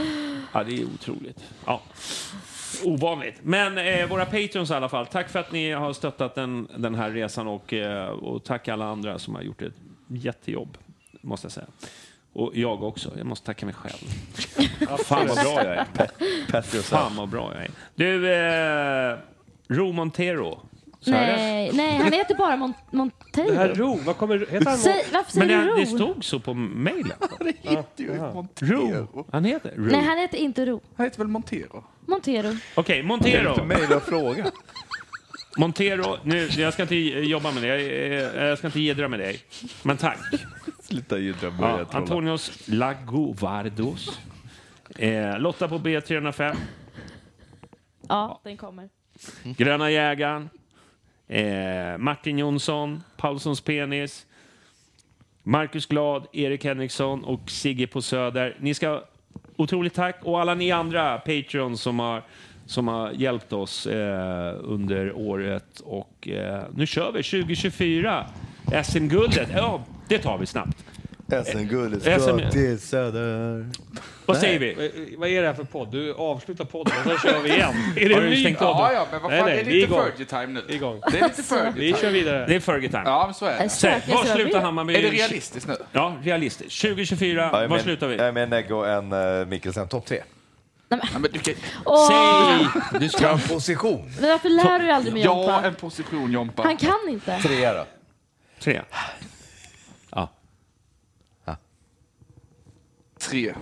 [SPEAKER 1] ja, det är otroligt. Ja. Ovanligt. Men eh, våra patrons i alla fall, tack för att ni har stöttat den, den här resan och, eh, och tack alla andra som har gjort ett jättejobb, måste jag säga. Och jag också. Jag måste tacka mig själv. Fan vad bra jag är. Fan vad bra jag är. Du, eh, Ro Montero. Så här är det.
[SPEAKER 3] Nej, nej, han heter bara Mon-
[SPEAKER 7] Det här
[SPEAKER 4] (laughs)
[SPEAKER 3] Monteiro.
[SPEAKER 7] Ro, vad kommer... Heter han
[SPEAKER 3] Säg, varför
[SPEAKER 1] Men
[SPEAKER 3] säger
[SPEAKER 1] det,
[SPEAKER 3] du
[SPEAKER 1] det
[SPEAKER 3] Ro?
[SPEAKER 1] stod så på mejlen.
[SPEAKER 7] Ro?
[SPEAKER 1] Ro. Han heter Ro.
[SPEAKER 3] Nej,
[SPEAKER 1] Okej,
[SPEAKER 3] han heter inte Ro.
[SPEAKER 4] Han heter väl Montero?
[SPEAKER 3] Montero.
[SPEAKER 1] Montero.
[SPEAKER 5] Mejla
[SPEAKER 1] (laughs)
[SPEAKER 5] och fråga.
[SPEAKER 1] Montero, nu, jag ska inte jobba med dig. Jag, eh, jag ska inte jiddra med dig. Men tack.
[SPEAKER 5] Sluta Gyltra
[SPEAKER 1] Ja,
[SPEAKER 5] börja trolla.
[SPEAKER 1] Antonios Lagovardos. Eh, Lotta på B305.
[SPEAKER 3] Ja, den kommer.
[SPEAKER 1] Mm. Gröna jägaren. Eh, Martin Jonsson. Paulssons penis. Marcus Glad, Erik Henriksson och Sigge på Söder. Ni ska otroligt tack och alla ni andra Patreons som har, som har hjälpt oss eh, under året. Och eh, nu kör vi 2024. SM-guldet, ja det tar vi snabbt.
[SPEAKER 5] SM-guldet
[SPEAKER 1] SM.
[SPEAKER 5] till Söder.
[SPEAKER 1] Eh, Vad säger vi?
[SPEAKER 7] Vad- Vad är det här för podd? Du avslutar podden och sen kör vi
[SPEAKER 1] (laughs)
[SPEAKER 4] (laughs)
[SPEAKER 7] igen. Är det
[SPEAKER 1] Har
[SPEAKER 7] en
[SPEAKER 1] du
[SPEAKER 7] ny
[SPEAKER 1] stängt av
[SPEAKER 7] podd?
[SPEAKER 1] den?
[SPEAKER 4] Ja, ja, men vad
[SPEAKER 7] Nej,
[SPEAKER 4] fan,
[SPEAKER 7] nej,
[SPEAKER 4] det är
[SPEAKER 7] vi är
[SPEAKER 4] lite
[SPEAKER 7] igång.
[SPEAKER 4] Fergie-time nu.
[SPEAKER 7] Igång.
[SPEAKER 4] Det är lite
[SPEAKER 7] Vi
[SPEAKER 4] Fergie-time.
[SPEAKER 7] kör vidare.
[SPEAKER 1] Det är Fergie-time.
[SPEAKER 4] Ja, men så är det.
[SPEAKER 1] Säg,
[SPEAKER 3] Stökigt,
[SPEAKER 1] var
[SPEAKER 3] jag
[SPEAKER 1] slutar
[SPEAKER 3] vet.
[SPEAKER 1] Hammarby?
[SPEAKER 4] Är det realistiskt nu?
[SPEAKER 1] Ja, realistiskt. 2024,
[SPEAKER 5] Ja, jag
[SPEAKER 1] var
[SPEAKER 5] men-
[SPEAKER 1] slutar vi?
[SPEAKER 5] Jag är med Negge och en uh, Mikkelsen, topp tre.
[SPEAKER 4] Ja, men du kan...
[SPEAKER 3] Åh,
[SPEAKER 1] Säg! Du ska...
[SPEAKER 5] Position
[SPEAKER 3] men varför lär du dig aldrig med
[SPEAKER 4] Ja,
[SPEAKER 3] Jompa?
[SPEAKER 4] en position Jompa.
[SPEAKER 3] Han kan inte.
[SPEAKER 5] tre då.
[SPEAKER 1] Tre. Ja.
[SPEAKER 4] Tre.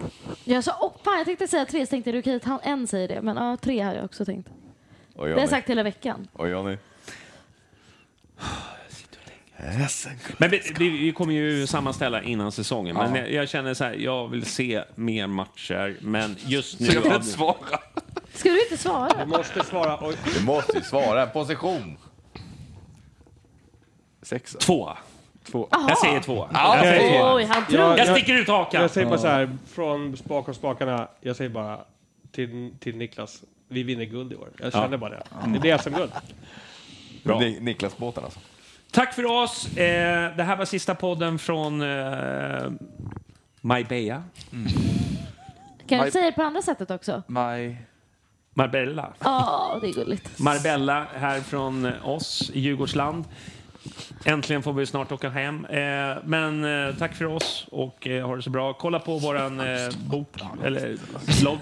[SPEAKER 3] Jag sa, åh, fan, jag tänkte säga tre, så tänkte jag, okej, han- en säger det, men ja, tre hade jag också tänkt.
[SPEAKER 5] Och
[SPEAKER 3] Det har jag sagt hela veckan.
[SPEAKER 5] Och Johnny.
[SPEAKER 1] Men vi, vi, vi kommer ju sammanställa innan säsongen. Men jag, jag känner så här, jag vill se mer matcher. Men just nu...
[SPEAKER 4] Så jag vill inte svara.
[SPEAKER 3] Ska du inte svara?
[SPEAKER 7] Du måste svara. Oj,
[SPEAKER 5] Du måste ju svara. Position.
[SPEAKER 4] Sexa.
[SPEAKER 1] Två. två. Jag säger två.
[SPEAKER 4] Ja,
[SPEAKER 7] jag, jag,
[SPEAKER 3] Oj, han tror...
[SPEAKER 7] jag,
[SPEAKER 1] Jag
[SPEAKER 7] jag,
[SPEAKER 1] sticker ut hakan.
[SPEAKER 7] jag säger bara så här, från spak och spakarna, jag säger bara till, till Niklas, vi vinner guld i år. Jag känner bara det. Det blir SM-guld.
[SPEAKER 1] Bra.
[SPEAKER 5] Ni, Niklas-båten alltså.
[SPEAKER 1] Tack för oss. Eh, det här var sista podden från eh, Marbella.
[SPEAKER 3] Kan du säga det på andra sättet också?
[SPEAKER 4] My...
[SPEAKER 1] Marbella.
[SPEAKER 3] Ja, det är gulligt.
[SPEAKER 1] Marbella här från eh, oss i Djurgårdsland. Äntligen får vi snart åka hem. Eh, men eh, tack för oss och eh, ha det så bra. Kolla på våran eh, bok, eller blogg.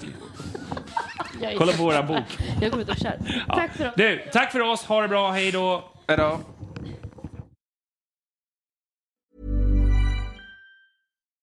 [SPEAKER 3] Jag, är-
[SPEAKER 1] Kolla på våran bok.
[SPEAKER 3] jag går ut och kör. Tack för att
[SPEAKER 1] Du, tack för oss. Ha det bra. Hej då.
[SPEAKER 4] Hejdå.